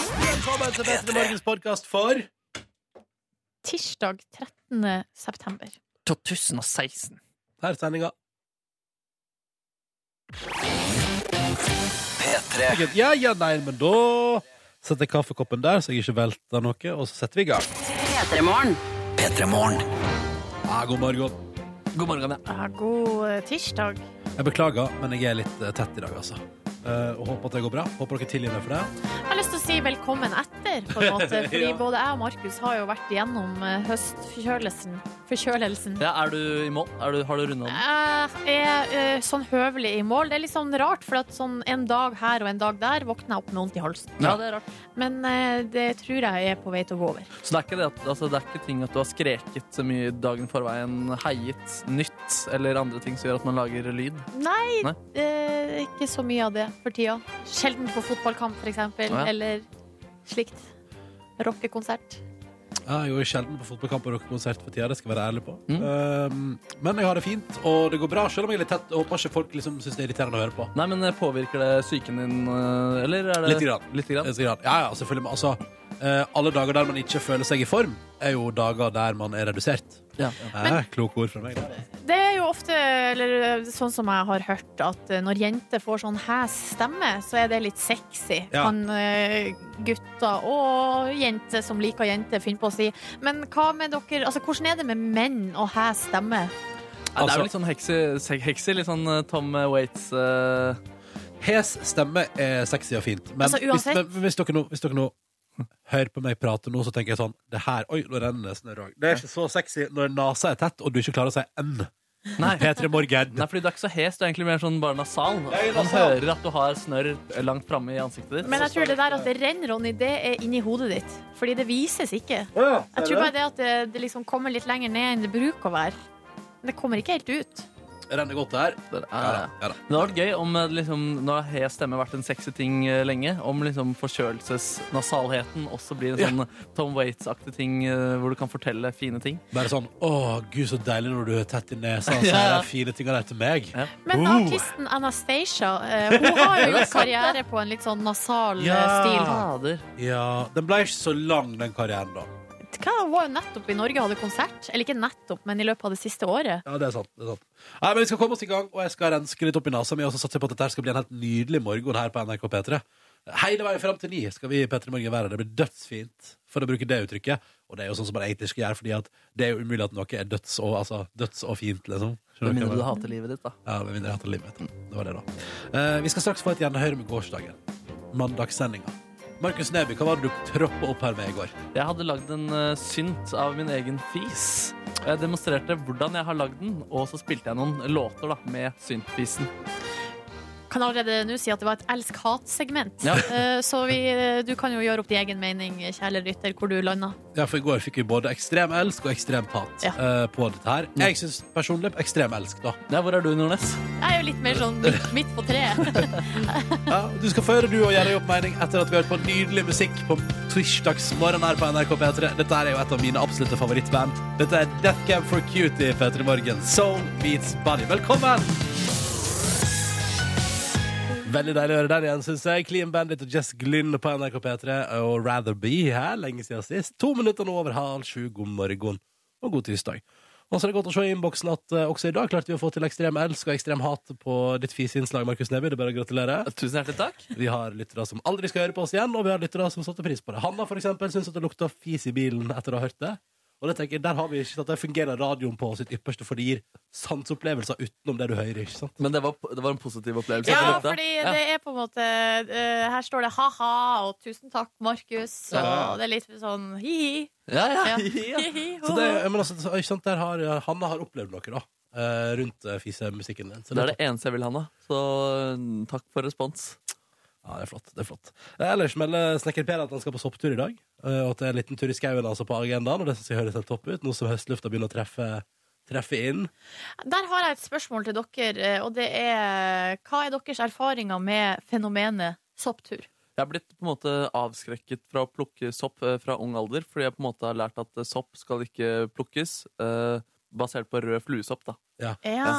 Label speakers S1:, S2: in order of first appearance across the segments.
S1: Velkommen til Petter Morgens podkast for
S2: Tirsdag 13. september.
S3: 2016.
S1: Her er sendinga. P3. Ja, ja, nei, men da setter jeg kaffekoppen der, så jeg ikke velter noe, og så setter vi i gang.
S4: P3morgen.
S1: Ja, god morgen.
S3: God morgen, ja.
S2: Ja, god eh, tirsdag.
S1: Jeg beklager, men jeg er litt eh, tett i dag, altså. Eh, og håper at det går bra. Håper dere tilgir meg for det.
S2: Jeg har lyst til å si velkommen etter, på en måte. Fordi
S1: Ja.
S2: både jeg og Markus har jo vært igjennom eh, høstforkjølelsen. Forkjølelsen.
S3: ja. Er du i mål? Er du, har du runda den?
S2: Jeg er eh, sånn høvelig i mål. Det er litt sånn rart, for at sånn en dag her og en dag der våkner jeg opp med vondt i halsen.
S3: Ja, det er rart.
S2: Men eh, det tror jeg er på vei til å gå over.
S3: Så det er, ikke det, at, altså, det er ikke ting at du har skreket så mye dagen forveien, heiet, nytt eller andre ting som gjør at man lager lyd?
S2: Nei,
S3: Nei?
S2: eh, ikke så mye av det for tida. Sjelden på fotballkamp, for eksempel.
S3: Ja.
S2: Eller slikt. Rockekonsert.
S1: Jeg er jo sjelden på fotballkamp og rockekonsert for tida, det skal jeg være ærlig på.
S3: Mm.
S1: Eh, men jeg har det fint, og det går bra, selv om jeg er litt tett. Jeg håper ikke folk liksom syns det er irriterende å høre på.
S3: Nei, men eh, påvirker det psyken din, eh, eller? Er det,
S1: Litt grann.
S3: Litt grann?
S1: Jeg sier at- Ja, ja, selvfølgelig. men Altså, eh, alle dager der man ikke føler seg i form, er jo dager der man er redusert.
S3: Ja.
S1: Eh, kloke ord fra meg. da.
S2: Det er jo ofte, eller eh, sånn som jeg har hørt, at eh, når jenter får sånn hæs stemme, så er det litt sexy.
S1: Ja.
S2: Kan eh, gutter og jenter som liker jenter, finne på å si. Men hva med dere Altså, hvordan er det med menn og hæs stemme?
S3: Nei, det er
S1: Altså-
S3: jo litt sånn heksi, se- heksi litt sånn eh, Tom Waits eh,
S1: Hes stemme er sexy og fint, men,
S2: Altså,
S1: hvis,
S2: uansett-
S1: men hvis, dere nå, hvis dere nå hører på meg prate nå, så tenker jeg sånn Det her, oi, nå renner det snørr òg. Det er ikke så sexy når nesa er tett, og du ikke klarer å si N.
S3: Nei.
S1: P3 Morgen.
S3: Nei, fordi du er ikke så hes, du er egentlig mer sånn bare nasal.
S1: er
S3: Man
S1: nasal.
S3: hører at du har snørr langt framme i ansiktet ditt.
S2: Men jeg tror det der at det renner, Ronny, det er inni hodet ditt. Fordi det vises ikke. Jeg tror bare det at det, det liksom kommer litt lenger ned enn det bruker å være. Men det kommer ikke helt ut.
S1: Renner godt der.
S3: Det er-
S1: Ja, da, ja, da.
S3: Men Det hadde vært gøy om eh, liksom, nå har hes stemme vært en sexy ting eh, lenge. Om liksom forkjølelsesnasalheten også blir en sånn Tom Waits-aktig ting eh, hvor du kan fortelle fine ting.
S1: Bare sånn Å, gud, så deilig når du er tett i nesa, og så er
S3: Ja.
S1: de fine tinga der til meg.
S3: Ja.
S2: Men
S1: Oh.
S2: artisten Anastacia eh, hun har jo gjort karriere på en litt sånn nasal eh, stil.
S3: Fader.
S1: Ja, Den ble ikke så lang, den karrieren, da.
S2: Hva, hun var jo nettopp i Norge og hadde konsert. Eller ikke nettopp, men i løpet av det siste året.
S1: Ja, det er sant. det er sant Nei, men Vi skal komme oss i gang, og jeg skal renske litt opp i nesa mi. Og så satser jeg på at dette her skal bli en helt nydelig morgen her på NRK P3. Hele veien fram til ni skal vi i P3 Morgen være her. Det blir dødsfint, for å bruke det uttrykket. Og det er jo sånn som man egentlig ikke gjør, fordi at det er jo umulig at noe er døds og, altså, døds og fint, liksom.
S3: Med
S1: Skjønner dere hva jeg
S3: mindre du
S1: mener?
S3: hater livet ditt, da.
S1: Ja, med mindre jeg hater livet mitt. Det var det, da. Eh, vi skal straks få et gjenhør med gårsdagen. Mandagssendinga. Markus Neby, hva var det du troppa opp her med i går?
S3: Jeg hadde lagd en eh, synt av min egen fis. Og Jeg demonstrerte hvordan jeg har lagd den, og så spilte jeg noen låter da, med syntfisen.
S2: Kan allerede nå si at det var et elsk-hat-segment.
S3: Ja.
S2: Eh, så vi, eh, du kan jo gjøre opp din egen mening, kjære lytter, hvor du landa.
S1: Ja, for i går fikk vi både ekstrem elsk og ekstremt hat
S2: Ja.
S1: eh, på dette her. Jeg syns personlig ekstrem elsk, da.
S3: Ja, hvor er du, Nordnes?
S2: Jeg er jo litt mer sånn midt, midt på treet.
S1: Ja, du skal få høre du og gjøre deg opp mening etter at vi har hørt på nydelig musikk på tirsdagsmorgen her på NRK P3. Dette her er jo et av mine absolutte favorittband. Dette er Death Cab for Cutie, P3 Morgen. Soul meets body. Velkommen! Veldig deilig å høre den igjen, syns jeg. Clean Bandit og Jess Glynn på NRK P3 og Rather Be her lenge siden sist. To minutter nå over halv sju. God morgen og god tirsdag. Og så er det godt å se i innboksen at eh, også i dag klarte vi å få til ekstrem elsk og ekstrem hat på ditt fiseinnslag, Markus Neby. Det er bare å gratulere.
S3: Tusen hjertelig takk.
S1: Vi har lyttere som aldri skal høre på oss igjen, og vi har lyttere som satte pris på det. Hanna for eksempel syns at det lukta fis i bilen etter å ha hørt det. Og det tenker jeg, Der har vi ikke sant, der fungerer radioen på sitt ypperste, for det gir sanseopplevelser utenom det du hører. ikke sant?
S3: Men det var, det var en positiv opplevelse.
S2: Ja,
S3: Dette.
S2: fordi det er på en måte eh, Her står det ha-ha og tusen takk, Markus. Og det er litt sånn hi-hi.
S3: Ja, ja,
S2: Ja.
S3: ja.
S2: Hi-hi,
S1: Så det,
S2: ho-ho.
S1: men altså, så- ikke sant, der har, Hanna har opplevd noe da, eh, rundt eh, fisemusikken din. Så
S3: Det er det eneste jeg vil, Hanna. Så mm, takk for respons.
S1: Ja, det er flott. det er flott. Eh, Ellers melder Snekker Per at han skal på sopptur i dag. eh, Og at det er en liten tur i skauen altså, på agendaen. Og det synes jeg høres helt topp ut, nå som høstlufta begynner å treffe, treffe inn.
S2: Der har jeg et spørsmål til dere, eh, og det er Hva er deres erfaringer med fenomenet sopptur?
S3: Jeg er blitt på en måte avskrekket fra å plukke sopp eh, fra ung alder, fordi jeg på en måte har lært at eh, sopp skal ikke plukkes. Eh, basert på rød fluesopp. da.
S2: Ja.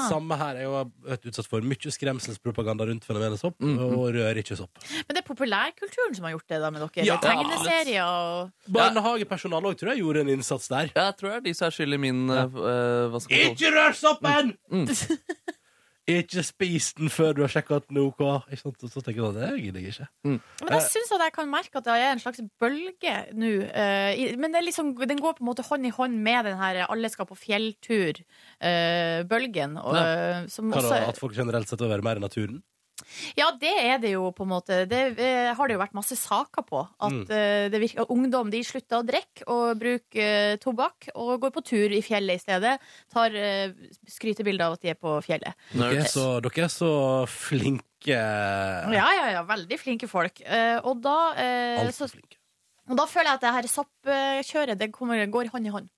S1: Samme her er jo vet, utsatt for mye skremselspropaganda rundt fenomenet sopp,
S3: Mm, mm.
S1: og rør ikke sopp.
S2: Men det er populærkulturen som har gjort det da med dere.
S1: Ja,
S2: Eller tegneserier og
S1: Barnehagepersonalet òg tror jeg gjorde en innsats der.
S3: Ja, jeg tror det er de som er skyld i min eh, eh, hva skal man kalle det?
S1: Ikke rør soppen!
S3: Mm.
S1: Ikke spis den før du har sjekka at den er OK. Ikke sant? Og Så tenker jeg, det gidder jeg ikke.
S2: Men
S1: Eh.
S2: jeg syns at jeg kan merke at det er en slags bølge nå. eh, i- men det er liksom, den går på en måte hånd i hånd med den her alle skal på eh, fjelltur-bølgen. eh, som
S1: Hva da,
S2: også
S1: at folk generelt sett vil være mer i naturen?
S2: Ja, det er det jo på en måte. Det eh, har det jo vært masse saker på. At
S1: Mm.
S2: eh, det virker, at ungdom de slutter å drikke og bruker eh, tobakk og går på tur i fjellet i stedet. Tar eh, skrytebilder av at de er på fjellet.
S1: Dere er så, dere er så flinke.
S2: Ja, ja, ja. Veldig flinke folk. Eh, og, da, eh,
S1: Altfor
S2: så,
S1: flinke.
S2: og da føler jeg at det her soppkjøret det kommer, går hånd i hånd.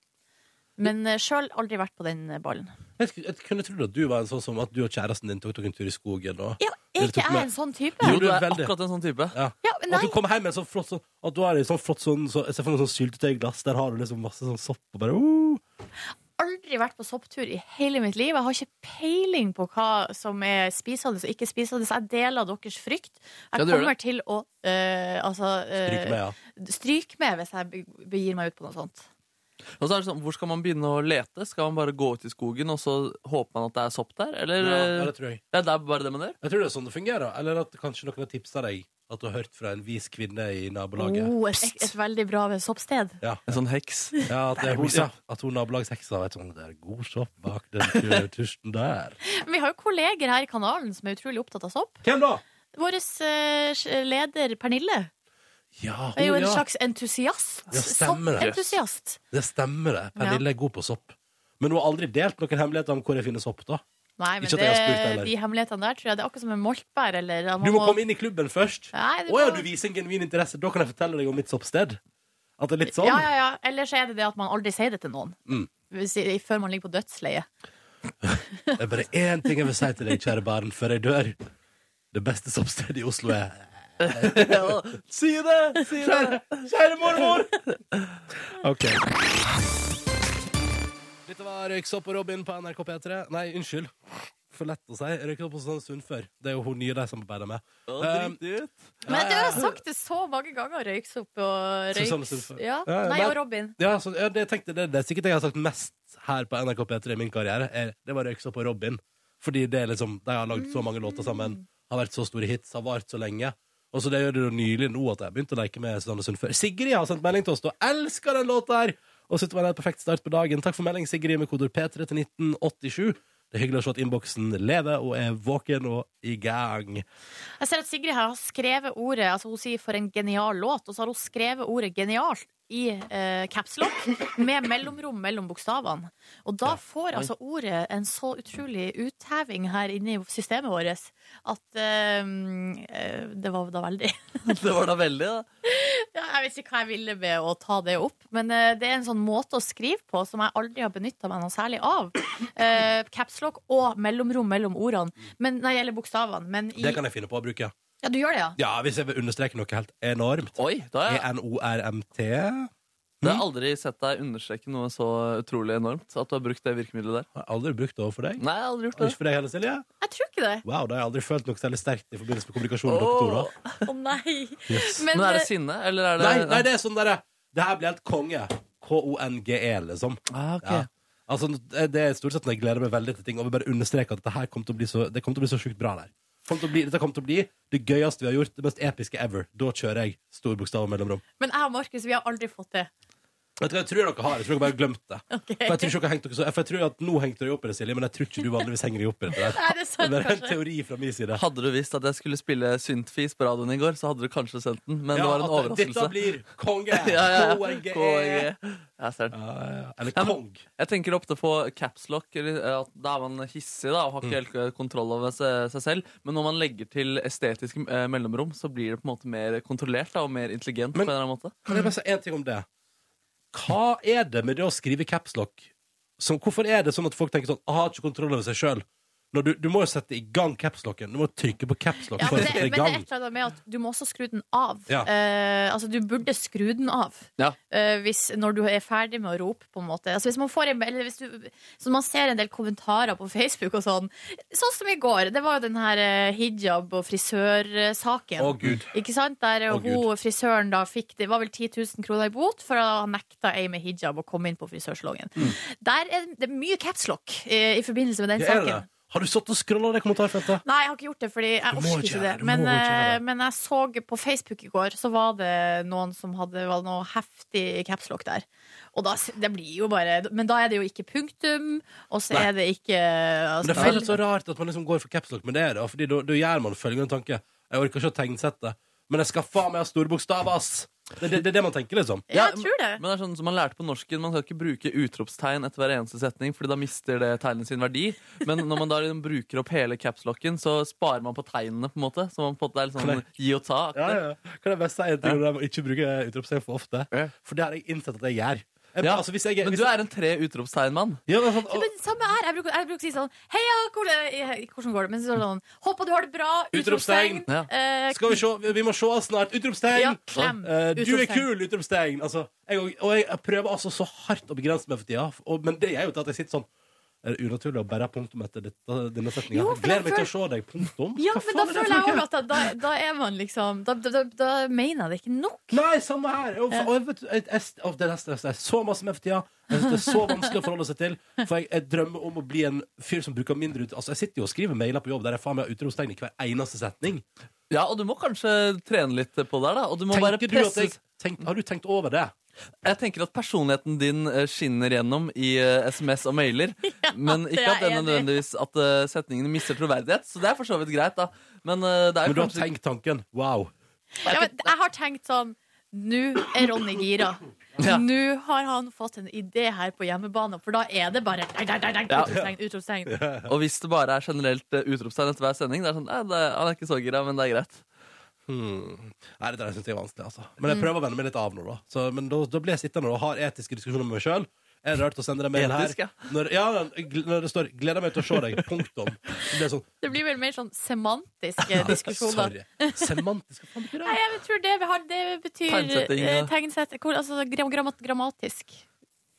S2: Men uh, sjøl aldri vært på den ballen.
S1: Jeg, sk- jeg kunne trodd at du var en sånn som at du og kjæresten din tok dere en tur i skogen. Og,
S2: Ja,
S1: Dere
S2: er
S1: tok
S2: ikke jeg
S1: med-
S2: en sånn type?
S1: Jo,
S3: Jo, du
S1: du er
S3: er
S1: veldig.
S3: akkurat en sånn type.
S1: ja.
S2: Ja,
S1: Og
S2: nei.
S1: At du kommer hjem med en sånn flott sånn At du har en sånn flott sånn så, Jeg ser for meg sånn syltetøyglass Der har du liksom masse sånn sopp og bare uh.
S2: aldri vært på sopptur i hele mitt liv. Jeg har ikke peiling på hva som er spisende og ikke spisende. Så jeg deler deres frykt. Jeg
S3: Ja, du gjør
S2: kommer til å eh, altså, eh,
S1: Stryk med, ja
S2: stryk med hvis jeg be- begir meg ut på noe sånt.
S3: Og så er det sånn, Hvor skal man begynne å lete? Skal man bare gå ut i skogen og så håper man at det er sopp der? Eller
S1: Ja,
S3: eh,
S1: det tror jeg
S3: ja, det er bare det man gjør?
S1: Jeg tror det er sånn det fungerer Eller at kanskje noen har tipset deg At du har hørt fra en vis kvinne i nabolaget
S2: Oh, et, et veldig bra soppsted.
S1: Ja,
S3: En sånn heks.
S1: ja, at, det,
S3: Der er
S1: hun,
S3: god
S1: ja,
S3: sopp.
S1: at hun nabolagsseksa vet sånn Det er god sopp bak den tu- tusjen der
S2: Men vi har jo kolleger her i kanalen som er utrolig opptatt av sopp.
S1: Hvem da?
S2: Vår eh, leder Pernille
S1: Ja, hun,
S2: er jo en
S1: ja.
S2: slags entusiast.
S1: Ja, stemmer det.
S2: Soppentusiast.
S1: det stemmer det Pernille er god på sopp Men hun har aldri delt noen hemmeligheter om hvor jeg finner sopp da
S2: Nei, men
S1: Ikke at
S2: det,
S1: jeg har spurt heller.
S2: de hemmelighetene der tror jeg det er akkurat som med moltbær. Eller, man
S1: Du må komme inn i klubben først
S2: Nei, du
S1: Åja,
S2: må-
S1: du viser en genuin interesse Da kan jeg fortelle deg om mitt soppsted At det er litt sånn
S2: Ja, ja, ja. Eller så er det det at man aldri sier det til noen.
S1: Mm.
S2: Hvis- i- Før man ligger på dødsleiet.
S1: Det er bare én ting jeg vil si til deg, kjære barn, før jeg dør. Det beste soppstedet i Oslo er
S3: Ja, si det! Si det!
S1: Kjære mormor! OK. Dette var Røyksopp og Robin på NRK P3. Nei, unnskyld. For lett å si. Røyksopp og Susanne Sund før. Det er jo hun nye de samarbeider med.
S3: Å, drit ut.
S2: Men du har sagt det så mange ganger, røyksopp og
S1: Susanne
S2: røyks...
S1: Sundfør.
S2: Ja.
S1: Ja, ja,
S2: Nei,
S1: men-
S2: og Robin.
S1: Ja, så, ja, det, tenkte, jeg- det, det er sikkert det jeg har sagt mest her på NRK P3 i min karriere. Er, det var Røyksopp og Robin. Fordi det er liksom, de har lagd så mange
S2: Mm.
S1: låter sammen, har vært så store hits, har vart så lenge. Og så det gjør det jo nylig nå at jeg har begynt å leke med Susanne Sund før. Sigrid har sendt melding til oss og elsker den låta her! Og synes det var en helt perfekt start på dagen. Takk for melding, Sigrid, med kodord P3 til 1987. Det er hyggelig å se at innboksen lever og er våken og i gang.
S2: Jeg ser at Sigrid her har skrevet ordet Altså Hun sier 'for en genial låt', og så har hun skrevet ordet 'genialt' i eh, caps lock med mellomrom mellom bokstavene. Og da får altså ordet en så utrolig utheving her inne i systemet vårt at eh, eh, Det var da veldig
S1: Um,
S3: Det var da veldig, da.
S2: Ja, Jeg vet ikke hva jeg ville med å ta det opp, men eh, det er en sånn måte å skrive på som jeg aldri har benytta meg noe særlig av. Uh, Capslock og mellomrom mellom ordene. Men, nei, eller bokstavene. Men i,
S1: Det kan jeg finne på å bruke.
S2: Ja, du gjør det, ja?
S1: Ja, hvis jeg vil understreke noe helt enormt.
S3: Oi,
S1: E
S3: da har jeg,
S1: E-N-O-R-M-T.
S3: det har jeg aldri sett deg understreke noe så utrolig enormt. At du har brukt det virkemidlet der.
S1: Har jeg aldri brukt det overfor deg.
S3: Nei, jeg har aldri gjort
S1: Og
S3: det.
S1: Ikke for deg heller, Silje?
S2: Jeg tror ikke det.
S1: Wow, da har jeg aldri følt noe særlig sterkt i forbindelse med kommunikasjon med dere to. da.
S2: Å nei.
S1: Yes.
S2: Men,
S3: Men er det
S2: eh,
S3: sinne, eller er det
S1: Nei, nei, det er sånn derre Det her blir helt konge. K-o-n-g-e, liksom.
S3: Ah, ok.
S1: Ja. Altså, det er stort sett når jeg gleder meg veldig til ting, og vil bare understreke at dette her kommer til å bli så, det kommer til å bli så sjukt bra der. Kommer til å bli, dette kommer til å bli det gøyeste vi har gjort, det mest episke ever. Da kjører jeg stor bokstav og mellomrom.
S2: men jeg og Markus, vi har aldri fått det.
S1: Vet du hva, Jeg tror dere har det. Jeg tror dere bare har glemt det.
S2: Ok.
S1: For jeg tror ikke dere har hengt dere så For jeg tror at nå hengte dere opp i det, Silje, men jeg tror ikke du vanligvis henger deg opp i det. der.
S2: Nei, det er
S1: Det
S2: sant,
S1: er bare en
S2: kanskje.
S1: teori fra min side.
S3: Hadde du visst at jeg skulle spille Syntfis på radioen i går, så hadde du kanskje sendt den. Men det var en
S1: at
S3: overraskelse.
S1: Dette blir konge!
S3: ja, ja, ja.
S1: KNGE.
S3: KNG. Jeg ser den.
S1: Ja, ja, ja. Eller
S3: Ja, men-
S1: kong.
S3: Jeg tenker ofte på capslock. eh, Da er man hissig da, og har
S1: Mm.
S3: ikke helt kontroll over seg, seg selv. Men når man legger til estetiske eh, mellomrom, så blir det på en måte mer kontrollert da, og mer intelligent.
S1: Men-
S3: på en eller annen måte.
S1: Kan jeg bare si én ting om det? Hva er det med det å skrive capslock? Som, hvorfor er det sånn at folk tenker sånn Jeg har ikke "Ah, kontroll over seg sjøl. når du, du må jo sette i gang capslocken. Du må trykke på capslock
S2: Ja,
S1: for å
S2: men, det,
S1: sette i
S2: men det er
S1: gang.
S2: et eller annet med at du må også skru den av.
S1: Ja.
S2: Eh, altså, du burde skru den av
S3: Ja.
S2: eh, hvis, når du er ferdig med å rope, på en måte. Altså, hvis man får en, eller hvis du, så man ser en del kommentarer på Facebook og sånn. Sånn som i går. Det var jo den her eh, hijab- og frisørsaken.
S1: Å, gud.
S2: Ikke sant? Der
S1: Å,
S2: hun frisøren da fikk Det var vel 10 000 kroner i bot for å ha nekta ei med hijab å komme inn på frisørsalongen. Der er det mye capslock eh, i forbindelse med den
S1: Det Mm. er det.
S2: saken.
S1: Har du satt og scrolla det kommentarfeltet?
S2: Nei, jeg har ikke gjort det, fordi jeg
S1: Du må ikke
S2: orker ikke
S1: gjøre
S2: det.
S1: det, du må
S2: Men,
S1: ikke gjøre
S2: eh,
S1: det.
S2: men jeg så på Facebook i går, så var det noen som hadde var det noe heftig capslock der. Og da, det blir jo bare Men da er det jo ikke punktum, og så
S1: Nei.
S2: er det ikke
S1: Men
S2: altså,
S1: Det føles så rart at man liksom går for capslock, men det er det. Fordi da, da gjør man følgende tanke. Jeg orker ikke å tegnsette, men jeg skal faen meg ha store bokstaver, ass! Det er det, det, er det man tenker, liksom.
S2: Ja, jeg tror det.
S3: Men det er sånn som man lærte på norsken, man skal ikke bruke utropstegn etter hver eneste setning, fordi da mister det tegnet sin verdi. Men når man da liksom bruker opp hele capslocken, så sparer man på tegnene, på en måte. Så man på en måte det er litt sånn gi og ta.
S1: Ja, ja. Kan jeg bare si en ting
S3: Ja.
S1: om det med å ikke bruke utropstegn for ofte?
S3: Ja.
S1: For det har jeg innsett at jeg gjør. Jeg,
S3: Ja,
S1: altså, hvis jeg,
S3: Men
S1: hvis
S3: du er en tre utropstegn-mann.
S1: ja, men sånn, å,
S2: Men samme her. Jeg bruker, jeg bruker å si sånn Heia, hvordan, hvordan går det? Men så er det sånn Håper du har det bra! Utropstegn!
S1: Utropstegn.
S3: Ja.
S2: Eh,
S1: skal vi se, vi- vi må se oss snart! Utropstegn!
S2: ja, klem!
S1: Eh, du er
S2: Utropstegn.
S1: kul! Utropstegn! Altså, jeg, og- og jeg prøver altså så hardt å begrense meg for tida, og, men det er jo til at jeg sitter sånn er det unaturlig å bære punktum etter dette, denne setninga?
S2: Jo, for da
S1: Gleder meg til å se deg. Punktum?
S2: Ja,
S1: Hva faen
S2: men da
S1: er det for
S2: føler jeg
S1: noe?
S2: òg at da, da, da er man liksom Da, da, da, da mener jeg det ikke nok.
S1: Nei, samme her! Og, og jeg vet, jeg, jeg, og det der stresset er så masse med for tida. Jeg synes det er så vanskelig å forholde seg til. For jeg, jeg drømmer om å bli en fyr som bruker mindre ut... Altså, Jeg sitter jo og skriver mailer på jobb der jeg faen meg har utropstegn i hver eneste setning.
S3: Ja, og du må kanskje trene litt på det her, da. Og du må bare
S1: Tenker du at
S3: presse
S1: jeg, tenk, har du tenkt over det?
S3: Jeg tenker at personligheten din eh, skinner gjennom i eh, SMS og mailer. men
S2: det
S3: ikke
S2: er
S3: at det
S2: jeg enig i.
S3: nødvendigvis at eh, setningene mister troverdighet. Så det er for så vidt greit, da. Men eh, det
S1: Men
S3: er jo
S1: du har
S3: kanskje
S1: tenkt tanken. Wow.
S2: Ja, men jeg har tenkt sånn Nå er Ronny gira.
S3: Ja.
S2: Nå har han fått en idé her på hjemmebane, for da er det bare der, der, der, der,
S3: Ja.
S2: Utropstegn, utropstegn.
S3: Og hvis det bare er generelt eh, utropstegn etter hver sending, det er sånn eh, det, Han er ikke så gira, men det er greit.
S1: Nei, dette synes jeg er vanskelig, altså. Men jeg
S2: Mm.
S1: prøver å vende meg litt av nå, da. Så, men da, da blir jeg sittende og har etiske diskusjoner med meg sjøl. Er det rart å sende deg mail her?
S3: Etisk, ja.
S1: Når, ja, gl- når det står 'gleder meg til å se deg', punktum. Så blir jeg sånn
S2: Det blir vel mer sånn semantiske
S1: ja,
S2: diskusjoner.
S1: Sorry. Semantisk, hva faen betyr det?
S2: Nei, jeg tror det, vi har, det betyr
S3: Tegnsetting, ja.
S2: eh, tegnsett- hvor- altså, gram, grammat, grammatisk.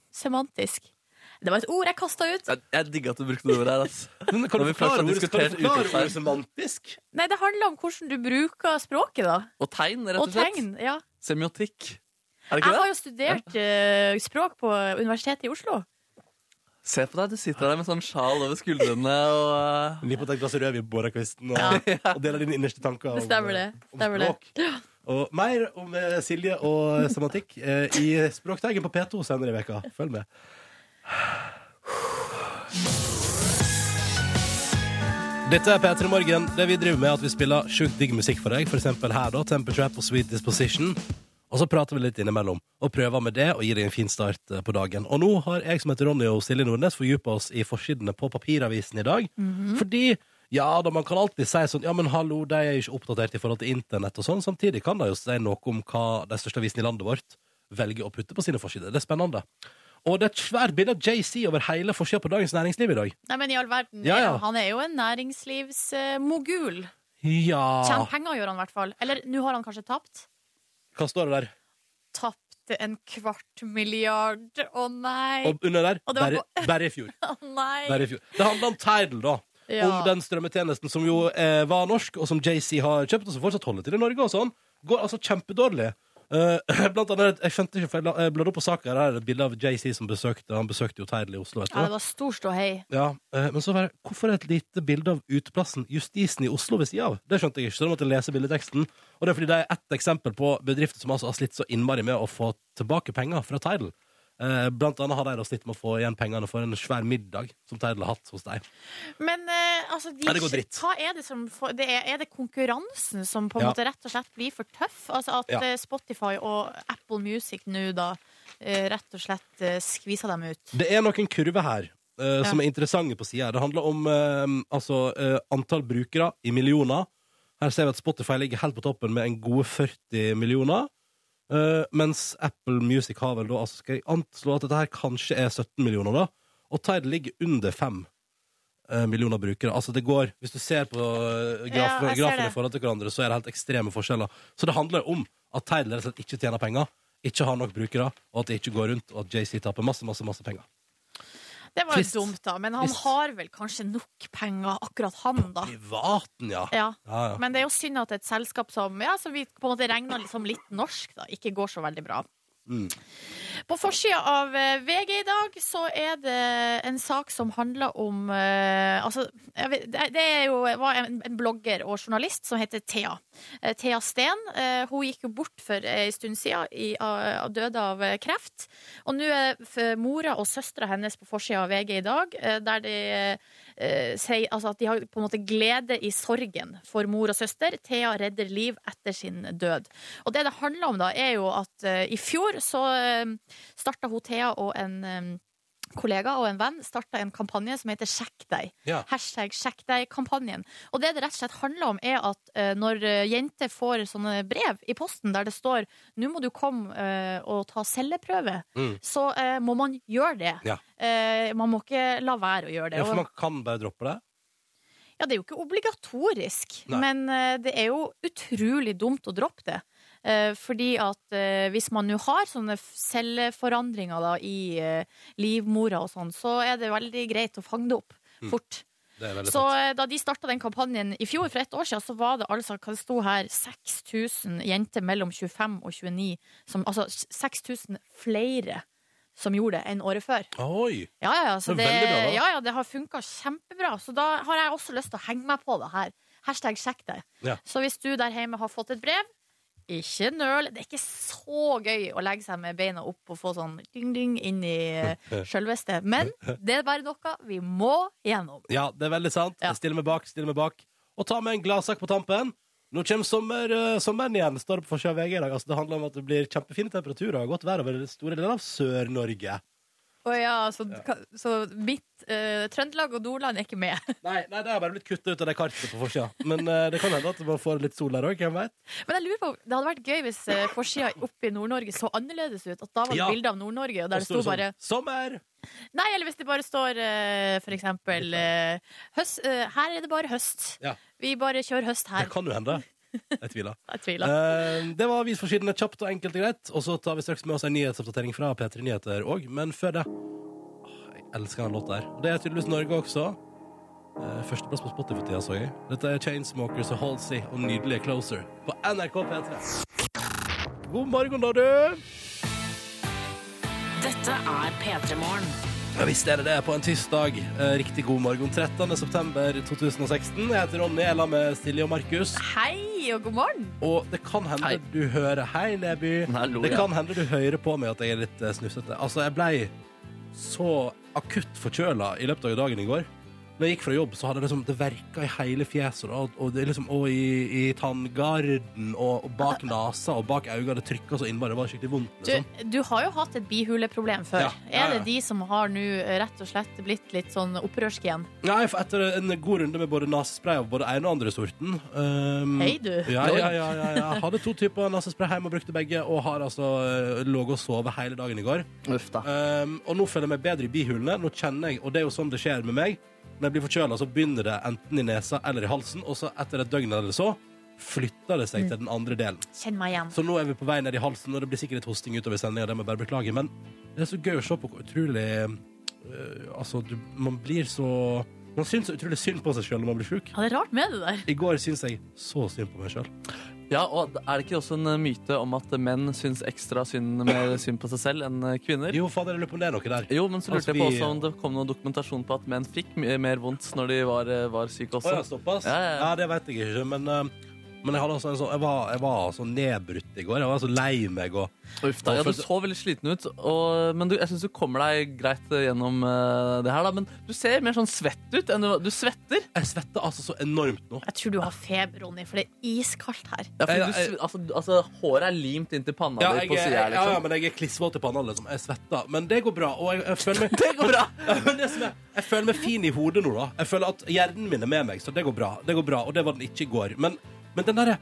S2: Semantisk. Det var et ord jeg kasta ut.
S3: Jeg, jeg digger at du brukte det ordet her. altså. ass.
S1: Men kan du
S3: Når vi først
S1: forklare ordet, kan
S3: har
S1: du
S3: diskutert
S1: forklare
S3: utropstegn.
S1: ordet semantisk?
S2: Nei, det handler om hvordan du bruker språket, da.
S3: Og tegn, rett
S2: Og
S3: og slett.
S2: tegn. ja
S3: Semiotikk. Er
S2: Jeg
S3: det ikke
S2: har
S3: det?
S2: jo studert eh, språk på Universitetet i Oslo.
S3: Se på deg, du sitter der med sånn sjal over skuldrene og eh,
S1: Ligg på et glass rødvin på morgenkvisten og, og deler dine innerste tanker. om- eh,
S2: Det stemmer det.
S1: om
S2: Stemmer det.
S1: språk. Og mer om eh, Silje og semantikk eh, i Språkteigen på P2 senere i veka. Følg med. Dette er P3 Morgen. Det vi driver med er at vi spiller sjukt digg musikk for deg. For eksempel her, da. Temper Trap og Sweet Disposition. Og så prater vi litt innimellom og prøver med det og gir deg en fin start eh, på dagen. Og nå har jeg som heter Ronny og Silje Nordnes fordypa oss i forsidene på papiravisen i dag. Fordi ja da, man kan alltid si sånn Ja, men hallo, de er jo ikke oppdatert i forhold til internett og sånn. Samtidig kan de jo si noe om hva de største avisene i landet vårt velger å putte på sine forsider. Det er spennende. Og det er et svært bilde av JC over hele forsida på Dagens Næringsliv i dag.
S2: Nei, men i all verden, eh,
S1: Ja, ja.
S2: han er jo en næringslivsmogul.
S1: Ja
S2: Tjener penger, gjør han i hvert fall. Eller nå har han kanskje tapt.
S1: Hva står det der?
S2: Tapte en kvart milliard. Å nei,
S1: Og under der?
S2: Og det var
S1: Bare, bare i fjor.
S2: å
S1: Bare
S2: nei.
S1: i fjor. Det handler om Tidal, da.
S2: Ja.
S1: Om den strømmetjenesten som jo eh, var norsk, og som JC har kjøpt, og som fortsatt holder til i Norge og sånn. Går altså kjempedårlig. Eh, blant annet, jeg skjønte ikke, for jeg la- jeg bladde opp på saka. Her er det et bilde av JC som besøkte Han besøkte jo Tidal i Oslo. Vet
S2: Ja, det
S1: du.
S2: var stor ståhei.
S1: Ja, eh, men så var det, hvorfor er det et lite bilde av uteplassen Justisen i Oslo ved sida av? Det skjønte jeg ikke, så da måtte jeg lese bildeteksten. Og det er fordi det er ett eksempel på bedrifter som altså har slitt så innmari med å få tilbake penger fra Tidal. Eh, blant annet har de da slitt med å få igjen pengene for en svær middag som Tidal har hatt hos deg.
S2: Men eh, altså, de,
S1: Nei, det går dritt.
S2: hva er det som får- det er, er det konkurransen som på
S1: Ja.
S2: en måte rett og slett blir for tøff? Altså at
S1: Ja.
S2: eh, Spotify og Apple Music nå da eh, rett og slett eh, skviser dem ut?
S1: Det er noen kurver her eh, som er interessante på sida. Det handler om eh, altså, eh, antall brukere i millioner. Her ser vi at Spotify ligger helt på toppen med en gode 40 millioner. Eh, mens Apple Music har vel da altså Skal jeg anslå at dette her kanskje er 17 millioner, da? Og Tide ligger under 5. eh, millioner brukere. Altså det går, Hvis du ser på eh, graf,
S2: Ja, jeg ser
S1: grafene
S2: det.
S1: i forhold til hverandre, så er det helt ekstreme forskjeller. Så det handler om at Tidal rett og slett ikke tjener penger, ikke har nok brukere, og at det ikke går rundt, og at JC taper masse, masse, masse penger.
S2: Det var jo
S1: Trist.
S2: dumt, da. Men han
S1: Trist.
S2: har vel kanskje nok penger, akkurat han, da.
S1: Privaten, ja.
S2: Ah. Ja.
S1: Ja, ja.
S2: Men det er jo synd at et selskap som ja, som vi på en måte regner liksom litt norsk, da, ikke går så veldig bra.
S1: Mm.
S2: På forsida av eh, VG i dag så er det en sak som handler om eh, Altså, jeg vet, det det er jo, var en, en blogger og journalist som heter Thea. Eh, Thea Steen. eh, hun gikk jo bort for ei stund sida, i- av- døde av eh, kreft. Og nå er f- mora og søstera hennes på forsida av VG i dag, eh, der de eh, eh, sier altså at de har på en måte glede i sorgen for mor og søster. Thea redder liv etter sin død. Og det det handler om, da, er jo at eh, i fjor så uh, starta hun Thea og en eh, kollega og en venn starta en kampanje som heter Sjekk deg.
S1: Ja.
S2: Hashtag sjekk deg-kampanjen. Og det det rett og slett handler om, er at eh, når eh, jenter får sånne brev i posten der det står 'nå må du komme eh, og ta celleprøve',
S1: Mm.
S2: så eh, må man gjøre det.
S1: Ja.
S2: Eh, man må ikke la være å gjøre det.
S1: ja, for
S2: Og-
S1: man kan bare droppe det.
S2: ja, det er jo ikke obligatorisk,
S1: Nei.
S2: men eh, det er jo utrolig dumt å droppe det. Eh, Fordi at eh, hvis man nå har sånne f- celleforandringer da, i eh, livmora og sånn, så er det veldig greit å fange det opp fort.
S1: Det er Mm. veldig
S2: Så
S1: sant.
S2: eh, da de starta den kampanjen i fjor, for ett år siden, så var det altså hva det sto her, 6000 jenter mellom 25 og 29 som, Altså 6000 flere som gjorde det enn året før.
S1: Oi!
S2: Ja, ja, ja, så
S1: Det
S2: det,
S1: er veldig bra, da.
S2: ja, ja, det har funka kjempebra. Så da har jeg også lyst til å henge meg på det her. Hashtag sjekk deg.
S1: Ja.
S2: Så hvis du der hjemme har fått et brev, ikke nøl. Det er ikke så gøy å legge seg med beina opp og få sånn ding-ding inn i eh, sjølveste. Men det er bare noe vi må gjennom.
S1: Ja, det er veldig sant.
S2: Ja.
S1: Jeg stiller meg bak, stiller meg bak. Og ta med en gladsak på tampen. Nå kommer sommer, eh, sommeren igjen, står det på forsida av VG i dag. Altså, det handler om at det blir kjempefine temperaturer og godt vær over store deler av Sør-Norge.
S2: Å ja, så, så mitt eh, Trøndelag og Nordland er ikke med.
S1: Nei, nei, det har bare blitt kutta ut av det kartet på forsida. Men eh, det kan hende at man får litt sol der òg, hvem veit.
S2: Men jeg lurer på, det hadde vært gøy hvis uh, forsida oppe i Nord-Norge så annerledes ut. At da var det
S1: Ja.
S2: bilde av Nord-Norge, og der
S1: Og
S2: det
S1: så er
S2: sto
S1: det sånn,
S2: bare
S1: Sommer!
S2: Nei, eller hvis det bare står eh, for eksempel eh, høst, eh, Her er det bare høst.
S1: Ja.
S2: Vi bare kjører høst
S1: Det
S2: her.
S1: kan jo hende. Jeg tviler.
S2: Jeg tviler.
S1: Eh, det var avisforsidene kjapt og enkelt og greit. Og så tar vi straks med oss en nyhetsoppdatering fra P3 Nyheter òg. Men før det Åh, Jeg elsker den låta her. Og det er tydeligvis Norge også. Eh, Førsteplass på Spotify for tida, så jeg. Dette er Chainsmokers og Halsey og nydelige Closer på NRK P3. God morgen, da, du.
S4: Dette er P3 Morgen.
S1: Ja visst er det det, på en tirsdag. Eh, Riktig god morgen. 13. september 2016. Jeg heter Ronny, jeg er sammen med Silje og Markus.
S2: Hei og god morgen!
S1: Og det kan hende
S3: Hei.
S1: du hører Hei, Neby.
S3: Nei, lo,
S1: det
S3: ja.
S1: kan hende du hører på meg at jeg er litt eh, snufsete. Altså, jeg blei så akutt forkjøla i løpet av dagen i går. Når jeg gikk fra jobb, så hadde jeg liksom, det verka i hele fjeset og, og, det liksom, og i, i tanngarden og, og bak nesa og bak øynene. Det trykka så innmari. Det var skikkelig vondt.
S2: Du,
S1: Liksom.
S2: du har jo hatt et bihuleproblem før.
S1: Ja, ja, ja.
S2: Er det de som har nå eh, rett og slett blitt litt sånn opprørske igjen?
S1: Nei, for etter en god runde med både nesespray av både ene og andre sorten um,
S2: Hei, du.
S1: Ja, ja, ja, ja, ja. Hadde to typer nesespray hjemme og brukte begge, og har altså eh, ligget og sovet hele dagen i går.
S3: Uff da.
S1: Um, og nå føler jeg meg bedre i bihulene. Nå kjenner jeg, og det er jo sånn det skjer med meg. Når jeg blir forkjøla, så begynner det enten i nesa eller i halsen, og så etter et døgn eller så flytter det seg til den andre delen.
S2: Kjenn meg igjen.
S1: Så nå er vi på vei ned i halsen, og det blir sikkert litt hosting utover sendinga, det må jeg bare beklage. Men det er så gøy å se på hvor utrolig øh, Altså, du, man blir så Man syns så utrolig synd på seg sjøl når man blir sjuk.
S2: Ja, det er rart med det der.
S1: I går syns jeg så synd på meg sjøl.
S3: Ja, og Er det ikke også en eh, myte om at menn syns ekstra synd mer synd på seg selv enn eh, kvinner?
S1: Jo, fader, jeg lurer på om det er noe der.
S3: Jo, men så
S1: Altså,
S3: lurte jeg på
S1: vi-
S3: også om det kom noen dokumentasjon på at menn fikk my- mer vondt når de var, eh, var syke
S1: Å ja,
S3: også.
S1: såpass? Ja,
S3: Ja, ja, ja.
S1: det vet jeg ikke, men eh, men jeg, hadde altså en sånn, jeg, var, jeg var så nedbrutt i går. Jeg var så lei meg. Og,
S3: Uff da, ja, Du så veldig sliten ut, og, men du, jeg syns du kommer deg greit eh, gjennom eh, det her. da Men du ser mer sånn svett ut. enn Du, var- du svetter.
S1: jeg svetter altså så enormt nå.
S2: Jeg tror du har feber, Ronny, for det er iskaldt her.
S3: Ja,
S1: Jeg-
S3: for du,
S1: jeg-
S3: sve- altså, du- altså, håret er limt inntil panna
S1: Ja,
S3: di
S1: jeg,
S3: på
S1: er-
S3: sida.
S1: ja, ja,
S3: Liksom.
S1: men jeg er klissvåt i panna. Liksom. Jeg svetter. Men det går bra. Og jeg, jeg føler meg
S3: Det går bra!
S1: Men det som er, jeg føler meg fin i hodet nå, da. Jeg føler at hjernen min er med meg, så det går bra. Det går bra og det var den ikke i går. Men, men den derre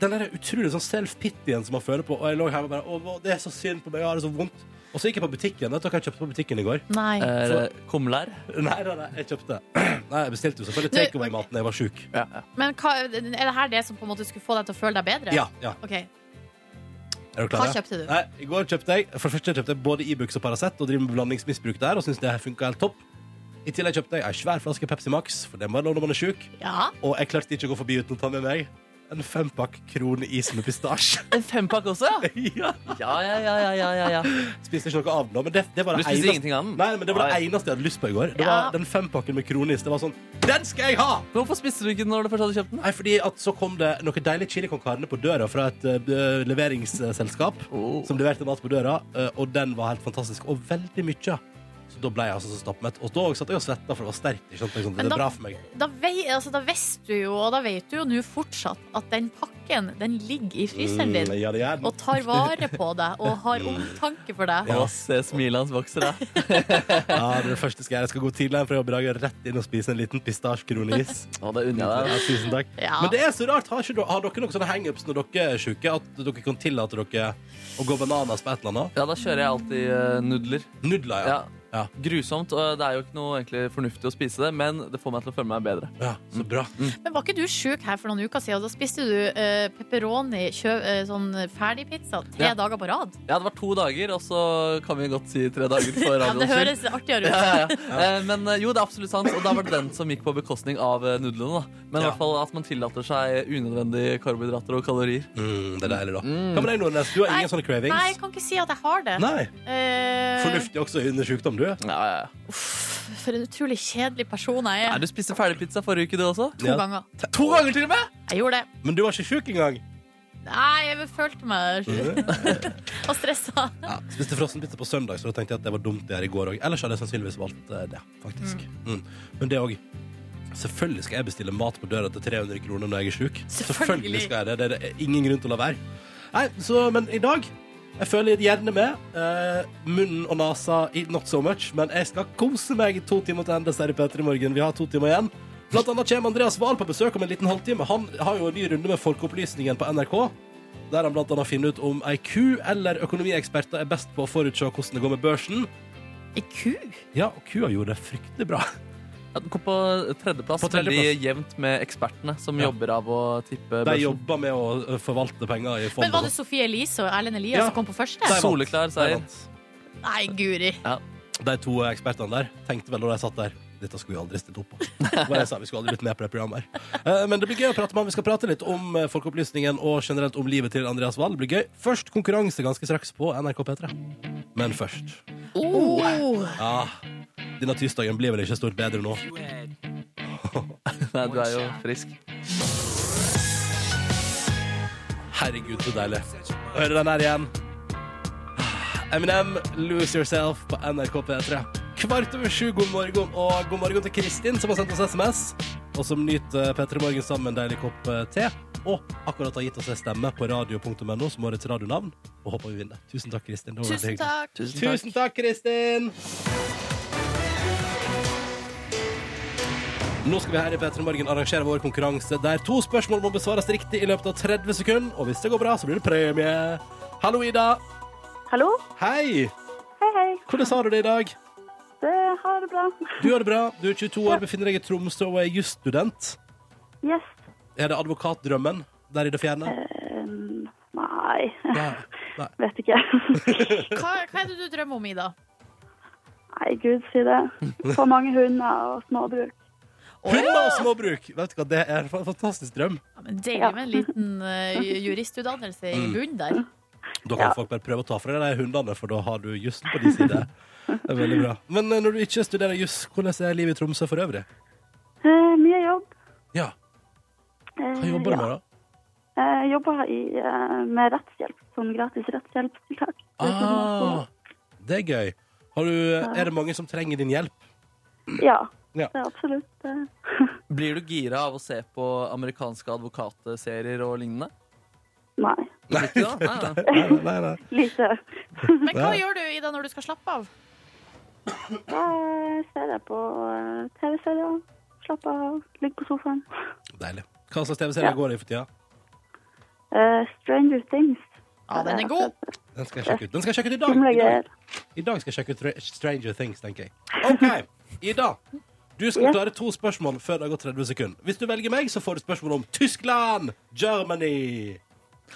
S1: den der utrolig sånn self-pityen som man føler på, og jeg lå hjemme og bare Å, det er så synd på meg, jeg har det så vondt. Og så gikk jeg på butikken. Vet du hva jeg kjøpte på butikken i går?
S2: Nei.
S1: Eh.
S3: Er det Eh, kumlær?
S1: Nei, nei, nei, jeg kjøpte Nei, jeg bestilte jo selvfølgelig
S2: Du-
S1: takeaway-maten da jeg var sjuk.
S3: Ja, ja.
S2: Men hva, er det her det som på en måte skulle få deg til å føle deg bedre?
S1: Ja, ja.
S2: Ok,
S1: Er du
S2: Hva
S1: klar? ja?
S2: kjøpte du?
S1: Nei, I går kjøpte jeg For det første kjøpte jeg både Ibux og Paracet og driver med blandingsmisbruk der og syns det her funka helt topp. I tillegg kjøpte jeg ei svær flaske Pepsi Max, for det må jeg låne når man er sjuk.
S2: Ja.
S1: Og jeg klarte ikke å gå forbi uten å ta med meg en fempakk kronis med pistasje.
S3: En fempakk også, ja?
S1: ja.
S3: Ja, ja, ja, ja, ja, ja, ja.
S1: Spiste ikke noe av den, da, men det, det var
S3: Du
S1: det
S3: spiser
S1: eneste
S3: ingenting av den?
S1: Nei, men det var det
S3: Nei.
S1: eneste jeg hadde lyst på i går. Det
S2: Ja.
S1: var Den fempakken med kronis. Det var sånn Den skal jeg ha!
S3: Men Hvorfor spiste du ikke den når du først hadde kjøpt den?
S1: Nei, fordi at så kom det noe deilig chili con carne på døra fra et eh, leveringsselskap
S3: Oh.
S1: som leverte mat på døra, eh, og den var helt fantastisk. Og veldig mye. Så da ble jeg altså så stappmett. Og da satt jeg og svetta, for det var sterkt. Ikke sant? Det er sånn,
S2: Men
S1: det
S2: da-
S1: er bra for meg.
S2: Da, vei, altså, da visste du jo, og da vet du jo nå fortsatt, at den pakken den ligger i fryseren din
S1: Mm, ja, det gjør den.
S2: og tar vare på deg og har omtanke for deg.
S1: Ja.
S3: Å, se smilet hans vokser, da.
S1: Ja, det er det første jeg skal gjøre. Jeg skal gå tidlig hjem fra jobb i dag og rett inn og spise en liten pistasjekronis.
S3: Å, det unner jeg deg.
S1: Ja, tusen takk.
S2: Ja.
S1: Men det er så rart. Har, ikke, dere- har dere noen sånne hangups når dere er syke, at dere kan tillate dere å gå bananas på et eller annet?
S3: Ja, da kjører jeg alltid eh, nudler.
S1: Nudler, ja.
S3: Ja.
S1: Ja.
S3: Grusomt, og det er jo ikke noe egentlig fornuftig å spise det, men det får meg til å føle meg bedre.
S1: ja. Så bra.
S2: Men var ikke du sjuk her for noen uker siden? Og da spiste du eh, pepperoni, kjø, eh, sånn ferdigpizza, tre
S3: Ja.
S2: dager på rad.
S3: Ja, det var to dager, og så kan vi godt si tre dager for
S2: Ja, det
S3: radioens skyld.
S2: høres artigere
S3: Ja,
S2: ut.
S3: ja, ja. Eh, Men eh, jo, det er absolutt sant, og da var det den som gikk på bekostning av eh, nudlene. da Men i
S1: Ja.
S3: hvert fall at man tillater seg unødvendige karbohydrater og kalorier.
S1: Mm, det er deilig, da. Hva med deg, Nordnes? Du har
S2: Nei,
S1: ingen sånne
S2: Nei, jeg
S1: cravings?
S2: kan ikke si at jeg har det.
S1: Nei.
S2: Eh,
S1: Fornuftig også under sykdom, du.
S3: Ja, ja, ja.
S2: for en utrolig kjedelig person jeg
S3: Nei,
S2: er.
S3: Du spiste ferdigpizza forrige uke, du også?
S2: To
S1: Ja.
S2: ganger.
S3: To ganger til og med!
S2: Jeg gjorde det.
S1: Men du var ikke sjuk engang.
S2: Nei, jeg følte meg og stressa.
S1: Ja, spiste frossenpizza på søndag, så da tenkte jeg at det var dumt det her i går òg. Ellers hadde jeg sannsynligvis valgt eh, det, faktisk. Mm. Men det òg. Selvfølgelig skal jeg bestille mat på døra til 300 kroner når jeg er sjuk.
S2: Selvfølgelig.
S1: skal jeg det. Det er det ingen grunn til å la være. Nei, så, men i dag jeg føler gjerne med. Eh, munnen og nesa i not so much, men jeg skal kose meg i to timer til endes her i P3 Morgen. Vi har to timer igjen. Blant annet kommer Andreas Wahl på besøk om en liten halvtime. Han har jo en ny runde med Folkeopplysningen på NRK. Der han blant annet finner ut om ei ku eller økonomieksperter er best på å forutse hvordan det går med børsen.
S2: Ei ku?
S1: Ja, og kua gjorde det fryktelig bra.
S3: Ja, den kom på tredjeplass,
S1: På tredjeplass.
S3: veldig jevnt med ekspertene som
S1: Ja.
S3: jobber av å tippe
S1: De
S3: børsen.
S1: jobber med å eh, forvalte penger i fond.
S2: Men var
S1: og
S2: det Sofie Elise og Erlend Elias
S1: Ja.
S2: som kom på første?
S1: sånt. De vant.
S3: Soleklar seier.
S1: De vant.
S2: Nei, guri.
S1: De to ekspertene der tenkte vel når de satt der Dette skulle vi aldri stilt opp på. Det var det jeg sa, vi skulle aldri blitt med på det programmet her. Eh, Men det blir gøy å prate med ham. Vi skal prate litt om eh, folkeopplysningen og generelt om livet til Andreas Wahl. Det blir gøy. Først konkurranse ganske straks på NRK P3. Men først
S2: Oh.
S1: Ja, denne tirsdagen blir vel ikke stort bedre nå.
S3: Nei, du er jo frisk.
S1: Herregud, så deilig. Å høre den her igjen. Ah, Eminem, Lose Yourself på NRK P3. Kvart over sju, god morgen. Og god morgen til Kristin, som har sendt oss SMS. Og som nyter P3 Morgen sammen med en deilig kopp eh, te. Og akkurat har gitt oss en stemme på radio.no som årets radionavn. Og håper vi vinner. Tusen takk, Kristin. Det var veldig
S2: Tusen
S1: hyggelig.
S2: takk.
S3: Tusen takk.
S1: Tusen takk, Kristin! Nå skal vi her i Petter Morgen arrangere vår konkurranse der to spørsmål må besvares riktig i løpet av 30 sekunder. Og hvis det går bra, så blir det premie. Hallo, Ida.
S5: Hallo?
S1: Hei.
S5: Hei, hei.
S1: Hvordan har du det i dag?
S5: Det har det bra.
S1: Du har det bra. Du er 22 år, befinner deg i Tromsø og er jusstudent.
S5: Yes.
S1: Er det advokatdrømmen der i det fjerne?
S5: Um, nei,
S1: Nei. Nei.
S5: vet ikke.
S2: Hva, hva er det du drømmer om, Ida?
S5: Nei, gud si det. For mange hunder og småbruk.
S1: Hund og småbruk! Vet du hva, Det er en fantastisk drøm.
S2: Ja, men Deilig med en liten eh, ju- juristutdannelse i
S1: Mm.
S2: bunnen der.
S1: Da kan
S5: Ja.
S1: folk bare prøve å ta fra deg de hundene, for da har du jussen på din side. Det er veldig bra. Men eh, når du ikke studerer juss, hvordan er livet i Tromsø for øvrig?
S5: Eh, mye jobb.
S1: Ja,
S5: Eh,
S1: Hva jobber du med,
S5: ja.
S1: da?
S5: Eh, Jeg jobber i, eh, med rettshjelp, som gratis rettshjelpstiltak. sånn
S1: Ah, det er gøy. Har du, eh, er det mange som trenger din hjelp?
S5: Ja,
S1: Ja.
S5: det er absolutt. eh,
S3: Blir du gira av å se på amerikanske advokatserier og lignende?
S5: Nei,
S3: Blir du ikke det? Ah, Nei, nei.
S1: Nei, nei, nei.
S5: lite.
S2: Men hva
S1: Ja.
S2: gjør du, Ida, når du skal slappe av?
S5: Da eh, ser jeg på eh, TV-serier. Slapp av, ligge på sofaen.
S1: Deilig. Hva slags TV-serier
S5: Ja.
S1: går det i for tida?
S5: Eh, Stranger Things.
S2: Ja, den er god.
S1: Den skal jeg sjekke ut. Den skal jeg sjekke ut i dag.
S5: Skumle
S1: I dag,
S5: greier.
S1: I dag skal jeg sjekke ut Tra- Stranger Things, tenker jeg. OK, Ida. Du skal
S5: Ja.
S1: klare to spørsmål før det har gått 30 sekunder. Hvis du velger meg, så får du spørsmål om Tyskland, Germany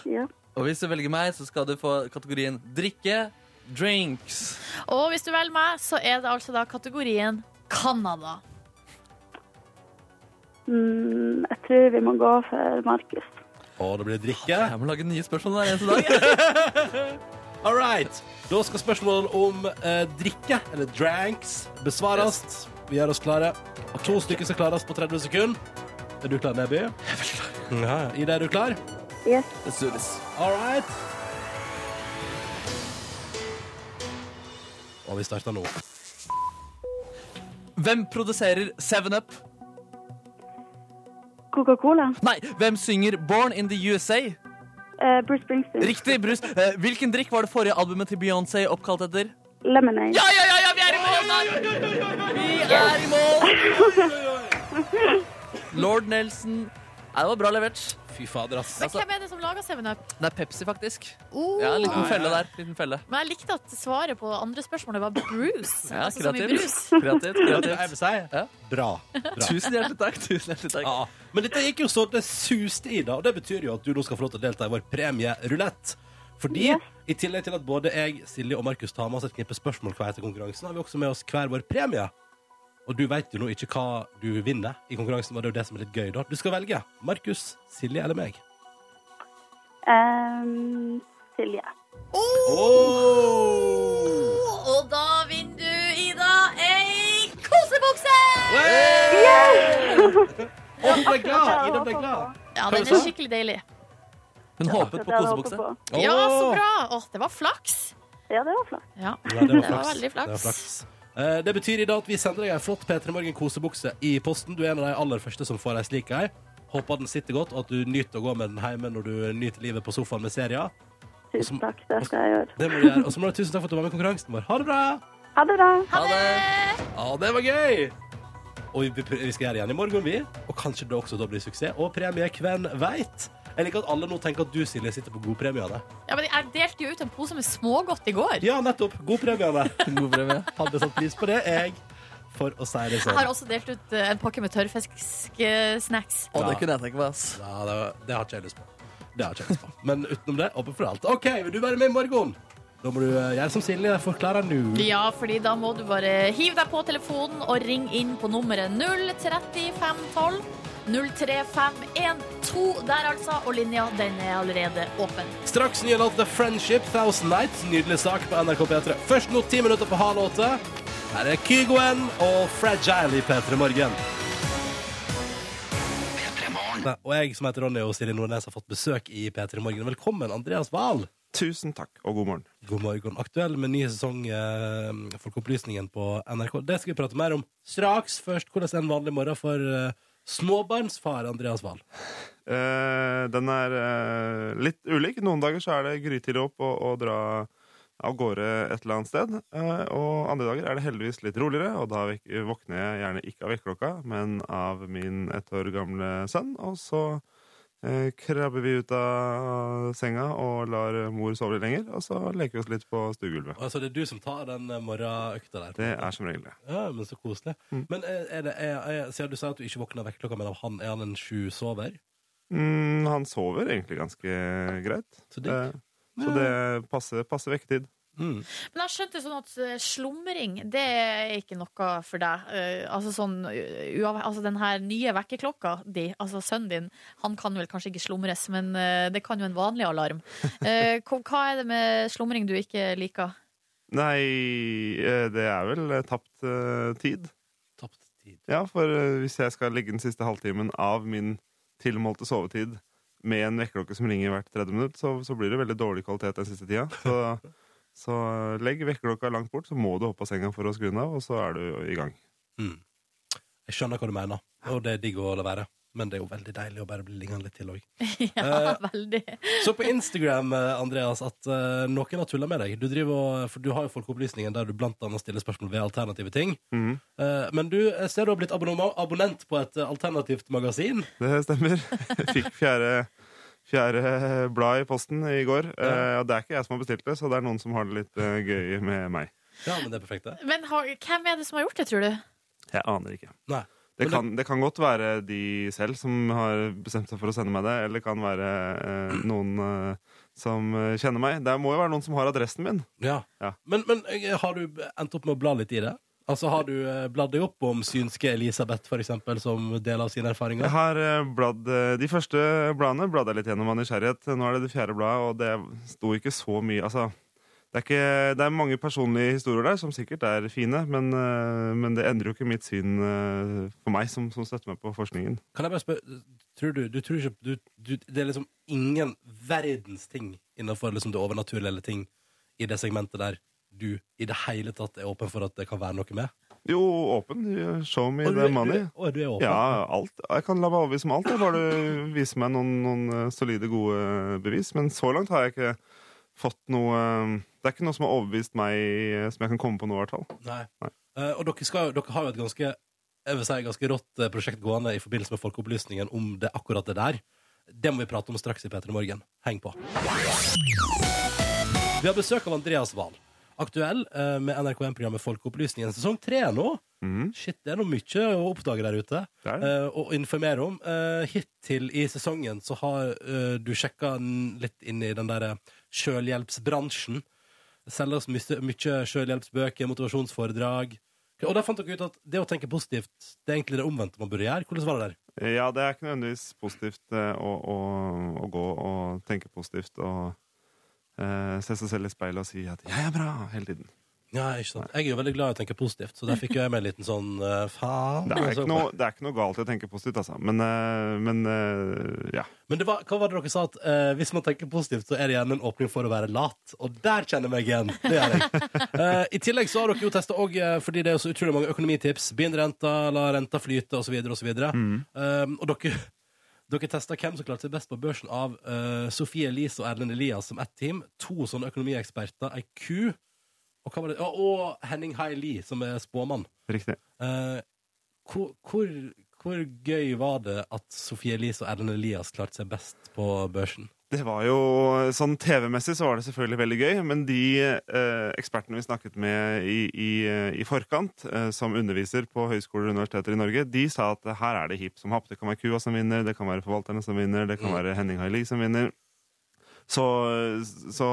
S5: Ja.
S3: Og hvis du velger meg, så skal du få kategorien drikke, drinks.
S2: Og hvis du velger meg, så er det altså da kategorien Canada.
S5: Mm, jeg tror vi må gå for Markus.
S1: Og det blir drikke.
S3: Jeg må lage nye spørsmål hver eneste dag.
S1: All right. Da skal spørsmål om eh, drikke, eller dranks, besvares. Vi gjør oss klare. To stykker skal klares på 30 sekunder. Er du klar, Neby? Jeg er klar. Ja, ja. Ida, er du klar?
S5: Yes.
S3: Let's do this.
S1: All right. Og vi starter nå.
S3: Hvem produserer Seven Up?
S5: Coca-Cola.
S3: Nei, hvem synger Born in the USA?
S5: Eh, Bruce Springsteen.
S3: Riktig, Bruce. Eh, Hvilken drikk var det forrige albumet til Beyoncé oppkalt etter?
S5: Lemonade.
S3: Ja, ja, ja, ja, vi er i mål! der! Vi er i mål! Lord Nelson. Nei, det var bra levert.
S1: Fy fader, ass.
S2: Men
S3: Altså-
S2: hvem er det som lager 7-Up?
S3: Det er Pepsi, faktisk.
S2: Oh.
S3: Ja, en liten felle der. Liten felle.
S2: Men jeg likte at svaret på andre spørsmålet var Bruce.
S3: Ja,
S2: altså, så mye
S3: kreativt.
S2: brus.
S3: kreativt.
S1: Jeg vil
S3: kreativt.
S1: si
S3: Ja.
S1: bra. bra.
S3: Tusen hjertelig takk. Tusen hjertelig takk.
S1: Ja, men dette gikk jo så det suste i det, og det betyr jo at du nå skal få lov til å delta i vår premierulett. Fordi i tillegg til at både jeg, Silje og Markus tar med oss et knippe spørsmål hver til konkurransen, har vi også med oss hver vår premie. Og du vet jo nå ikke hva du vinner i konkurransen, og det er jo det som er litt gøy da. Du skal velge Markus, Silje eller meg.
S5: Ehm, Silje.
S2: Oh, Og da vinner du, Ida, ei kosebukse!
S1: Å, du ble glad! Ida ble glad.
S2: Ja,
S1: Hva
S2: den
S1: sa
S2: er
S1: du?
S2: skikkelig deilig.
S3: Hun
S5: Det
S3: håpet på
S5: hadde jeg håpet
S3: kosebukse.
S5: på.
S2: Ja, så
S1: Å.
S2: bra! Åh, det var flaks.
S5: Ja, det var flott.
S2: Ja,
S1: Ja, det var
S2: Det var
S1: flaks.
S2: veldig flaks.
S1: Det, var flaks. Eh, det betyr i dag at vi sender deg en flott P3 Morgen-kosebukse i posten. Du er en av de aller første som får ei slik ei. Håper den sitter godt, og at du nyter å gå med den hjemme når du nyter livet på sofaen med serier.
S5: Tusen takk. Det skal jeg gjøre.
S1: Det må du gjøre. Og så må du ha tusen takk for at du var med i konkurransen vår. Ha det bra!
S5: Ha det bra.
S3: Ha det.
S1: Ja, det var gøy! Og vi, prø- vi skal gjøre det igjen i morgen, vi. Og kanskje det også da blir suksess. Og premie, hvem veit? Jeg liker at alle nå tenker at du, Silje, sitter på godpremiene.
S2: Ja, men jeg delte jo ut en pose med smågodt i går.
S1: Ja, nettopp. Godpremiene.
S3: God premie.
S1: Hadde satt pris på det, jeg. For å si det
S2: Jeg har
S1: sånn.
S2: også delt ut eh, en pakke med eh, tørrfisksnacks.
S3: Å, det kunne jeg tenke meg, ass.
S1: Ja, det, det har ikke jeg lyst på. Det har ikke jeg lyst på. Men utenom det, åpen for alt. OK, vil du være med i morgen? Da må du eh, gjøre som Silje, forklare nå.
S2: Ja, fordi da må du bare hive deg på telefonen og ring inn på nummeret 03512 03512 der altså, og linja den er allerede åpen.
S1: Straks nye låt The Friendship, Thousand Nights. Nydelig sak på NRK P3. Først nå ti minutter på halv åtte. Her er Kygoen og Fragile i P3 Morgen. Nei, Og jeg som heter Ronny og Silje Nordnes har fått besøk i P3 Morgen. Velkommen, Andreas Wahl.
S6: Tusen takk, og god morgen.
S1: God morgen. Aktuell med ny sesong eh, Folkeopplysningen på NRK. Det skal vi prate mer om straks. Først hvordan er en vanlig morgen for eh, småbarnsfar Andreas Wahl.
S6: Eh, den er eh, litt ulik. Noen dager så er det grytidlig opp og, og dra av gårde et eller annet sted. Eh, og andre dager er det heldigvis litt roligere, og da vek- våkner jeg gjerne ikke av vekkerklokka, men av min ett år gamle sønn. Og så eh, krabber vi ut av senga og lar mor sove litt lenger, og så leker vi oss litt på stuegulvet.
S1: Altså, det er du som tar den eh, morgenøkta der.
S6: Det er som regel det.
S1: Ja, men så koselig. Men eh, er det, er, er, siden du sa at du ikke våkner av vekkerklokka, men av han er han en sju-sover?
S6: Mm, han sover egentlig ganske greit.
S1: Så digg.
S6: Eh, så det passer, passer vekketid.
S1: Mm.
S2: Men jeg skjønte sånn at eh, slumring, det er ikke noe for deg. Eh, altså sånn, eh, uav- altså den her nye vekkerklokka di, altså sønnen din, han kan vel kanskje ikke slumres, men eh, det kan jo en vanlig alarm. Eh, hva hva er det med slumring du ikke liker?
S6: Nei, eh, det er vel eh, tapt eh, tid.
S1: Tapt tid.
S6: Ja, for eh, hvis jeg skal legge den siste halvtimen av min tilmålte sovetid med en vekkerklokke som ringer hvert tredje minutt, så, så blir det veldig dårlig kvalitet den siste tida. Så, så eh, legg vekkerklokka langt bort, så må du hoppe av senga for å skru den av, og så er du i gang.
S1: Jeg skjønner hva du mener, og det er digg å la være. Men det er jo veldig deilig å bare bli liggende litt til òg.
S2: Ja, veldig.
S1: Så på Instagram, eh, Andreas, at eh, noen har tulla med deg. Du, driver, og- for du har jo Folkeopplysningen der du blant annet stiller spørsmål ved alternative ting.
S6: Mhm.
S1: Eh, men du jeg ser du har blitt abonnement- abonnent på et eh, alternativt magasin.
S6: Det stemmer. Fikk fjerde, fjerde blad i posten i går. Eh, og det er ikke jeg som har bestilt det, så det er noen som har det litt eh, gøy med meg.
S1: Ja, men det er perfekt, det.
S2: Men har, hvem er det som har gjort det, tror du?
S6: Jeg aner ikke.
S1: Nei.
S6: Det
S1: Men
S6: kan, det kan godt være de selv som har bestemt seg for å sende meg det, eller det kan være eh, noen eh, som eh, kjenner meg. Det må jo være noen som har adressen min.
S1: Ja.
S6: Ja.
S1: Men, men eh, har du endt opp med å bla litt i det? Altså, Har du eh, bladd deg opp om synske Elisabeth, for eksempel, som del av sine
S6: Jeg
S1: erfaringer?
S6: har eh, bladd eh, De første bladene bladde jeg litt gjennom av nysgjerrighet. Nå er det det fjerde bladet, og det sto ikke så mye Altså, det er, ikke, det er mange personlige historier der som sikkert er fine, men, eh, men det endrer jo ikke mitt syn eh, for meg, som, som støtter meg på forskningen.
S1: Kan jeg bare spørre, tror du, du tror ikke, du, du, Det er liksom ingen verdens ting innenfor liksom det overnaturlige eller ting i det segmentet der du i det hele tatt er åpen for at det kan være noe med?
S6: Jo, åpen. you Show me
S1: Og du,
S6: the
S1: er- Du,
S6: money.
S1: er- å, du er åpen?
S6: Ja, alt. Jeg kan la meg overbevise om alt. Jeg bare du viser meg noen, noen eh, solide, gode eh, bevis. Men så langt har jeg ikke fått noe eh, Det er ikke noe som har overbevist meg eh, som jeg kan komme på nå, i hvert fall.
S1: Nei.
S6: Nei.
S1: Eh, og dere, skal, jo- dere har jo et ganske jeg vil si, ganske rått eh, prosjekt gående i forbindelse med Folkeopplysningen om det akkurat det der. Det må vi prate om straks i P3 Morgen. Heng på. Vi har besøk av Andreas Wahl. Aktuell eh, med NRK1-programmet Folkeopplysningen sesong tre nå. Shit, det er noe mye å oppdage der ute
S6: Mhm. Det er det.
S1: eh, og informere om. Eh, hittil i sesongen så har eh, du sjekka n- litt inn i den der eh, sjølhjelpsbransjen. Selger oss mye, mye sjølhjelpsbøker, motivasjonsforedrag. Og da fant dere ut at det å tenke positivt, det er egentlig det omvendte man burde gjøre. Hvordan var det der?
S6: Ja, det er ikke nødvendigvis positivt eh, å, å, å gå og tenke positivt og eh, se seg selv i speilet og si at 'jeg er bra' hele tiden.
S1: Ja, ikke sant? Jeg er jo veldig glad i å tenke positivt, så der fikk jo jeg med en liten sånn eh, faen.
S6: Det er
S1: altså.
S6: ikke noe, det er ikke noe galt i å tenke positivt, altså. Men, eh, men eh, ja.
S1: Men det var, hva var det dere sa? at eh, Hvis man tenker positivt, så er det gjerne en åpning for å være lat. Og der kjenner jeg meg igjen. Det gjør jeg. Eh, I tillegg så har dere jo testa òg, fordi det er jo så utrolig mange økonomitips. Bind renta, la renta flyte, osv., osv. Mm. Um, og dere, dere testa hvem som klarte seg best på børsen av eh, Sofie Elise og Erlend Elias som ett team. To sånne økonomieksperter, ei ku, og, hva var det? Ja, og Henning Hai Lie, som er spåmann.
S6: Riktig.
S1: Eh, hvor, hvor, hvor gøy var det at Sofie Elise og Erlend Elias klarte seg best på børsen?
S6: Det var jo, sånn TV-messig så var det selvfølgelig veldig gøy, men de eh, ekspertene vi snakket med i, i, eh, i forkant, eh, som underviser på høyskoler og universiteter i Norge, de sa at her er det hipp som happ. Det kan være kua som vinner, det kan være forvalterne som vinner, det kan være Henning Haili som vinner. Så, så,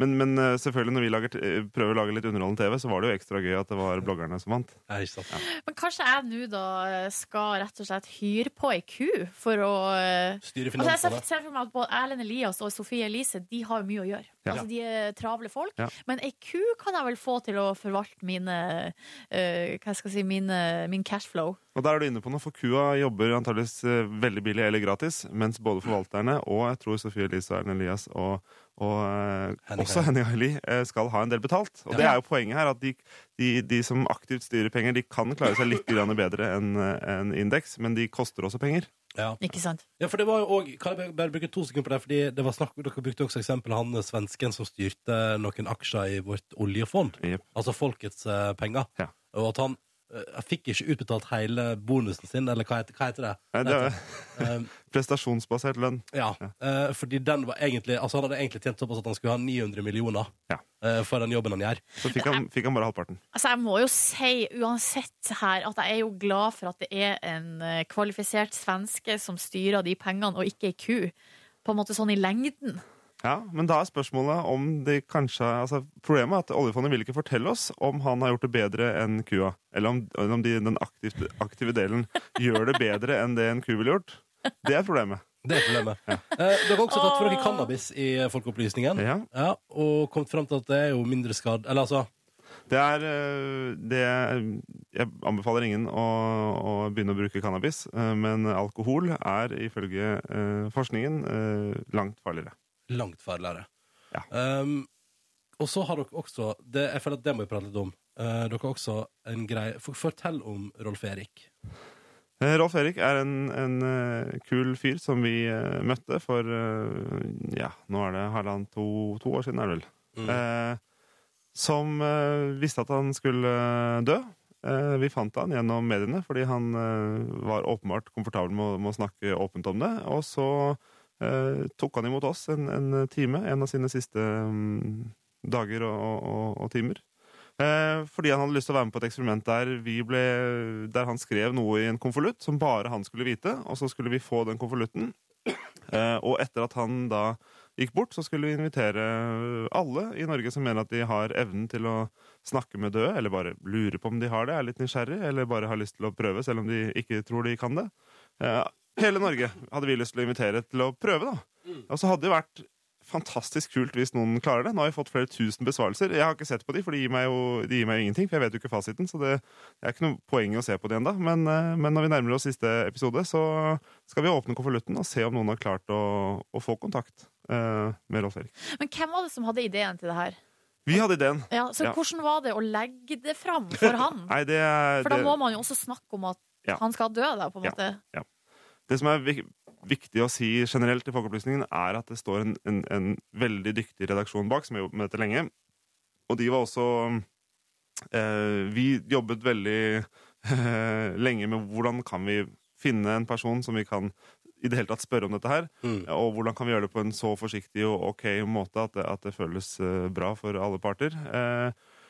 S6: men, men eh, selvfølgelig når vi lager, t- prøver å lage litt underholdende TV, så var det jo ekstra gøy at det var bloggerne som vant.
S1: Er det ikke sant?
S2: Men kanskje jeg nå da eh, skal rett og slett hyre på ei ku for å eh,
S1: Styre
S2: Altså, jeg ser,
S1: finansene.
S2: ser for meg at både Erlend Elias og Sofie Elise De har jo mye å gjøre.
S6: Ja.
S2: Altså, de er travle folk.
S6: Ja.
S2: Men ei ku kan jeg vel få til å forvalte mine eh, Hva skal jeg si mine, min cashflow.
S6: Og der er du inne på noe, for kua jobber antageligvis eh, veldig billig eller gratis, mens både forvalterne og jeg tror Sofie Elise og Erlend Elias og, og eh,
S1: Henning
S6: også Henning Haili eh, skal ha en del betalt. Og det er jo poenget her, at de, de, de som aktivt styrer penger, de kan klare seg litt grann bedre enn en indeks, men de koster også penger.
S1: Ja.
S2: Ikke sant?
S1: ja, for det var jo òg Kan jeg bare- bare bruke to sekunder på det? Fordi det var snakk, Dere brukte også eksempelet han eh, svensken som styrte noen aksjer i vårt oljefond.
S6: Jep.
S1: Altså folkets eh, penger.
S6: Ja.
S1: Og at han eh, fikk ikke utbetalt hele bonusen sin, eller hva heter, hva heter det?
S6: Nei, det er
S1: Eh,
S6: prestasjonsbasert lønn.
S1: Ja, eh, fordi den var egentlig Altså han hadde egentlig tjent såpass at han skulle ha 900 millioner
S6: Ja.
S1: eh, for den jobben han gjør.
S6: Så fikk han, fikk han bare halvparten.
S2: Altså, jeg må jo si uansett her at jeg er jo glad for at det er en eh, kvalifisert svenske som styrer de pengene, og ikke ei ku. På en måte sånn i lengden.
S6: Ja, men da er spørsmålet om de kanskje altså Problemet er at oljefondet vil ikke fortelle oss om han har gjort det bedre enn kua. Eller om, eller om de, den aktive, aktive delen gjør det bedre enn det en ku ville gjort. Det er problemet.
S1: Det er problemet. Eh, dere har også tatt for dere cannabis i eh, Folkeopplysningen.
S6: Ja.
S1: og kommet fram til at det er jo mindre skadd Eller altså
S6: Det er eh, det Jeg anbefaler ingen å, å begynne å bruke cannabis, eh, men alkohol er ifølge eh, forskningen eh, langt farligere.
S1: langt farligere.
S6: Ja.
S1: Ehm, og så har dere også det, Jeg føler at det må vi prate litt om. Eh, dere har også en greie for- Fortell om Rolf Erik.
S6: Eh, Rolf Erik er en, en eh, kul fyr som vi eh, møtte for eh, Ja, nå er det halvannet to, to år siden, er det vel. Eh, som eh, visste at han skulle eh, dø. Eh, vi fant han gjennom mediene fordi han eh, var åpenbart komfortabel med, å- med å snakke åpent om det. Og så eh, tok han imot oss en, en time, en av sine siste mm, dager og, og, og timer. Eh, fordi han hadde lyst til å være med på et eksperiment der, vi ble, der han skrev noe i en konvolutt som bare han skulle vite, og så skulle vi få den konvolutten. Eh, og etter at han da gikk bort, så skulle vi invitere alle i Norge som mener at de har evnen til å snakke med døde, eller bare lurer på om de har det, er litt nysgjerrig, eller bare har lyst til å prøve, selv om de ikke tror de kan det. Eh, hele Norge hadde vi lyst til å invitere til å prøve, da. Og så hadde det vært fantastisk kult hvis noen klarer det. Nå har jeg fått flere tusen besvarelser. Jeg har ikke sett på de, for de gir meg jo, de gir meg jo ingenting, for jeg vet jo ikke fasiten, så det, det er ikke noe poeng i å se på de ennå. Men, eh, men når vi nærmer oss siste episode, så skal vi åpne konvolutten og se om noen har klart å, å få kontakt eh, med Rolf Erik.
S2: Men hvem var det som hadde ideen til det her?
S6: Vi hadde ideen.
S2: Ja, så
S6: Ja.
S2: hvordan var det å legge det fram for han?
S6: Nei, det, er-
S2: For da
S6: det,
S2: må man jo også snakke om at
S6: Ja.
S2: han skal dø, da, på en
S6: Ja.
S2: måte.
S6: det som er vik viktig å si generelt i Folkeopplysningen, er at det står en, en, en veldig dyktig redaksjon bak, som har jobbet med dette lenge. Og de var også eh, Vi jobbet veldig eh, lenge med hvordan kan vi finne en person som vi kan i det hele tatt spørre om dette her.
S1: Mm.
S6: Og hvordan kan vi gjøre det på en så forsiktig og ok måte at det, at det føles eh, bra for alle parter. Eh,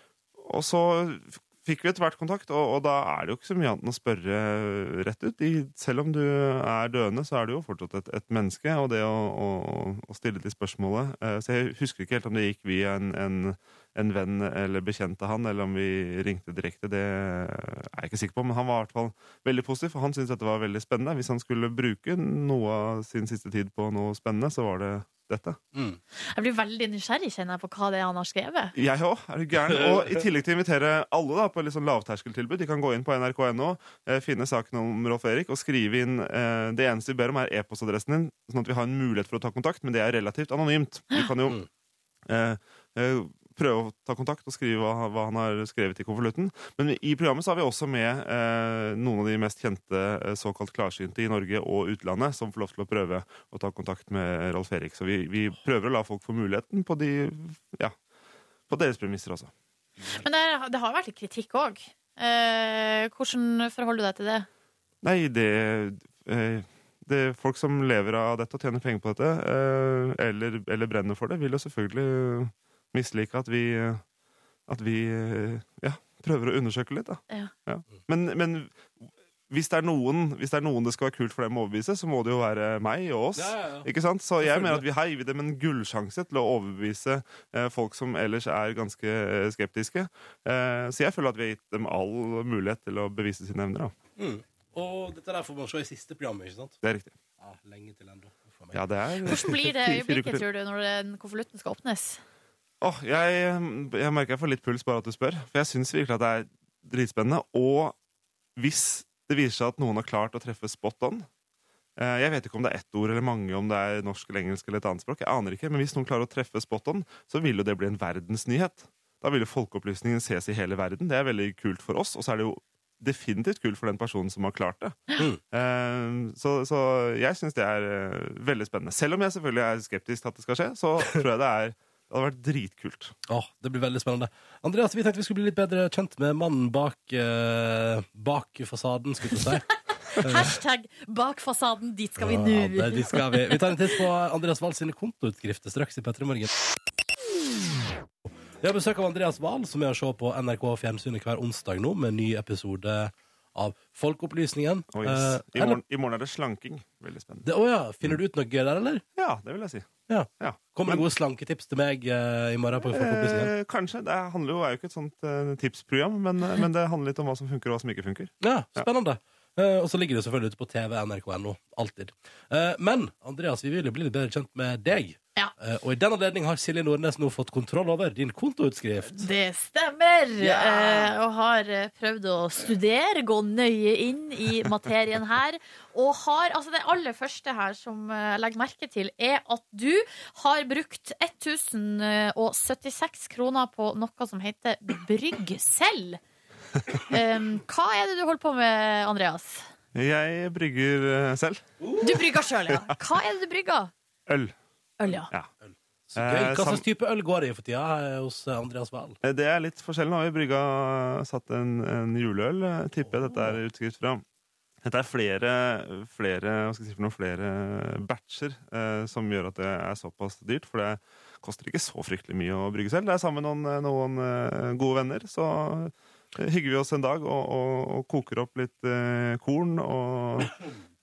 S6: og så f- fikk vi etter hvert kontakt, og, og da er det jo ikke så mye annet enn å spørre rett ut. De, selv om du er døende, så er du jo fortsatt et, et menneske, og det å, å, å stille de spørsmålet eh, Så jeg husker ikke helt om det gikk via en, en, en venn eller bekjent av han, eller om vi ringte direkte. Det er jeg ikke sikker på, men han var i hvert fall veldig positiv, for han syntes dette var veldig spennende. Hvis han skulle bruke noe av sin siste tid på noe spennende, så var det dette.
S1: Mm.
S2: Jeg blir veldig nysgjerrig, kjenner jeg, på hva det er han har skrevet.
S6: Jeg òg, er du gæren? Og i tillegg til å invitere alle da, på et litt sånn lavterskeltilbud. De kan gå inn på nrk.no, eh, finne saken om Rolf Erik og skrive inn eh, Det eneste vi ber om, er e-postadressen din, sånn at vi har en mulighet for å ta kontakt, men det er relativt anonymt. Du kan jo eh, eh, prøve å ta kontakt og skrive hva, hva han har skrevet i konvolutten. Men i programmet så har vi også med eh, noen av de mest kjente eh, såkalt klarsynte i Norge og utlandet, som får lov til å prøve å ta kontakt med Rolf Erik. Så vi, vi prøver å la folk få muligheten på de ja, på deres premisser også.
S2: Men det, er- det har vært litt kritikk òg. Eh, hvordan forholder du deg til det?
S6: Nei, det, eh, det er Folk som lever av dette og tjener penger på dette, eh, eller, eller brenner for det, vil jo selvfølgelig mislike at vi, eh, at vi eh, ja, prøver å undersøke litt. Da.
S2: Ja.
S6: Men, men hvis, det er noen, hvis det er noen det skal være kult for dem å overbevise, så må det jo være meg og oss.
S1: Ja, ja, ja.
S6: Ikke sant? Så jeg
S1: Selvfølgelig.
S6: mener at vi har gitt dem en gullsjanse til å overbevise eh, folk som ellers er ganske eh, skeptiske. Eh, så jeg føler at vi har gitt dem all mulighet til å bevise sine evner. Da.
S1: Mm. Og dette der får man se i siste programmet, ikke sant?
S6: Det er riktig.
S1: Ja, lenge til ennå. Uff a meg.
S6: Ja, det er
S2: Hvordan blir det
S6: Fire- fire uker
S2: øyeblikket,
S6: til.
S2: tror du, når den konvolutten skal åpnes?
S6: Åh, jeg, jeg merker jeg får litt puls bare at du spør. For jeg syns virkelig at det er dritspennende. Og hvis det viser seg at noen har klart å treffe spot on eh, Jeg vet ikke om det er ett ord eller mange, om det er norsk eller engelsk eller et annet språk. Jeg aner ikke, Men hvis noen klarer å treffe spot on, så vil jo det bli en verdensnyhet. Da vil jo folkeopplysningen ses i hele verden. Det er veldig kult for oss. Og så er det jo definitivt kult for den personen som har klart det. Eh, Så, så jeg syns det er eh, veldig spennende. Selv om jeg selvfølgelig er skeptisk til at det skal skje, så tror jeg det er det hadde vært dritkult.
S1: Åh, det blir veldig spennende. Andreas, vi tenkte vi skulle bli litt bedre kjent med mannen bak, eh, bak fasaden, skulle jeg si.
S2: Hashtag 'bak fasaden, dit skal vi
S1: Ja, det,
S2: nå'.
S1: dit skal vi. vi tar en titt på Andreas Wahl sine kontoutskrifter straks i P3 Morgen. Vi har besøk av Andreas Wahl, som er å se på NRK Fjernsynet hver onsdag nå, med en ny episode av Folkeopplysningen.
S6: Å, yes.
S1: Eh,
S6: I,
S1: eller-
S6: morgen, I morgen er det slanking. Veldig spennende.
S1: det, å ja, finner du ut noe gøy der, eller?
S6: Ja, det vil jeg si.
S1: Ja.
S6: Ja.
S1: Kommer det
S6: Men-
S1: gode slanketips til meg eh, i morgen på Folkeopplysningen?
S6: Eh, kanskje. Det handler jo, er jo ikke et sånt eh, tipsprogram, men, eh, men det handler litt om hva som funker og hva som ikke funker.
S1: Ja, spennende. Eh, og så ligger det selvfølgelig ute på TV, nrk.no, alltid. Eh, men Andreas, vi vil jo bli litt bedre kjent med deg.
S2: Ja.
S1: Eh, og i den anledning har Silje Nordnes nå fått kontroll over din kontoutskrift.
S2: Det stemmer! Eh, og har eh, prøvd å studere, gå nøye inn i materien her. Og har Altså, det aller første her som eh, jeg legger merke til, er at du har brukt 1076 kroner på noe som heter Brygg selv. Um, hva er det du holder på med, Andreas?
S6: Jeg brygger eh, selv
S2: Du brygger sjøl, ja. Hva er det du brygger?
S6: øl.
S2: Øl, ja.
S1: Så gøy.
S6: Eh,
S1: Hva
S6: sam-
S1: slags type øl går det i for tida eh, hos eh, Andreas Wahl?
S6: Eh, Det er litt forskjell. Nå har vi brygga satt en, en juleøl, eh, tipper jeg dette er utskrift fra. Dette er flere, flere, hva skal jeg si for noe, flere batcher eh, som gjør at det er såpass dyrt. For det koster ikke så fryktelig mye å brygge selv. Det er sammen med noen, noen eh, gode venner. Så eh, hygger vi oss en dag og, og, og koker opp litt eh, korn og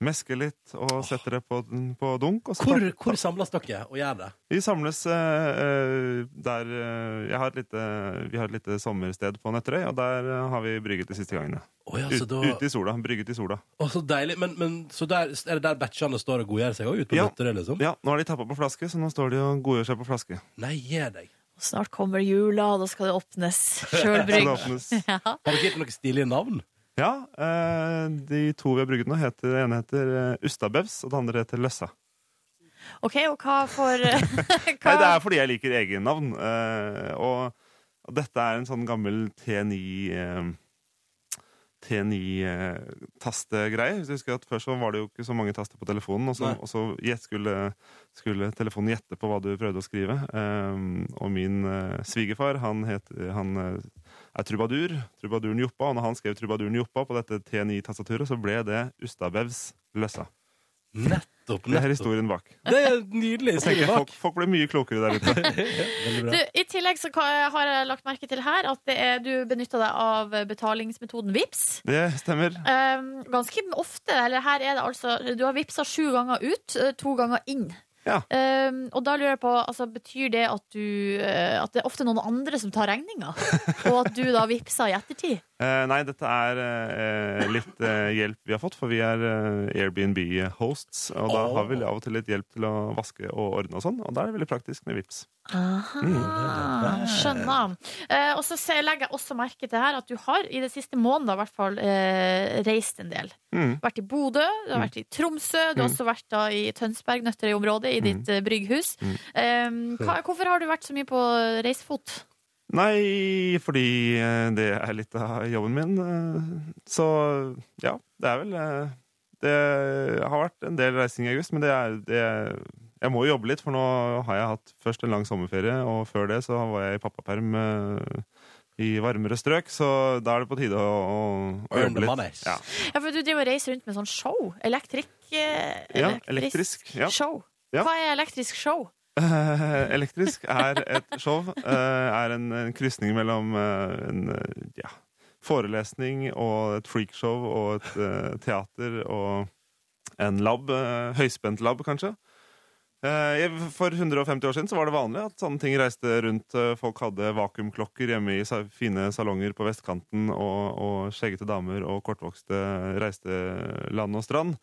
S6: mesker litt og setter det på, på dunk. Og så
S1: Hvor, hvor samles dere og gjør det?
S6: vi samles eh, eh, der eh, jeg har et lite, Vi har et lite sommersted på Nøtterøy, og der eh, har vi brygget de siste gangene.
S1: Å ja, så
S6: Ut,
S1: da...
S6: Ute i sola. Brygget i sola.
S1: Å, så deilig. Men, men så der, er det der batchene står og godgjør seg òg, ute på
S6: Ja.
S1: Nøtterøy, liksom?
S6: Ja, Nå har de tappa på flaske, så nå står de og godgjør seg på flaske.
S1: Nei, gi deg.
S2: Snart kommer jula, og da skal det åpnes
S6: Så det
S2: sjølbrygg.
S6: åpnes.
S2: Ja.
S1: Har dere gitt noen stilige navn?
S6: Ja, eh, De to vi har brygget nå, heter, det ene heter eh, Ustabevs, og det andre heter Løssa.
S2: OK, og hva for
S6: Nei, Det
S2: hva?
S6: er fordi jeg liker egennavn. eh, og, og dette er en sånn gammel T9 eh, T9-tastegreie. Hvis du husker at Før så var det jo ikke så mange taster på telefonen, og så,
S1: Nei.
S6: og så gjet- skulle, skulle telefonen gjette på hva du prøvde å skrive. Eh, og min eh, svigerfar, han, het, han eh, er trubadur. Trubaduren Joppa. Og når han skrev trubaduren Joppa på dette T9-tastaturet, så ble det Ustabevs Løssa.
S1: Nettopp,
S6: Det er
S1: nettopp.
S6: historien bak.
S1: Det er nydelig.
S6: Jeg tenker,
S1: Silvak.
S6: folk, folk ble mye klokere der ute.
S1: Veldig
S2: Du,
S1: bra.
S2: I tillegg så ka- har jeg lagt merke til her at det er, du benytter deg av betalingsmetoden VIPS.
S6: Det stemmer.
S2: Um, ganske ofte, eller her er det altså Du har vippsa sju ganger ut, eh, to ganger inn.
S6: Ja.
S2: Um, og da lurer jeg på, altså, betyr det at du eh, At det er ofte noen andre som tar regninga? og at du da vippsa i ettertid?
S6: Eh, nei, dette er eh, litt eh, hjelp vi har fått, for vi er eh, Airbnb-hosts. Og da
S1: Åh.
S6: har vi av og til litt hjelp til å vaske og ordne og sånn, og da er det veldig praktisk med VIPs.
S2: Aha, skjønner. Eh, og så ser- legger jeg også merke til her at du har i det siste måneden i hvert fall eh, reist en del.
S6: Mm.
S2: vært i Bodø, du har vært i Tromsø, du har også vært da i Tønsberg, Nøtterøy-området, i ditt
S6: Mm.
S2: eh, brygghus. Eh, hva, hvorfor har du vært så mye på reisefot?
S6: Nei, fordi eh, det er litt av jobben min. eh, så ja, det er vel eh, Det har vært en del reising i august, men det er det, Jeg må jo jobbe litt, for nå har jeg hatt først en lang sommerferie, og før det så var jeg i pappaperm. eh, i varmere strøk, så da er det på tide å, å, å
S1: Earn the
S6: jobbe
S1: money.
S6: litt. Ja.
S2: Ja, for du driver og reiser rundt med sånn show. Elektrik... eh,
S6: Ja, elektrisk. Ja.
S2: show.
S6: Ja.
S2: Hva er elektrisk show?
S6: Eh, elektrisk er et show. eh, er en, en krysning mellom eh, en eh, ja, forelesning og et freakshow og et eh, teater og en lab. eh, høyspent lab, kanskje. Eh, jeg- for 150 år siden så var det vanlig at sånne ting reiste rundt. eh, folk hadde vakuumklokker hjemme i sa fine salonger på vestkanten, og, og skjeggete damer og kortvokste reiste land og strand.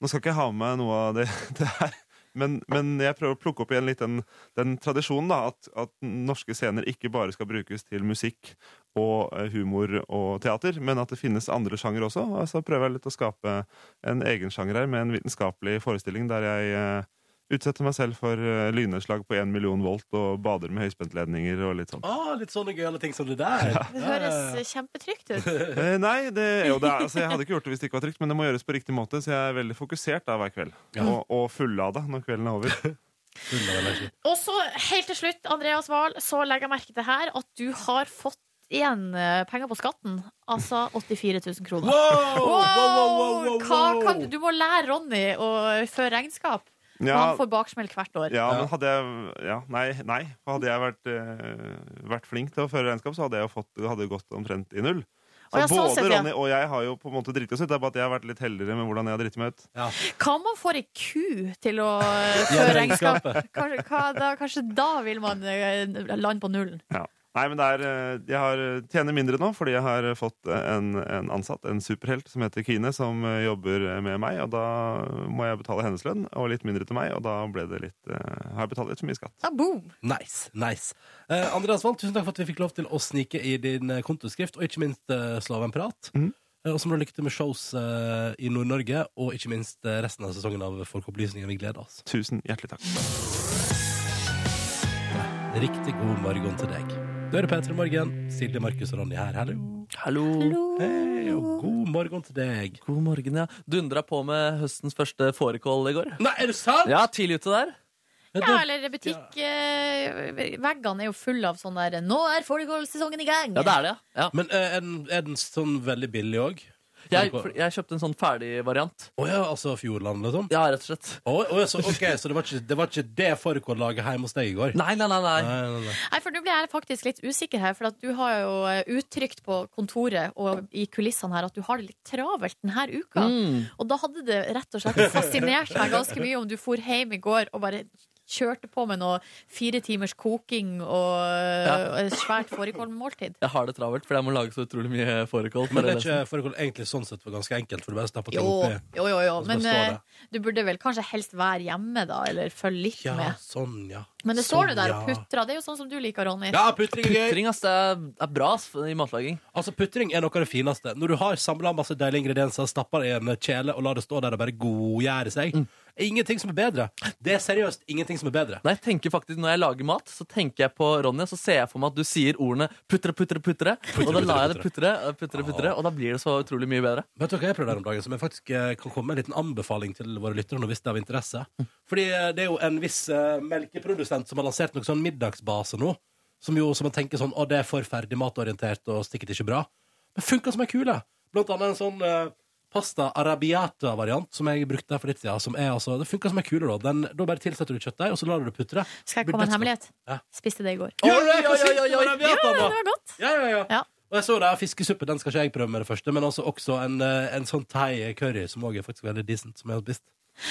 S6: Nå skal ikke jeg ha med noe av det, det her, men, men jeg prøver å plukke opp igjen litt den, den tradisjonen da, at, at norske scener ikke bare skal brukes til musikk og eh, humor og teater, men at det finnes andre sjanger også. Og så prøver jeg litt å skape en egen sjanger her med en vitenskapelig forestilling der jeg eh, Utsetter meg selv for eh, lynnedslag på 1 million volt og bader med høyspentledninger og litt sånn.
S1: Ah, litt sånne gøyale ting som det der.
S2: Det høres kjempetrygt ut.
S6: Eh, nei, det, jo, det er, altså, jeg hadde ikke gjort det hvis det ikke var trygt, men det må gjøres på riktig måte, så jeg er veldig fokusert da hver kveld. Og, og fullada når kvelden er over.
S1: Full av energi.
S2: Og så, helt til slutt, Andreas Wahl, så legger jeg merke til her at du har fått igjen eh, penger på skatten. Altså 84 000 kroner.
S1: Wow! Wow, wow, wow, wow,
S2: Hva kan,
S1: wow.
S2: du må lære Ronny å føre regnskap.
S6: Ja,
S2: Han får baksmell hvert år.
S6: ja, men hadde jeg ja, Nei, nei. Hadde jeg vært, eh, vært flink til å føre regnskap, så hadde jeg jo fått, hadde det gått omtrent i null. Så
S2: Å, ja, sånn
S6: både
S2: sett, ja.
S6: Ronny og jeg har jo på en måte driti oss ut. Det er bare at jeg har vært litt heldigere med hvordan jeg har driti meg ut.
S2: Hva om man får ei ku til å eh,
S1: Ja,
S2: føre regnskap?
S1: regnskapet.
S2: Kanskje, hva, da, kanskje da vil man eh, lande på nullen.
S6: Ja. Nei, men det er, eh, jeg har, tjener mindre nå fordi jeg har fått eh, en, en ansatt, en superhelt, som heter Kine, som eh, jobber med meg. Og da må jeg betale hennes lønn, og litt mindre til meg. Og da ble det litt, eh, har jeg betalt litt for mye skatt.
S2: Da boom!
S1: Nice. nice. Eh, Andreas Wall, tusen takk for at vi fikk lov til å snike i din eh, kontoskrift, og ikke minst eh, slå av en prat.
S3: Mm.
S6: Mhm.
S1: Eh, og så må du lykke til med shows eh, i Nord-Norge, og ikke minst eh, resten av sesongen av Folkeopplysningen. Vi gleder oss.
S6: Tusen hjertelig takk.
S1: Riktig god morgen til deg. Du hører P3 Morgen. Silje, Markus og Ronny her. Hallo.
S3: Hallo.
S1: Hei, og god morgen til deg.
S3: God morgen, ja. Dundra på med høstens første fårikål i går.
S1: Nei, er det sant?!
S3: Ja, tidlig ute der.
S1: Ja,
S2: Ja,
S1: det-
S2: eller butikk eh, Veggene er jo fulle av sånn der 'Nå er fårikålsesongen i gang'.
S3: Ja, det er det, ja. ja.
S1: Men eh, er den, er den sånn veldig billig òg?
S3: Jeg, for- jeg kjøpte en sånn ferdig variant.
S1: Å ja, altså Fjordland, liksom?
S3: Ja, rett og slett.
S1: Å, å, ja, så, ok, så det var ikke det, var ikke det fårikållaget hjemme hos deg i går?
S3: Nei, nei, nei. nei.
S1: Nei, nei, nei.
S2: Nei, for nå blir jeg faktisk litt usikker her, for at du har jo eh, uttrykt på kontoret og i kulissene her at du har det litt travelt denne uka.
S3: Mm.
S2: Og da hadde det rett og slett fascinert meg ganske mye om du for hjem i går og bare kjørte på med noe fire timers koking og
S3: Ja.
S2: eh, svært fårikålmåltid.
S3: Jeg har det travelt, for jeg må lage så utrolig mye fårikål.
S1: Men det er ikke fårikål egentlig sånn sett var ganske enkelt, for du bare stappa ting
S2: Jo,
S1: oppi.
S2: jo, jo, jo.
S1: Og så
S2: men
S1: bare står
S2: eh, du burde vel kanskje helst være hjemme, da, eller følge litt
S1: Ja,
S2: med.
S1: sånn, ja.
S2: Men det står du
S1: Sånn,
S2: der
S1: ja.
S2: og putrer. Det er jo sånn som du liker, Ronny.
S1: Ja, putring er gøy.
S3: Putring ass, det er, er bra ass, i matlaging.
S1: Altså, Putring er noe av det fineste. Når du har samla masse deilige ingredienser, stapper det i en kjele og lar det stå der og bare godgjøre seg. Ingenting som er bedre. Det er seriøst ingenting som er bedre.
S3: Nei, jeg tenker faktisk, Når jeg lager mat, så tenker jeg på Ronny, og så ser jeg for meg at du sier ordene 'putre, putre, putre', og da lar jeg det putre, putre, putre, og da blir det så utrolig mye bedre.
S1: Vet du hva jeg prøvde her om dagen, som jeg faktisk eh, kan komme med en liten anbefaling til våre lyttere? nå, hvis det er av interesse?
S2: Mm.
S1: Fordi eh, det er jo en viss eh, melkeprodusent som har lansert noen sånn middagsbase nå, som jo som man tenker sånn Å, det er for ferdig matorientert og sikkert ikke bra. Men funka som ei kule! Blant annet en sånn eh, pasta arabiata-variant som jeg brukte her for litt siden. Som er altså Det funka som ei kule, da. Den, da bare tilsetter du kjøttdeig, og så lar du det putre.
S2: Skal jeg
S1: Blir
S2: komme med
S1: dødsgodt.
S2: en hemmelighet?
S1: Ja.
S2: Spiste det i går.
S1: Oi, oi, oi, oi, oi, oi.
S2: Ja,
S1: Arabiata,
S2: det
S1: da.
S2: var godt!
S1: Ja, ja, ja.
S2: Ja.
S1: Og jeg så det her fiskesuppe, den skal ikke jeg prøve med det første, men altså også en, eh, en sånn thai curry, som også er faktisk veldig decent, som jeg har spist.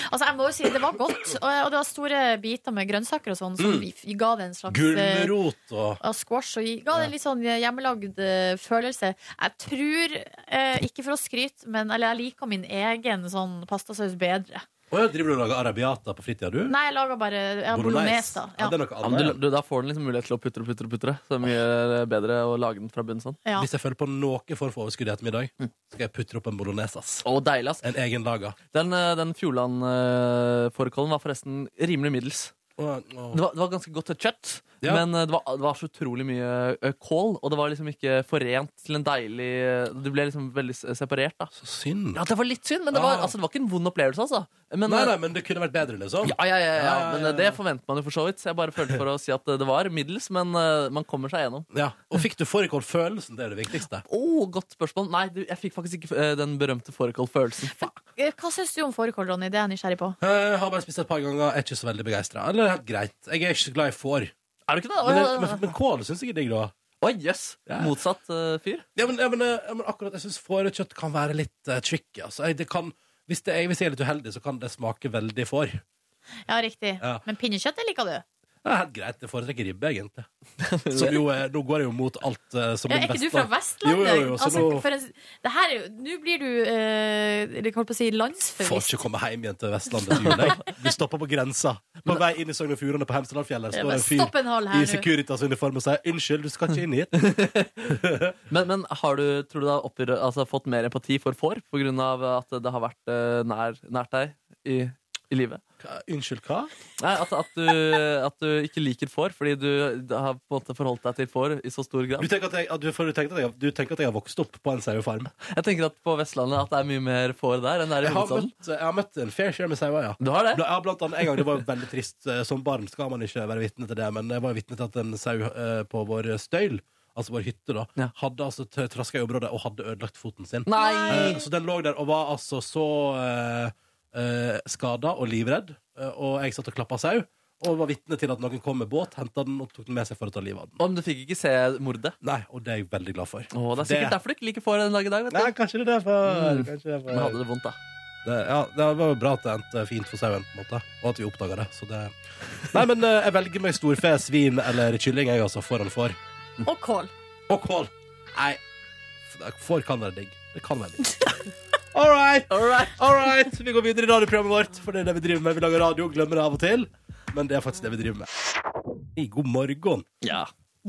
S2: Altså, jeg må jo si Det var godt, og, og det var store biter med grønnsaker og sånn, som vi- vi ga det en slags eh,
S1: Mm. Gulrot og
S2: av squash og gi- ga det en litt sånn hjemmelagd eh, følelse. Jeg tror, eh, ikke for å skryte, men eller jeg liker min egen sånn pastasaus bedre.
S1: Å ja, driver du og lager arabiata på fritida, du?
S2: Nei, jeg lager bare jeg har bolognese, da.
S1: Ja. det er
S2: Ja.
S1: noe
S3: Ja, men
S1: annet.
S3: du, du, da får den liksom mulighet til å putre, putre, putre. Så det er mye bedre å lage den fra bunnen sånn.
S2: Ja.
S1: Hvis jeg føler på noe for å få overskudd i ettermiddag,
S3: Mm.
S1: skal jeg putte opp en bolognese, ass.
S3: Å, deilig, ass.
S1: En egen laga.
S3: Den, eh, den Fjordland-fårikålen var forresten rimelig middels.
S1: Og,
S3: Det var, det var ganske godt kjøtt,
S1: Ja.
S3: men eh, det var, det var så utrolig mye eh, kål. Og det var liksom ikke forent til en deilig Det ble liksom veldig s- separert, da.
S1: Så synd.
S3: Ja, det var litt synd, men det var,
S1: Ah.
S3: altså, det var ikke en vond opplevelse, altså. Men,
S1: Nei,
S3: eh,
S1: nei, men det kunne vært bedre, liksom.
S3: Ja, ja, ja, ja,
S1: Ja, ja,
S3: men
S1: ja, ja.
S3: eh, det forventer man jo for så vidt. Så jeg bare følte for å si at eh, det var middels, men eh, man kommer seg gjennom.
S1: Ja. Og fikk du fårikålfølelsen? Det er det viktigste.
S3: Å, godt spørsmål. Nei, du, jeg fikk faktisk ikke eh, den berømte fårikålfølelsen.
S2: Eh, Hva syns du om fårikål, Ronny? Det er jeg nysgjerrig på.
S1: Jeg Eh, har bare spist et par ganger, er ikke så veldig begeistra. Eller helt greit. Jeg er ikke så glad i får.
S3: Er du ikke det? Å,
S1: Men,
S3: ja,
S1: men,
S3: ja, ja.
S1: men kål syns jeg er digg, da.
S3: Å, jøss!
S1: Ja.
S3: Motsatt eh, fyr.
S1: Ja, men, ja, men, eh, ja, men akkurat, jeg syns fårekjøtt kan være litt eh, tricky. Altså. Jeg, det kan, hvis, det er, hvis jeg er litt uheldig, så kan det smake veldig får.
S2: Ja, riktig.
S1: Ja.
S2: Men pinnekjøttet liker du?
S1: Det er helt greit. Jeg foretrekker ribbe, egentlig. Som jo er, nå går jeg jo mot alt eh, som
S2: Ja,
S1: den
S2: er ikke
S1: beste.
S2: du fra Vestlandet?
S1: Jo, jo, jo, så
S2: altså,
S1: nå-
S2: for en, det her er jo Nå blir du eh, jeg holdt på å si
S1: Får
S2: landsforvist.
S1: ikke komme hjem igjen til Vestlandet til jul. jeg. Vi stopper på grensa. På vei inn i Sogn og Fjordane på Hemsedalfjellet
S2: Ja,
S1: står
S2: bare
S1: en fyr
S2: Stopp en hal
S1: i
S2: her nå.
S1: Securitas-uniform og sier 'Unnskyld, du skal ikke inn hit'.
S3: Men, men har du, tror du du har oppgjør- altså, fått mer empati for får pga. at det har vært eh, nær, nært deg i, i livet?
S1: Hva- Unnskyld, hva?
S3: Nei, at, at, du, at du ikke liker får fordi du har på en måte forholdt deg til får i så stor
S1: Du
S3: grad.
S1: tenker at jeg, at du, for du, tenker at jeg, du tenker at jeg har vokst opp på en sauefarm?
S3: Jeg tenker at på Vestlandet at det er mye mer får der enn det er i
S1: Jeg har
S3: hovedstaden.
S1: møtt, jeg har møtt en fair share med sauer, ja.
S3: Du har det?
S1: Bla- Ja, blant annet en gang, det var jo veldig trist Eh, Som barn skal man ikke være vitne til det Men jeg var jo vitne til at en sau eh, på vår støyl Altså vår hytte da
S3: Ja.
S1: Hadde altså t- trasket i området og hadde ødelagt foten sin
S3: Nei!
S1: Eh, Så den lå der og var altså så eh, eh, Skada og livredd Eh, Og jeg satt og klappet sau Og var vitne til at noen kom med båt Hentet den og tok den med seg for å ta livet av den
S3: Om du fikk ikke se mordet.
S1: Nei, og det er jeg veldig glad for
S3: Å, det er sikkert derfor du ikke liker får den dag i dag.
S1: Nei,
S3: vet du.
S1: kanskje det er derfor,
S3: Mm.
S1: kanskje det er
S3: Men
S1: derfor.
S3: hadde det vondt, da.
S1: det, ja, det var jo bra at det endte fint for sauen, på en måte. og at vi oppdaga det. Så det Nei, men eh, jeg velger meg storfe, svin eller kylling jeg, altså, foran får.
S2: Og kål.
S1: Og kål! Nei, f- det- får kan være digg. Det kan være digg. All right,
S3: All right.
S1: all right. Vi går videre i radioprogrammet vårt, for det er det vi driver med. Vi lager radio, glemmer det av og til, men det er faktisk det vi driver med. I god morgen.
S3: Ja.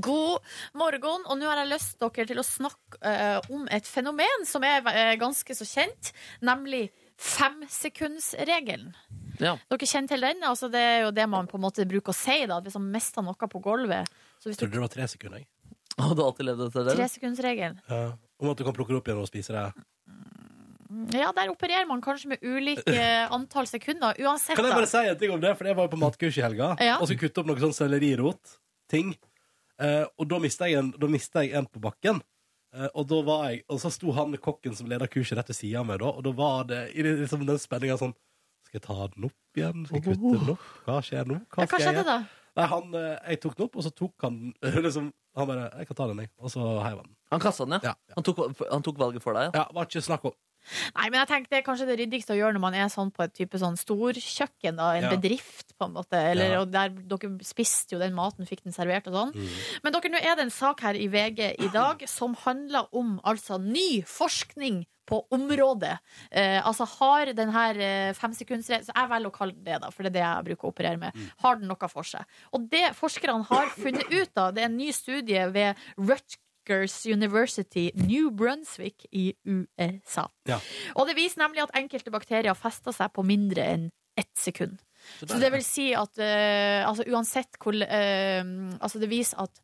S2: God morgen, og nå har jeg lyst dere til å snakke eh, om et fenomen som er eh, ganske så kjent, nemlig femsekundsregelen.
S3: Ja.
S2: Dere kjenner til den? Altså, det er jo det man på en måte bruker å si, da, at hvis man mister noe på gulvet. Så hvis du
S1: Trodde det var tre sekunder, jeg.
S3: Og du har alltid levd etter det?
S2: Tresekundsregelen.
S1: Ja. Om at du kan plukke det opp igjen og spise det.
S2: Ja, der opererer man kanskje med ulike eh, antall sekunder, uansett.
S1: Kan jeg
S2: da.
S1: bare si en ting om det? For jeg var jo på matkurs i helga
S2: Ja.
S1: og skulle kutte opp noe sånn sellerirot. Ting. Eh, og da mista jeg, en- da mistet jeg en på bakken. Eh, Eh, Og da var jeg, og så sto han kokken som leder kurset rett ved siden av meg, da, og da var det i det- liksom den spenningen sånn Skal jeg ta den opp igjen? Skal jeg kutte den opp? Hva skjer nå? Hva,
S2: Ja, hva
S1: skal jeg
S2: skjedde
S1: gjøre?»
S2: da?
S1: Nei, han, eh, jeg tok den opp, og så tok han den liksom, Han bare 'Jeg kan ta den, jeg.' Og så heiv han den.
S3: Han kasta den, ja.
S1: Ja, ja.
S3: Han, tok, han tok valget for deg. Ja.
S1: Ja, var ikke snakk om.
S2: Nei, men jeg tenkte det er kanskje det ryddigste å gjøre når man er sånn på et type sånn storkjøkken, da, en
S1: Ja.
S2: bedrift, på en måte. Eller,
S1: Ja.
S2: og der, dere spiste jo den maten, fikk den servert og sånn.
S1: Mm.
S2: Men dere, nå er det en sak her i VG i dag som handler om altså ny forskning på området. Eh, altså har den her eh, femsekundsregelen så Jeg velger å kalle det det, da, for det er det jeg bruker å operere med.
S1: Mm.
S2: Har den noe for seg? Og det forskerne har funnet ut, da, det er en ny studie ved Rutgers University New Brunswick i USA. Og det viser nemlig at enkelte bakterier fester seg på mindre enn ett sekund. Så det vil si at eh, altså uansett hvor eh, Altså det viser at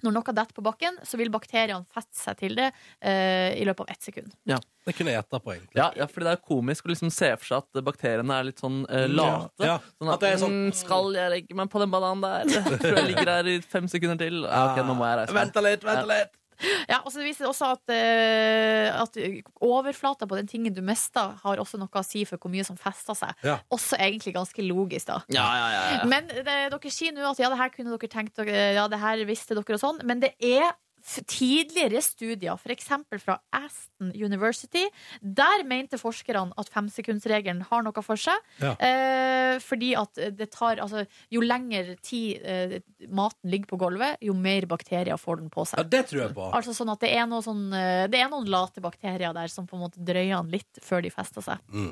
S2: når noe detter på bakken, så vil bakteriene feste seg til det eh, i løpet av ett sekund.
S1: Det kunne jeg gjetta på, egentlig.
S3: Ja, fordi det er komisk å liksom se for seg at bakteriene er litt sånn eh, late.
S1: Ja, ja.
S3: Sånn at,
S1: At det er sånn-
S3: «Mm, Skal jeg legge meg på den bananen der? Tror jeg ligger her i fem sekunder til. Ja, ok, nå må jeg reise meg.
S1: Venta litt, venta litt!
S2: Ja, og så viser det også at, eh, at overflata på den tingen du mister, har også noe å si for hvor mye som fester seg.
S1: Ja.
S2: Også egentlig ganske logisk, da.
S3: Ja, ja, ja, ja.
S2: Men eh, det, dere sier nå at ja, det her kunne dere tenkt dere- Ja, det her visste dere og sånn Men det er f- tidligere studier For eksempel fra Aston University Der mente forskerne at femsekundsregelen har noe for seg
S1: Ja.
S2: eh, Fordi at det tar altså, Jo lenger tid eh, maten ligger på gulvet Jo mer bakterier får den på
S1: Ja,
S2: seg
S1: det tror jeg på.
S2: Altså sånn at det er, noe sånn, eh, det er noen late bakterier der Som på en måte drøyer den litt før de fester seg
S1: Mm.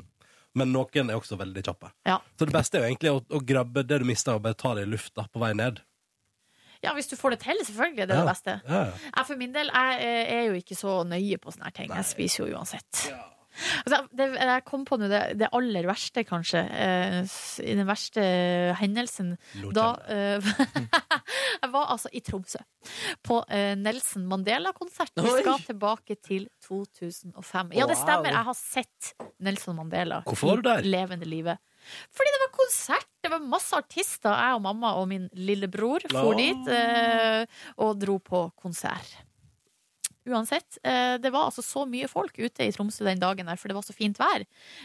S1: Men noen er også veldig kjappe.
S2: Ja.
S1: Så det beste er jo egentlig å, å grabbe det du mister, og bare ta det i lufta på vei ned.
S2: Ja, hvis du får det til selvfølgelig Det er det beste
S1: Ja, ja.
S2: Jeg for min del jeg eh, er jo ikke så nøye på sånne her ting. Jeg spiser jo uansett. Altså, det, jeg kom på nå det, det aller verste, kanskje. eh, s- I den verste hendelsen.
S1: Nå
S2: Da eh, Jeg var altså i Tromsø. På eh, Nelson Mandela-konsert. Vi
S3: Oi.
S2: skal tilbake til 2005. Ja, det
S3: Wow.
S2: stemmer. Jeg har sett Nelson Mandela
S1: Hvorfor var
S2: i
S1: du der?
S2: levende livet. Fordi det var konsert! Det var masse artister. Jeg og mamma og min lillebror for
S1: La-
S2: dit eh, og dro på konsert. Uansett, eh, det var altså så mye folk ute i Tromsø den dagen der, for det var så fint vær.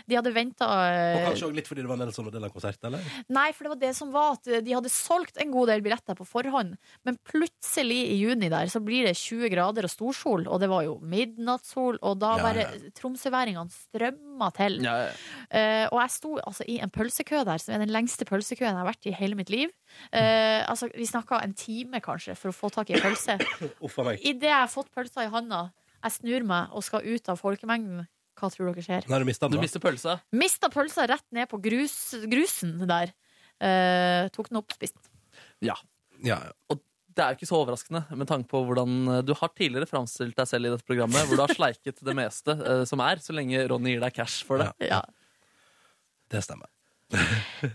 S2: De hadde venta
S1: Og
S2: Eh,
S1: kanskje også litt fordi det var Nelson Mandela-konsert, eller?
S2: Nei, for det var det som var at eh, de hadde solgt en god del billetter på forhånd, men plutselig i juni der så blir det 20 grader og storsol, og det var jo midnattssol, og da
S1: Ja,
S2: bare
S1: ja.
S2: tromsøværingene strømma til.
S3: Ja, ja.
S2: Eh, og jeg sto altså i en pølsekø der, som er den lengste pølsekøen jeg har vært i hele mitt liv. Eh, altså, vi snakka en time, kanskje, for å få tak i en pølse.
S1: Uff a meg.
S2: Idet jeg har fått pølsa i handa, jeg snur meg og skal ut av folkemengden. Hva tror dere skjer?
S1: Nei, du mista
S3: Du
S1: den, da.
S3: mister pølsa.
S2: Mista pølsa rett ned på grus, grusen der. Eh, tok den opp, spiste.
S3: Ja.
S1: Ja, ja.
S3: Det er jo ikke så overraskende med tanke på hvordan eh, du har tidligere framstilt deg selv i dette programmet, hvor du har sleiket det meste eh, som er, så lenge Ronny gir deg cash for det.
S2: Ja,
S1: Det stemmer.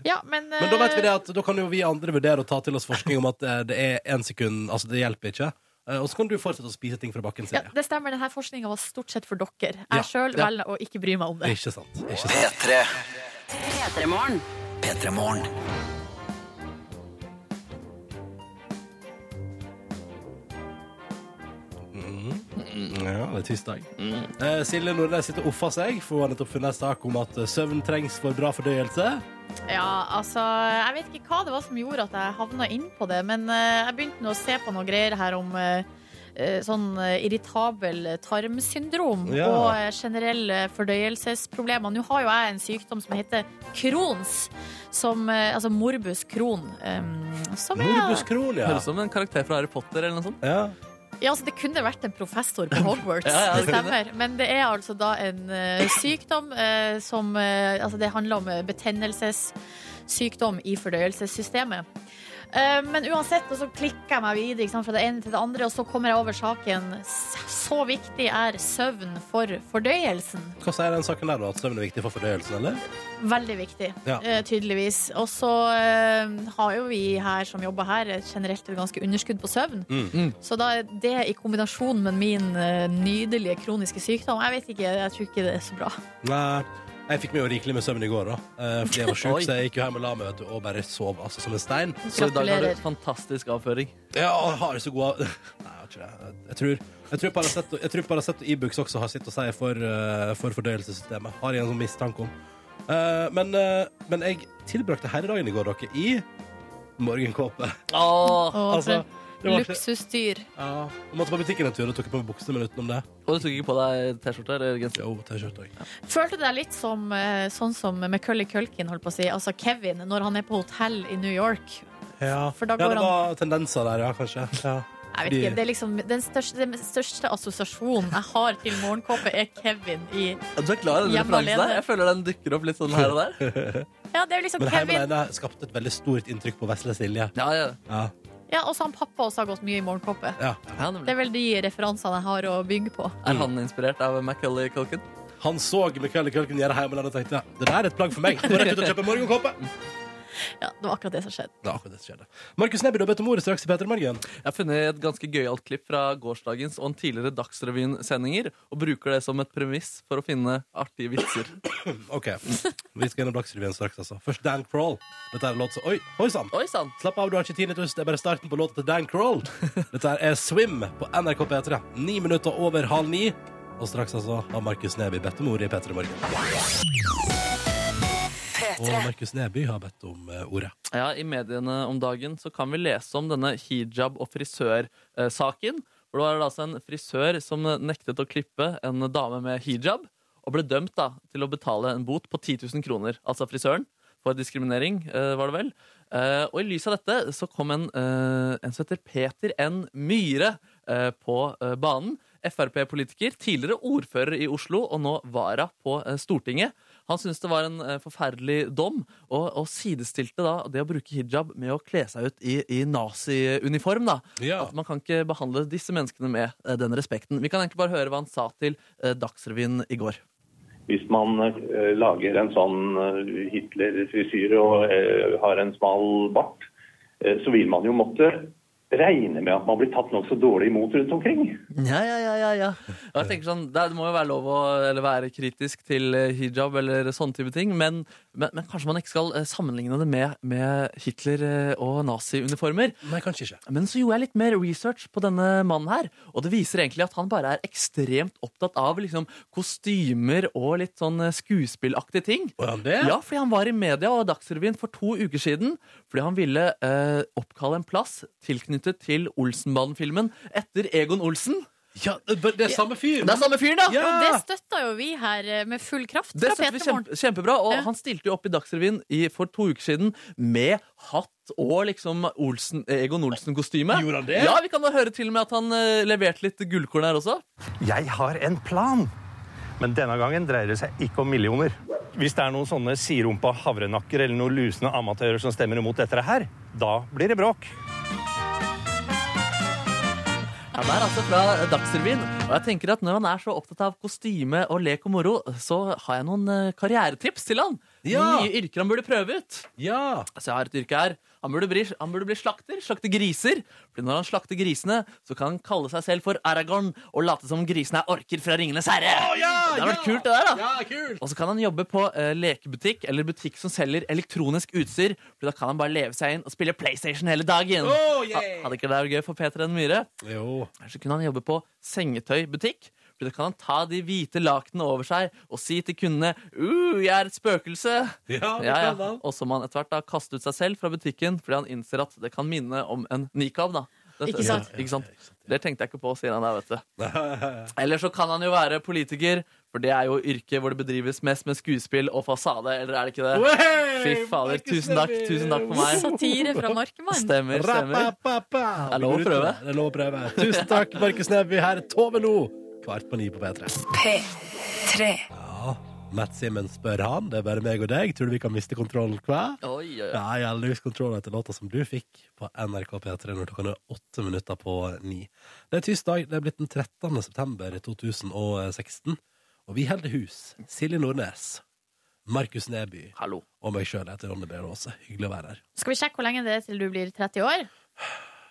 S2: ja men, eh,
S1: Men da vet vi det at da kan jo vi andre vurdere å ta til oss forskning om at eh, det er én sekund Altså, det hjelper ikke. Eh, Og så kan du fortsette å spise ting fra bakken,
S2: ja,
S1: sier jeg.
S2: det stemmer, denne forskninga var stort sett for dere. Jeg
S1: Ja,
S2: sjøl
S3: ja.
S2: velger å ikke bry meg om det.
S1: Ikke sant. Ikke sant.
S4: P3morgen.
S1: Ja, det er tirsdag.
S2: Mm.
S1: Eh, Silje Nordnes sitter og offer seg, for hun har nettopp funnet en sak om at eh, søvn trengs for bra fordøyelse.
S2: Ja, altså, jeg vet ikke hva det var som gjorde at jeg havna inn på det, men eh, jeg begynte nå å se på noen greier her om eh, eh, sånn eh, irritabel tarmsyndrom
S1: Ja.
S2: og eh, generelle fordøyelsesproblemer. Nå har jo jeg en sykdom som heter Crohns, som, eh, altså morbus Crohn. eh, som er,
S1: Morbus Crohn, ja.
S3: Høres ut som en karakter fra Harry Potter eller noe sånt.
S1: ja.
S2: Ja, altså Det kunne vært en professor på Hogwarts,
S3: Ja, ja, det
S2: det
S3: kunne
S2: stemmer. Men det er altså da en eh, sykdom eh, som eh, Altså, det handler om eh, betennelsessykdom i fordøyelsessystemet. Eh, men uansett, og så klikker jeg meg videre ikke sant, fra det ene til det andre, og så kommer jeg over saken S- Så viktig er søvn for fordøyelsen.
S1: Hva sier den saken der, da? At søvn er viktig for fordøyelsen, eller?
S2: Veldig viktig,
S1: Ja.
S2: eh, tydeligvis. Og så eh, har jo vi her som jobber her, eh, generelt et ganske underskudd på søvn.
S1: Mm.
S2: Så da er det i kombinasjon med min eh, nydelige kroniske sykdom Jeg vet ikke, jeg tror ikke det er så bra.
S1: Nei. Jeg fikk meg jo rikelig med søvn i går, da. Eh, Fordi jeg var sjuk,
S3: Oi.
S1: så jeg gikk jo hjem og la meg vet du, og bare sov altså, som en stein.
S3: Så i dag har
S2: Gratulerer.
S3: du fantastisk avføring.
S1: Ja, og har så god av- Nei, jeg har ikke det. Jeg tror, jeg tror Paracet jeg tror Paracet og Ibux også har sitt å si for, eh, for fordøyelsessystemet. Har jeg en sånn mistanke om. Eh, men, eh, men jeg tilbrakte herredagen i går, dere, i morgenkåpe.
S3: Åh.
S2: Og
S1: Altså, det var ikke-
S2: luksusdyr.
S1: Ja. Jeg måtte på butikken en tur og tok på meg buksene, men utenom det
S3: Og du tok ikke på deg T-skjorte eller genser?
S1: Jo, T-skjorte òg. Følte
S2: Følte deg litt som, eh, sånn som Macaulay Culkin, holdt på å si. Altså Kevin, når han er på hotell i New York.
S1: Ja.
S2: For da
S1: ja,
S2: går
S1: det
S2: han-
S1: var tendenser der, ja, kanskje. Ja.
S2: Jeg vet
S1: Fordi-
S2: ikke, det er liksom Den største, den største assosiasjonen jeg har til morgenkåpe, er Kevin i
S3: Du er glad i den
S2: Hjemme
S3: referansen
S2: alene.
S3: der? Jeg føler den dukker opp litt sånn her og der.
S2: Ja, det er liksom
S1: Men hjemme
S2: Kevin.
S1: alene skapte et veldig stort inntrykk på vesle Silje.
S3: Ja, ja.
S1: Ja.
S2: Ja, også han pappa også har gått mye i morgenkåpe.
S1: ja.
S3: ja
S2: Det
S3: nemlig.
S2: er vel de referansene jeg har å bygge på.
S3: Er han inspirert av Macaulay Culkin?
S1: Han så Michael Kølken gjøre hjemmeland og tenkte det der er et plagg for meg. Gå rett ut og kjøpe morgenkåpe.
S2: Ja, Det var akkurat det som skjedde.
S1: Det er akkurat det som skjedde. Markus Neby, du har bedt om ordet straks i Peter Morgen.
S3: Jeg har funnet et ganske gøyalt klipp fra gårsdagens og en tidligere Dagsrevyen-sendinger, og bruker det som et premiss for å finne artige vitser.
S1: OK. Vi skal gjennom Dagsrevyen straks, altså. Først Dan Crawl. Dette er en låt som Oi, hoi sann!
S3: Oi sann!
S1: Slapp av, du har ikke tinnitus. Det er bare starten på låta til Dan Crawl. Dette er Swim på NRK P3. Ni minutter over halv ni. Og straks altså har Markus Neby bedt om ordet i P3 Morgen. Og Markus Neby har bedt om eh, ordet.
S3: Ja, I mediene om dagen så kan vi lese om denne hijab- og frisørsaken. For det var altså en frisør som nektet å klippe en dame med hijab, og ble dømt da, til å betale en bot på 10 000 kroner. Altså frisøren. For diskriminering, eh, var det vel. Eh, og i lys av dette så kom en, eh, en som heter Peter N. Myhre eh, på eh, banen. Frp-politiker, tidligere ordfører i Oslo og nå vara på eh, Stortinget. Han syntes det var en eh, forferdelig dom, og, og sidestilte da det å bruke hijab med å kle seg ut i, i naziuniform. da.
S1: Ja.
S3: At man kan ikke behandle disse menneskene med eh, den respekten. Vi kan egentlig bare høre hva han sa til eh, Dagsrevyen i går.
S7: Hvis man eh, lager en sånn eh, Hitler-frisyre og eh, har en smal bart, eh, så vil man jo måtte regne med at man blir tatt nokså dårlig imot rundt omkring.
S3: Ja, ja, ja, ja, ja. Og jeg tenker sånn, Det må jo være lov å eller være kritisk til eh, hijab eller sånne type ting, men, men, men kanskje man ikke skal eh, sammenligne det med, med Hitler eh, og naziuniformer.
S1: Nei, kanskje ikke.
S3: Men så gjorde jeg litt mer research på denne mannen her, og det viser egentlig at han bare er ekstremt opptatt av liksom, kostymer og litt sånn eh, skuespillaktige ting.
S1: Å, er han det?
S3: Ja, fordi han var i media og Dagsrevyen for to uker siden fordi han ville eh, oppkalle en plass tilknyttet til Olsenbanen-filmen etter Egon Olsen.
S1: Ja, det det er samme fyr.
S3: Det er samme fyren, da!
S1: Ja.
S2: Og det støtta jo vi her eh, med full kraft.
S3: Det
S2: fra
S3: synes vi
S2: Peter Morgen.
S3: kjempe, kjempebra, og
S2: Ja.
S3: han stilte jo opp i Dagsrevyen i, for to uker siden med hatt og liksom Olsen, Egon Olsen-kostyme.
S1: Gjorde han det?
S3: Ja, vi kan da høre til og med at han eh, leverte litt gullkorn her også.
S8: Jeg har en plan. Men denne gangen dreier det seg ikke om millioner. Hvis det er noen sånne siderumpa havrenakker eller noen lusne amatører som stemmer imot dette her, da blir det bråk.
S3: Han er altså fra Dagsrevyen, og jeg tenker at når han er så opptatt av kostyme og lek og moro, så har jeg noen eh, karrieretips til han.
S1: Ja.
S3: Nye yrker han burde prøve ut.
S1: Ja.
S3: Altså, jeg har et yrke her. Han burde, bli, han burde bli slakter. Slakte griser. Fordi når han slakter grisene, så kan han kalle seg selv for Aragorn og late som grisene er orker fra Ringenes herre. det hadde vært kult, det der, da.
S1: Ja, kult.
S3: Og så kan han jobbe på eh, lekebutikk eller butikk som selger elektronisk utstyr. For da kan han bare leve seg inn og spille PlayStation hele dagen.
S1: Oh, yeah.
S3: Ha- Hadde ikke det vært gøy for Peter N. Myhre?
S1: Jo.
S3: Eller så kunne han jobbe på sengetøybutikk. For da kan han ta de hvite lakenene over seg og si til kundene uh, 'Jeg er et spøkelse'.
S1: Ja, det
S3: Ja,
S1: kan
S3: ja.
S1: han.
S3: Og så må han etter hvert da kaste ut seg selv fra butikken fordi han innser at det kan minne om en nikab. da. Dette-
S2: Ikke sant?
S3: Ikke sant? Det tenkte jeg ikke på, sier han der, vet du. Eller så kan han jo være politiker, for det er jo yrket hvor det bedrives mest med skuespill og fasade, eller er det ikke det? Fy fader, tusen takk, tusen takk for meg.
S2: Satire fra Markemann.
S3: Stemmer, stemmer.
S1: Ra-pa-pa-pa.
S3: Er det lov å prøve?
S1: Det er lov å prøve. Tusen takk, Markus Neby. Her er Tove Lo. Kvart på ni på P3.
S4: P3
S3: Ah.
S1: Ja, Matt Simmons spør han. Det er bare meg og deg. Tror du vi kan miste kontrollen hver?
S3: Oi, oi, oi.
S1: Ja, jeg har lose control etter låta som du fikk på NRK P3 når klokka nå er åtte minutter på ni. Det er tirsdag. Det er blitt den 13. september 2016. Og vi holder hus. Silje Nordnes, Markus Neby
S3: Hallo.
S1: og meg sjøl heter Ronny Brede Aase. Hyggelig å være her.
S2: Skal vi sjekke hvor lenge det er til du blir 30 år?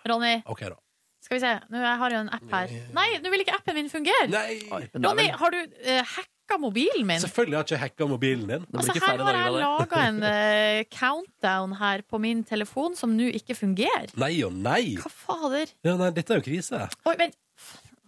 S2: Ronny,
S1: OK, da.
S2: skal vi se. Nå, jeg har jo en app her. Nei, nå vil ikke appen min fungere!
S1: Nei!
S3: Men det er
S2: Ronny,
S3: vel-
S2: har du eh, hacka mobilen min.
S1: Selvfølgelig har jeg ikke hacka mobilen din.
S3: Det blir
S2: Altså,
S3: ikke
S2: her
S3: færre
S2: har
S3: dager
S2: jeg
S3: av det.
S2: laga en eh, countdown her på min telefon som nå ikke fungerer.
S1: Nei og nei.
S2: Hva fader?
S1: Ja, nei. Dette er jo krise.
S2: Oi, vent.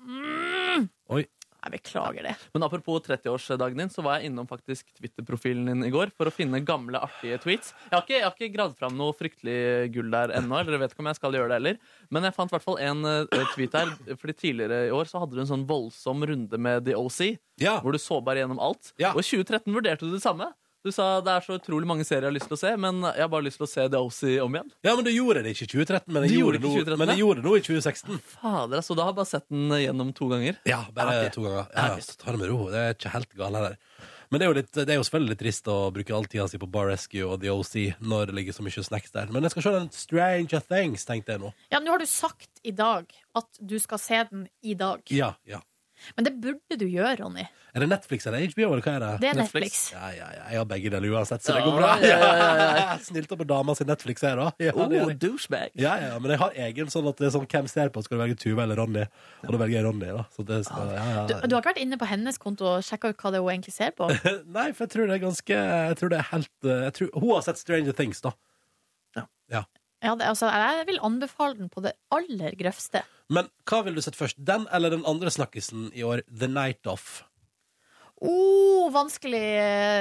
S2: Mm.
S1: Oi.
S2: Jeg beklager det.
S3: Men apropos 30-årsdagen din, så var jeg innom faktisk Twitter-profilen din i går for å finne gamle, artige tweets. Jeg har ikke, jeg har ikke gravd fram noe fryktelig gull der ennå, eller jeg vet ikke om jeg skal gjøre det heller. Men jeg fant i hvert fall en eh, tweet her, fordi tidligere i år så hadde du en sånn voldsom runde med The OC,
S1: Ja.
S3: hvor du så bare gjennom alt.
S1: Ja.
S3: Og i 2013 vurderte du det samme. Du sa det er så utrolig mange serier jeg har lyst til å se, men jeg har bare lyst til å se The OC om igjen.
S1: ja, men du gjorde det ikke i 2013, men jeg
S3: Du
S1: gjorde,
S3: gjorde ikke i
S1: det nå-
S3: 2013,
S1: men jeg
S3: ja.
S1: gjorde det nå i 2016.
S3: Fader, altså, da har jeg bare sett den gjennom to ganger.
S1: Ja, bare
S3: Ja, ok.
S1: to ganger. Ja,
S3: Ja,
S1: så ta det med ro. Det er ikke helt galt heller. Men det er, jo litt, det er jo selvfølgelig litt trist å bruke all tida si på Bar Rescue og The OC når det ligger så mye snacks der. Men jeg skal se den Stranger Things, tenkte jeg nå.
S2: Ja, Nå har du sagt i dag at du skal se den i dag.
S1: Ja, ja.
S2: Men det burde du gjøre, Ronny.
S1: Er det Netflix eller HBO, eller hva er det?
S2: Det er Netflix.
S3: Netflix.
S1: Ja, ja, ja. Jeg har begge deler uansett, så det går bra.
S3: Ja, ja, ja, ja,
S1: Snilt opp med dama sin Netflix her òg. Ja,
S3: Oh,
S1: det er det.
S3: douchebag.
S1: ja, ja, men jeg har egen sånn at det er sånn hvem ser på, skal du velge Tuva eller Ronny? Og da velger jeg Ronny, da. Så det skal, ja, ja.
S2: Du, du har ikke vært inne på hennes konto og sjekka ut hva det er hun egentlig ser på?
S1: Nei, for jeg tror det er ganske Jeg tror det er helt eh, jeg tror, Hun har sett Stranger Things, da.
S2: Ja, det, altså, jeg vil anbefale den på det aller grøvste.
S1: Men hva vil du sette først? Den eller den andre snakkisen i år, The Night Off?
S2: Oh, vanskelig,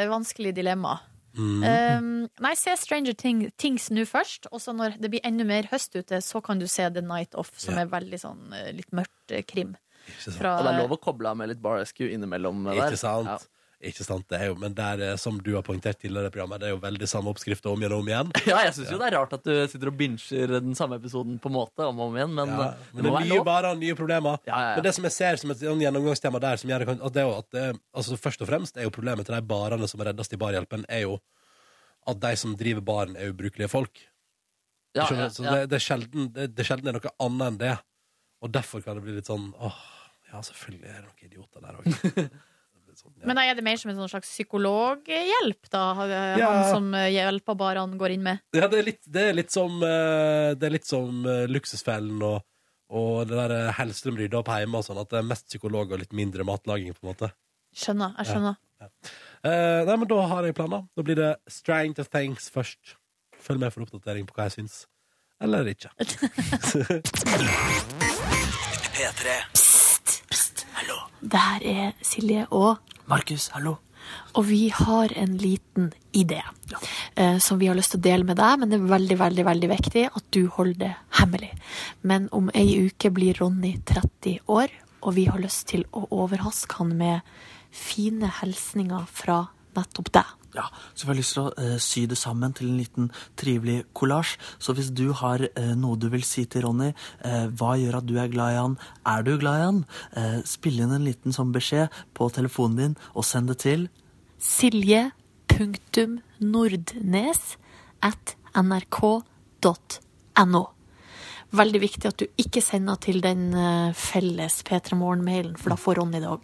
S2: vanskelig dilemma.
S1: Mm.
S2: Um, nei, se Stranger Thing, Things nå først. Og så når det blir enda mer høst ute, så kan du se The Night Off, som
S1: Ja.
S2: er veldig sånn eh, litt mørkt eh, krim.
S1: Ikke sant?
S2: Fra,
S3: Og det er lov å koble av med litt Bar Rescue innimellom. eh, der.
S1: Ikke sant? Ikke sant, det er jo, Men der, eh, som du har poengtert tidligere i programmet, det er jo veldig samme oppskrift om igjen og om igjen.
S3: Ja, jeg syns jo det er rart at du sitter og binger den samme episoden på en måte om og om igjen, men
S1: Ja,
S3: eh, det
S1: men det
S3: må
S1: er
S3: være
S1: nye
S3: lov.
S1: barer, nye problemer.
S3: Ja, ja, ja.
S1: Men det som jeg ser som et sånn gjennomgangstema der, som gjerne kan, at det er jo at det, altså først og fremst er jo problemet til de barene som reddes i barhjelpen, er jo at de som driver baren, er ubrukelige folk.
S3: Ja,
S1: Skjønner
S3: ja,
S1: du? Så
S3: ja.
S1: Det, det, er sjelden, det, det er sjelden er noe annet enn det. Og derfor kan det bli litt sånn åh, ja, selvfølgelig er det noen idioter der òg.
S2: Men da er det mer som en sånn slags psykologhjelp, da? eh,
S1: Ja.
S2: Han som eh, hjelper bare han går inn med.
S1: Ja, det er litt, det er litt som, eh, det er litt som eh, Luksusfellen og, og det der eh, Hellstrøm rydder opp hjemme og sånn, at det er mest psykolog og litt mindre matlaging, på en måte.
S2: Skjønner. jeg skjønner
S1: Eh, nei, men da har jeg planer. Da blir det Stranger Things først. Følg med for oppdatering på hva jeg syns. Eller ikke.
S2: Der er Silje og
S3: Markus, hallo.
S2: Og vi har en liten idé eh, som vi har lyst til å dele med deg, men det er veldig, veldig veldig viktig at du holder det hemmelig. Men om ei uke blir Ronny 30 år, og vi har lyst til å overraske han med fine hilsninger fra nettopp deg.
S9: Ja, så vi har lyst til å eh, sy det sammen til en liten trivelig kollasj. Så hvis du har eh, noe du vil si til Ronny, eh, hva gjør at du er glad i han, er du glad i han, eh, spill inn en liten sånn beskjed på telefonen din og send det til
S2: silje.nordnes at nrk.no. Veldig viktig at du ikke sender til den eh, felles P3 Morgen-mailen, for da får Ronny det òg.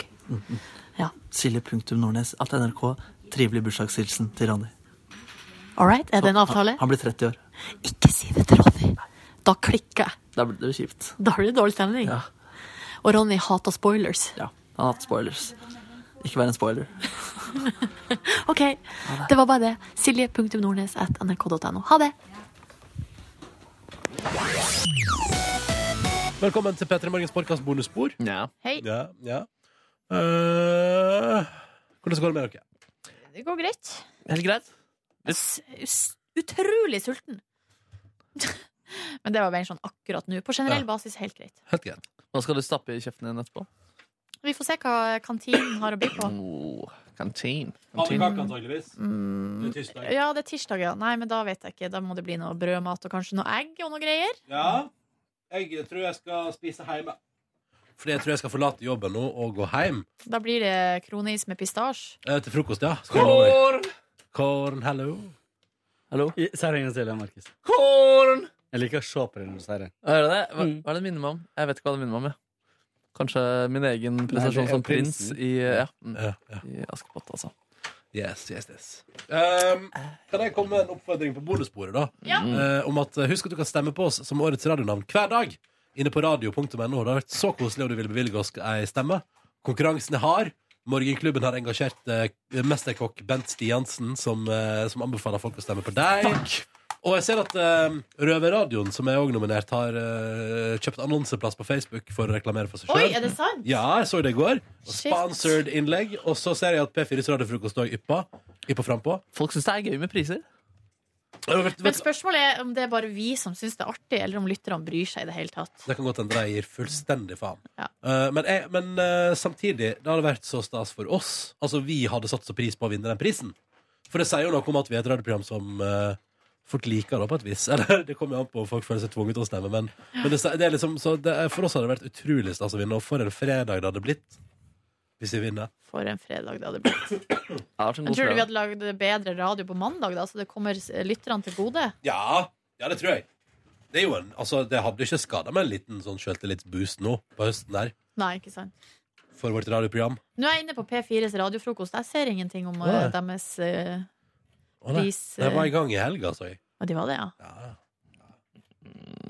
S2: Ja.
S9: silje.nordnes at nrk. Trivelig bursdagshilsen til Ronny.
S2: All right, er det en avtale?
S9: Han blir 30 år.
S2: Ikke si det til Ronny! Da klikker jeg.
S9: Da blir det jo kjipt.
S2: Da blir det dårlig stemning.
S9: Ja.
S2: Og Ronny hater spoilers.
S9: Ja, han har hatt spoilers. Ikke vær en spoiler.
S2: OK, det var bare det. Silje.nordnes at nrk.no. Ha det!
S1: Velkommen til P3 Morgens podkast bonusspor.
S3: Ja.
S2: Hei.
S1: Ja, ja. Eh, hvordan går det med dere?
S2: Det går greit.
S3: Helt greit?
S2: s- s- utrolig sulten. Men det var mer sånn akkurat nå. På generell
S1: Ja.
S2: basis helt greit.
S1: Helt greit.
S3: Hva skal du stappe i kjeften din etterpå?
S2: Vi får se hva kantinen har å by på.
S3: Oh, kantin.
S1: Pannekake, antageligvis.
S2: Mm. Ja, det er tirsdag, ja. Nei, men da vet jeg ikke. Da må det bli noe brødmat og kanskje noe egg og noe greier.
S1: Ja. Jeg tror jeg skal spise hjemme. Fordi jeg tror jeg skal forlate jobben nå og gå hjem.
S2: Da blir det kronis med pistasje.
S1: Eh, til frokost, ja. Skal jeg love deg. Korn, hello.
S3: Hallo?
S10: Si det en gang til, Markus.
S3: Korn!
S10: Jeg liker å se på deg når du sier det.
S3: Hører du det? Hva,
S10: Mm.
S3: hva er det det minner meg om? Jeg vet ikke hva det minner meg om. jeg. Kanskje min egen prestasjon
S10: det er
S3: som prins
S10: prinsen.
S3: i, eh, ja, mm,
S1: Ja, ja.
S3: i Askepott, altså.
S1: Yes, yes, yes. Ehm, kan jeg komme med en oppfordring på bonussporet, da?
S2: Ja.
S3: Mm.
S1: Eh, om at eh, Husk at du kan stemme på oss som årets radionavn hver dag inne på radio.no. Det har vært så koselig om du vil bevilge oss ei stemme. Konkurransen er hard, Morgenklubben har engasjert eh, mesterkokk Bent Stiansen, som, eh, som anbefaler folk å stemme på deg. Og jeg ser at eh, Røverradioen, som er òg nominert, har eh, kjøpt annonseplass på Facebook for å reklamere for seg
S2: Oi,
S1: sjøl.
S2: er det sant?
S1: Ja, jeg så det i går. Og
S2: Shit.
S1: Sponsored innlegg. Og så ser jeg at P4s radiofrokost òg yppa. Yppa frampå.
S3: Folk syns det er gøy med priser.
S2: Men spørsmålet er om det er bare vi som syns det er artig, eller om lytterne bryr seg i det hele tatt.
S1: Det kan godt hende de gir fullstendig faen. Eh, men jeg, men eh, samtidig, det hadde vært så stas for oss. Altså, vi hadde satt så pris på å vinne den prisen. For det sier jo noe om at vi er et radioprogram som eh, folk liker, da, på et vis. Eller, det kommer jo an på om folk føler seg tvunget til å stemme, men, men det, det er liksom, så det, er- for oss hadde det vært utrolig stas å vinne, og for en fredag det hadde blitt. Hvis vi vinner.
S2: For en fredag det hadde blitt.
S3: Jeg
S2: tror du vi hadde lagd bedre radio på mandag, da, så det kommer s- lytterne til gode?
S1: Ja, ja, det tror jeg. Det, er jo en, altså, det hadde ikke skada med en liten sånn sjøltillitsboost nå på høsten der,
S2: Nei, ikke sant.
S1: for vårt radioprogram.
S2: Nå er jeg inne på P4s radiofrokost. Jeg ser ingenting om
S1: Nei.
S2: eh, deres eh,
S1: Å, nei.
S2: pris.
S1: Det var i gang i helga, så jeg.
S2: Og de var det, ja?
S1: Ja.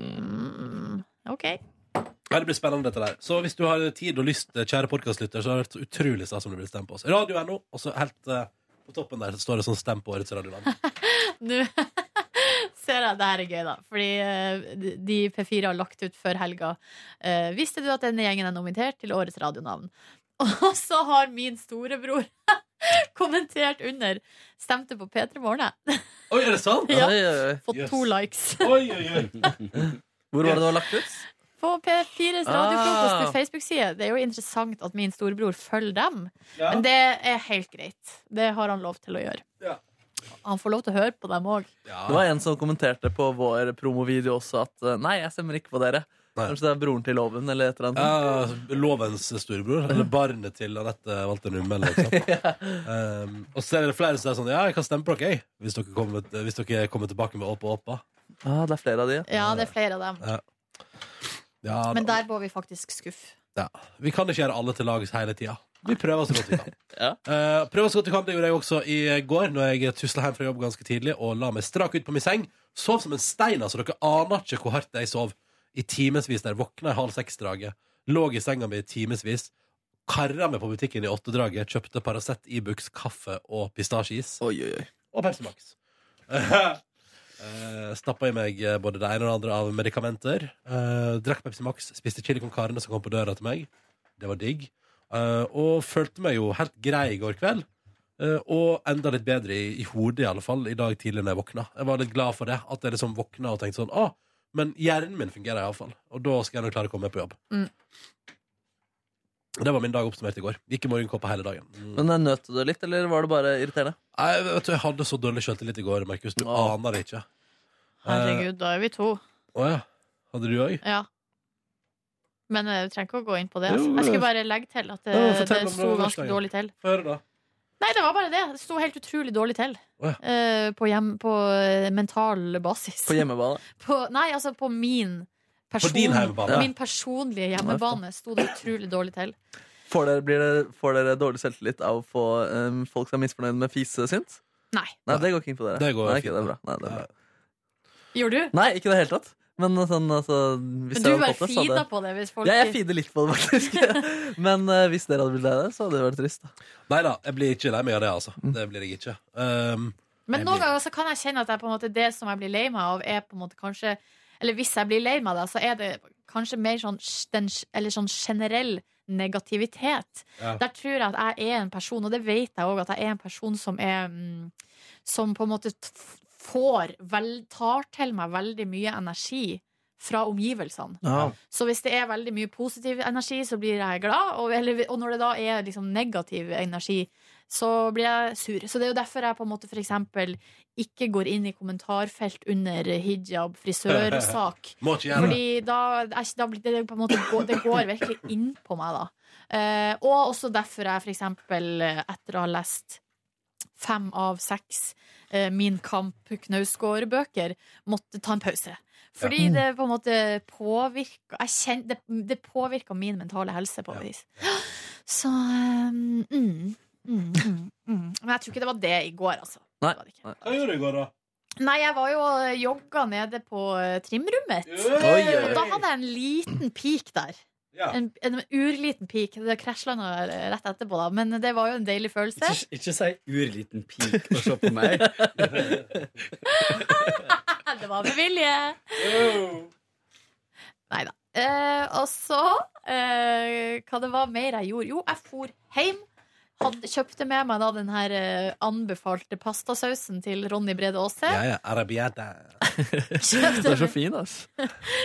S2: Mm, OK.
S1: Ja, det blir spennende dette der. Så hvis du har tid og lyst, eh, kjære podkastlytter, så har det vært så utrolig stas om du vil stemme på oss. Radio NO, og så helt eh, på toppen der så står det sånn 'Stem på årets radioland'.
S2: Nå ser jeg at det her er gøy, da. Fordi eh, de- de P4 har lagt ut før helga. eh, Visste du at denne gjengen er nominert til årets radionavn? Og så har min storebror kommentert under. Stemte på P3 Morgen, jeg.
S1: Oi, er det sant?
S2: Ja.
S3: Oi, oi, oi.
S2: Fått to
S3: Yes.
S2: likes.
S3: Hvor var det det var lagt ut?
S2: På P4s
S3: Ah.
S2: radiofrokost til Facebook-side. Det er jo interessant at min storebror følger dem.
S3: Ja.
S2: Men det er helt greit. Det har han lov til å gjøre. Han får lov til å høre på dem òg.
S3: Det var en som kommenterte på vår promovideo også at eh, nei, jeg stemmer ikke på dere. Kanskje det er broren til Loven eller et eller
S1: Ja,
S3: annet.
S1: lovens storebror, eller barnet til Anette Walter Numme, eller noe sånt. um, og så er det flere som er sånn 'Ja, jeg kan stemme på dere, jeg', hvis dere kommer, hvis dere kommer tilbake med Åpa Åpa.
S3: Ja, Ah, det er flere av de,
S2: Ja, det er flere av dem.
S1: Ja. Ja, da.
S2: Men der må vi faktisk skuffe.
S1: Ja. Vi kan ikke gjøre alle til lags hele tida. Vi prøver så godt vi kan. Eh,
S3: ja.
S1: prøver så godt vi kan, Det gjorde jeg også i går, Når jeg tusla hjem fra jobb ganske tidlig og la meg strak ut på min seng. Sov som en stein, altså. Dere aner ikke hvor hardt jeg sov. I timevis der. Våkna i halv seks-draget. Lå i senga mi i timevis. Kara meg på butikken i åtte-draget. Kjøpte Paracet, Ibux, kaffe og pistasjeis. Og Pepsi Max. Eh, Stappa i meg eh, både det ene og det andre av medikamenter. Eh, drakk Pepsi Max, spiste chili con carne som kom på døra til meg. Det var digg. Eh, og følte meg jo helt grei i går kveld. Eh, og enda litt bedre i, i hodet, i alle fall, i dag tidlig når jeg våkna. Jeg var litt glad for det. At jeg liksom våkna og tenkte sånn Å, men hjernen min fungerer iallfall. Og da skal jeg nå klare å komme meg på jobb.
S2: Mm.
S1: Det var min dag oppsummert i går. Gikk i morgenkåpa hele dagen. Mm.
S3: Men eh, nøt du det litt, eller var det bare irriterende?
S1: Nei, vet du, Jeg hadde så dårlig selvtillit i går, Markus. Du aner det ikke.
S2: Herregud, da er vi to.
S1: Å ja. Hadde du òg?
S2: Ja. Men eh, du trenger ikke å gå inn på det.
S1: Jo,
S2: Altså.
S1: jo. eh,
S2: Jeg skulle bare legge til at det,
S1: Ja, fortell
S2: det
S1: om det
S2: sto
S1: var
S2: ganske
S1: verste, ja.
S2: dårlig til.
S1: Få høre, da.
S2: Nei, det var bare det. Det sto helt utrolig dårlig til.
S1: Å, ja.
S2: Eh, på, hjem, på eh, mental basis.
S3: På hjemmebane?
S2: På- nei, altså på min person,
S3: din hjemmebane, ja.
S2: Min personlige hjemmebane sto det utrolig dårlig til.
S3: Får dere, blir det, får dere dårlig selvtillit av å få eh, folk som er misfornøyd med fisesynt?
S2: Nei.
S3: Nei, det går ikke inn på dere.
S1: Det går
S3: Nei,
S1: fint.
S3: ikke, det er bra. Nei, det er bra.
S2: Gjorde du?
S3: Nei, ikke i det hele tatt. Men sånn, altså
S2: Men
S3: hvis jeg
S2: du
S3: hadde
S2: bare
S3: fått det, så hadde-
S2: feeda på det hvis folk
S3: Ja, jeg feeder litt på det, faktisk. Men eh, hvis dere hadde blitt lei dere, så hadde det vært trist. Da.
S1: Nei da, jeg blir ikke lei meg av det, altså.
S3: Mm.
S1: Det blir jeg ikke. Um,
S2: Men
S1: jeg
S2: noen
S1: blir...
S2: ganger så kan jeg kjenne at jeg på en måte, det som jeg blir lei meg av, er på en måte kanskje Eller hvis jeg blir lei meg av det, så er det kanskje mer sånn, sj- den, sj- eller sånn generell negativitet.
S5: Ja.
S2: Der tror jeg at jeg er en person, og det vet jeg òg, at jeg er en person som er mm, Som på en måte t- f- får vel, Tar til meg veldig mye energi fra omgivelsene.
S3: Ja.
S2: Så hvis det er veldig mye positiv energi, så blir jeg glad. Og, eller, og når det da er liksom negativ energi, så blir jeg sur. Så det er jo derfor jeg på en måte for eksempel ikke går inn i kommentarfelt under hijab, frisørsak.
S1: Må ikke gjøre det.
S2: Fordi da, jeg- da blir det på en måte gå- Det går virkelig inn på meg, da. Eh, og også derfor jeg for eksempel eh, etter å ha lest fem av seks eh, Min Kamp Knausgård-bøker, måtte ta en pause. Fordi
S5: Ja.
S2: det på en måte påvirka jeg kjen- det, det påvirka min mentale helse på et vis. Så eh, mm, mm, mm, mm. Men jeg tror ikke det var det i går, altså.
S3: Nei.
S1: Hva gjorde du i går, da?
S2: Nei, jeg var jo og jogga nede på eh, trimrommet.
S1: Oi, oi, oi.
S2: Og da hadde jeg en liten peak der.
S10: Ja.
S2: En, en urliten pik. Det krasjlanda rett etterpå, da. Men det var jo en deilig følelse.
S10: Ikke, ikke si urliten pik og se på meg.
S2: det var med vilje. Nei da. Eh, og så eh, Hva det var mer jeg gjorde? Jo, jeg for hjem. Hadde, kjøpte med meg da den her eh, anbefalte pastasausen til Ronny Brede Aase.
S1: Ja, ja, arabiata.
S3: Den er så fin, ass.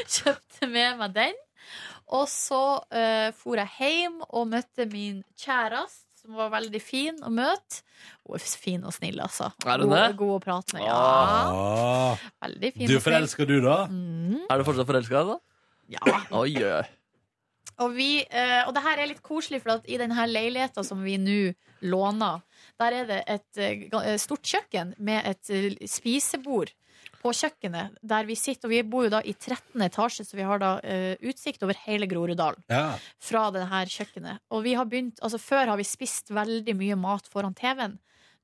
S2: Kjøpte med meg den. Og så uh, for jeg hjem og møtte min kjæreste, som var veldig fin å møte. Hun er fin og snill, altså.
S3: Er hun
S2: god,
S3: det?
S2: god å prate med. Ja.
S1: Ah.
S2: Veldig fin
S1: Du
S2: og snill.
S1: forelsker du, da?
S2: Mm.
S3: Er du fortsatt forelska i henne?
S2: Ja.
S3: Oi, oi, oi.
S2: Og, vi, eh, og det her er litt koselig, for at i denne leiligheta som vi nå låner, der er det et eh, ga- eh, stort kjøkken med et eh, spisebord på kjøkkenet der vi sitter. Og vi bor jo da i 13. etasje, så vi har da eh, utsikt over hele Groruddalen
S1: Ja.
S2: fra det her kjøkkenet. Og vi har begynt, altså før har vi spist veldig mye mat foran TV-en.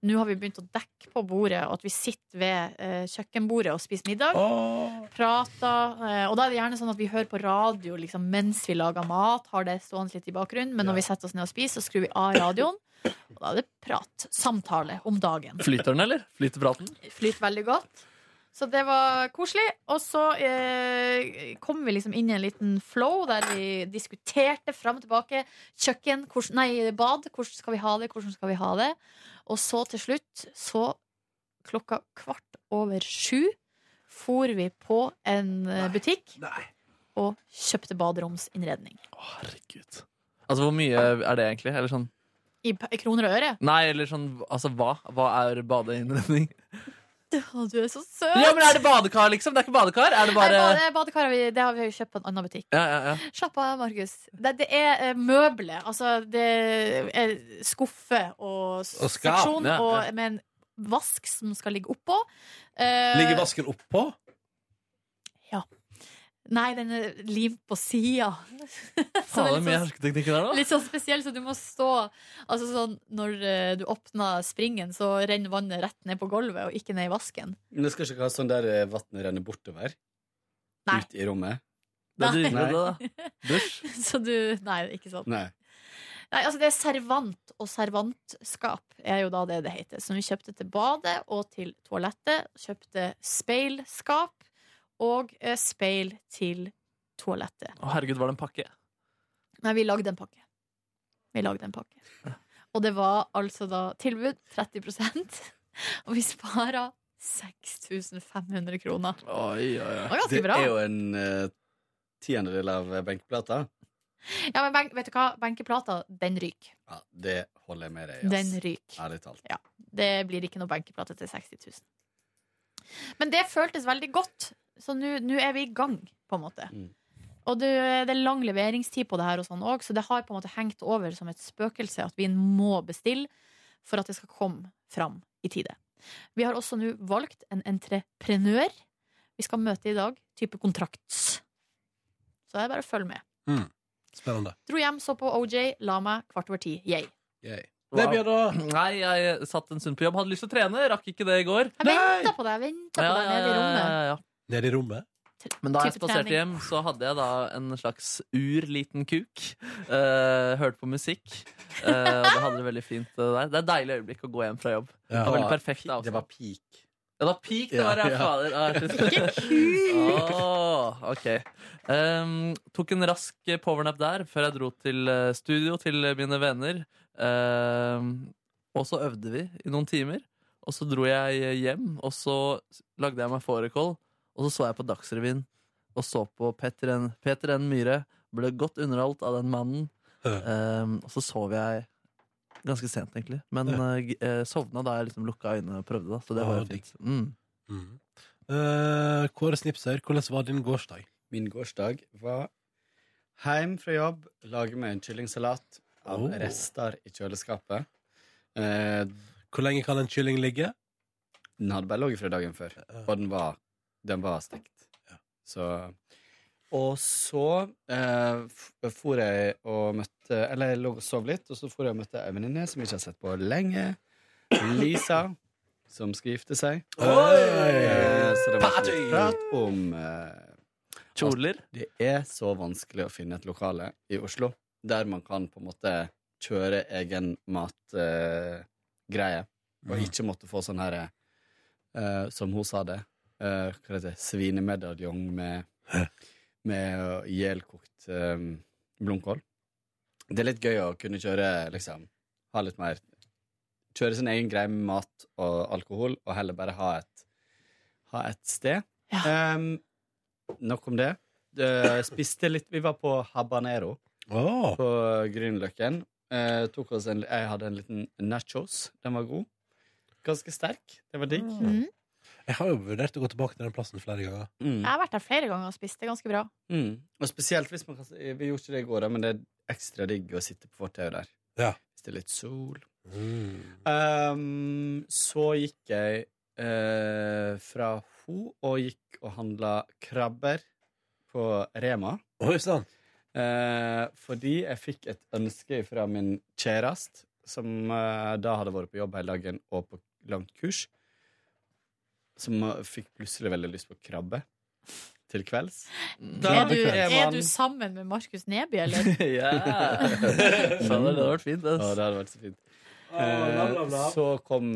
S2: Nå har vi begynt å dekke på bordet, og at vi sitter ved eh, kjøkkenbordet og spiser middag
S1: Åh.
S2: prater. eh, Og da er det gjerne sånn at vi hører på radio liksom, mens vi lager mat. Har det stående litt i bakgrunnen Men når vi setter oss ned og spiser, så skrur vi av radioen. Og da er det prat. Samtale om dagen.
S3: Flyter den, eller? Flyter praten?
S2: Flyter veldig godt. Så det var koselig. Og så eh, kom vi liksom inn i en liten flow der vi diskuterte fram og tilbake. Kjøkken, hvordan, nei, bad. Hvordan skal vi ha det? Hvordan skal vi ha det? Og så til slutt, så klokka kvart over sju, for vi på en eh, butikk
S1: Nei.
S2: og kjøpte baderomsinnredning.
S3: Å, herregud. Altså, hvor mye er det egentlig? Eller sånn
S2: I, p- i kroner og øre.
S3: Nei, eller sånn Altså, hva? Hva er badeinnredning?
S2: Å, du er så søt!
S3: Ja, men er det badekar, liksom? Det er ikke badekar? Er det
S2: Nei,
S3: bare
S2: bade- badekar har vi, det har vi jo kjøpt på en annen butikk.
S3: Ja, ja, ja.
S2: Slapp av, Markus. Det, det er eh, møbler. Altså, det er skuffer og, s-
S1: Og skap,
S2: seksjon
S3: ja, ja.
S2: og, med en vask som skal ligge oppå. Eh,
S1: Ligger vasken oppå?
S2: Nei, den er limt på sida. Så det
S3: Faen, det er
S2: er sånn
S3: mye hersketeknikker der, da.
S2: Litt sånn spesiell, så du må stå Altså sånn, Når eh, du åpner springen, så renner vannet rett ned på gulvet og ikke ned i vasken.
S10: Men du skal ikke ha sånn der eh, vannet renner bortover?
S2: Nei.
S10: Ut i rommet?
S3: Det er
S2: Nei.
S3: dyrere, det, da. Dusj.
S2: Så du Nei, ikke sånn.
S10: Nei.
S2: Nei, altså det er servant og servantskap er jo da det det heter. Som vi kjøpte til badet og til toalettet. Kjøpte speilskap og eh, speil til toalettet.
S3: Å, herregud, var det en pakke?
S2: Nei, vi lagde en pakke. Vi lagde en pakke. Og det var altså da tilbud 30 og vi spara 6500 kroner.
S3: Oi, oi,
S2: Det
S3: oi.
S2: var
S10: Det
S2: ganske bra.
S10: er jo en eh, tiendedel av eh, benkeplata.
S2: Ja, men benk, vet du hva? Benkeplata, den ryker.
S10: Ja, det holder jeg med deg i. ass.
S2: Den ryker.
S10: Ærlig talt.
S2: Det blir ikke noe benkeplate til 60 000. Men det føltes veldig godt, så nå nå er vi i gang, på en måte.
S10: Mm.
S2: Og det, det er lang leveringstid på det her, og sånn også, så det har på en måte hengt over som et spøkelse at vi må bestille for at det skal komme fram i tide. Vi har også nå valgt en entreprenør vi skal møte i dag, type kontrakt. Så det er bare å følge med.
S1: Spennende.
S2: Dro hjem, så på OJ, la meg kvart over ti. Yay.
S1: Yay.
S3: Wow.
S1: Nei, Bjørn, da?
S3: Nei, jeg satt en stund på jobb. Hadde lyst til å trene, rakk ikke det i går.
S2: Jeg venta på deg, venta på deg nede i rommet.
S3: ja, ja.
S1: Nede i rommet?
S3: Men da jeg
S2: Type
S3: spaserte
S2: trening.
S3: hjem, så hadde jeg da en slags urliten kuk. Eh, hørte på musikk. eh, og det hadde det veldig fint eh, der. Det er et deilig øyeblikk å gå hjem fra jobb.
S1: Ja.
S3: Det var veldig perfekt da,
S10: Det
S3: også.
S10: var
S2: altså.
S10: peak.
S3: Ja, da peak det
S1: Ja,
S3: var, ja,
S1: ja.
S3: fader. Ah, jeg synes- Åh, ok. Ehm, tok en rask powernap der før jeg dro til eh, studio til mine venner. Ehm, og så øvde vi i noen timer. Og så dro jeg hjem, og så lagde jeg meg fårikål. Og så så jeg på Dagsrevyen og så på Petter N. Peter N. Myhre. Ble godt underholdt av den mannen. Ehm, og så sov jeg ganske sent, egentlig. Men eh, g- eh, sovna da jeg liksom lukka øynene og prøvde. da Så det
S1: Åh,
S3: var jo fint. Mm.
S1: Mhm. Eh, Kåre Snipser, hvordan var din gårsdag?
S10: Min gårsdag var hjem fra jobb, lage meg en kyllingsalat av
S1: Oh.
S10: rester i kjøleskapet. Eh,
S1: Hvor lenge kan en kylling ligge?
S10: den hadde bare ligget fra dagen før, og den var, den var stekt. Så Og så eh, f- for jeg og møtte Eller jeg lå og sov litt, og så for jeg og møtte ei venninne som jeg ikke har sett på lenge. Lisa, som skal gifte seg.
S1: Oi!
S10: Eh, så det var litt prat om eh,
S3: Kjoler?
S10: Altså, det er så vanskelig å finne et lokale i Oslo der man kan på en måte kjøre egen matgreie, greie og ikke måtte få sånn her eh, Som hun sa det, eh, hva heter det, svinemedaljon med, med ihjelkokt eh, blomkål. Det er litt gøy å kunne kjøre, liksom, ha litt mer Kjøre sin egen greie med mat og alkohol, og heller bare ha et, ha et sted. Em, nok om det. Eh, spiste litt Vi var på Habanero på Grünerløkken. Eh, tok oss en- jeg hadde en liten nachos. Den var god. Ganske sterk. Det var digg.
S2: Mm.
S1: Jeg har jo vurdert å gå tilbake til den plassen flere ganger.
S10: Mm.
S2: Jeg har vært der flere ganger og spist. Det er ganske bra.
S10: Mm. Og spesielt hvis man kan Vi gjorde ikke det i går, da, men det er ekstra digg å sitte på fortauet der.
S1: Ja.
S10: Hvis det er litt sol. Mm. Um, så gikk jeg eh, fra ho og gikk og handla krabber på Rema.
S1: Oi sann!
S10: Eh, fordi jeg fikk et ønske fra min kjæreste, som eh, da hadde vært på jobb hele dagen og på langt kurs, som eh, fikk plutselig veldig lyst på krabbe til kvelds. Da
S2: Er du,
S10: er
S2: er
S10: man-
S2: du sammen med Markus Neby, eller?
S10: ja!
S3: Skjønner, det hadde vært fint. ass.
S10: Ja, det hadde vært så fint.
S1: Ah, bla, bla, bla.
S10: Eh, Så, kom,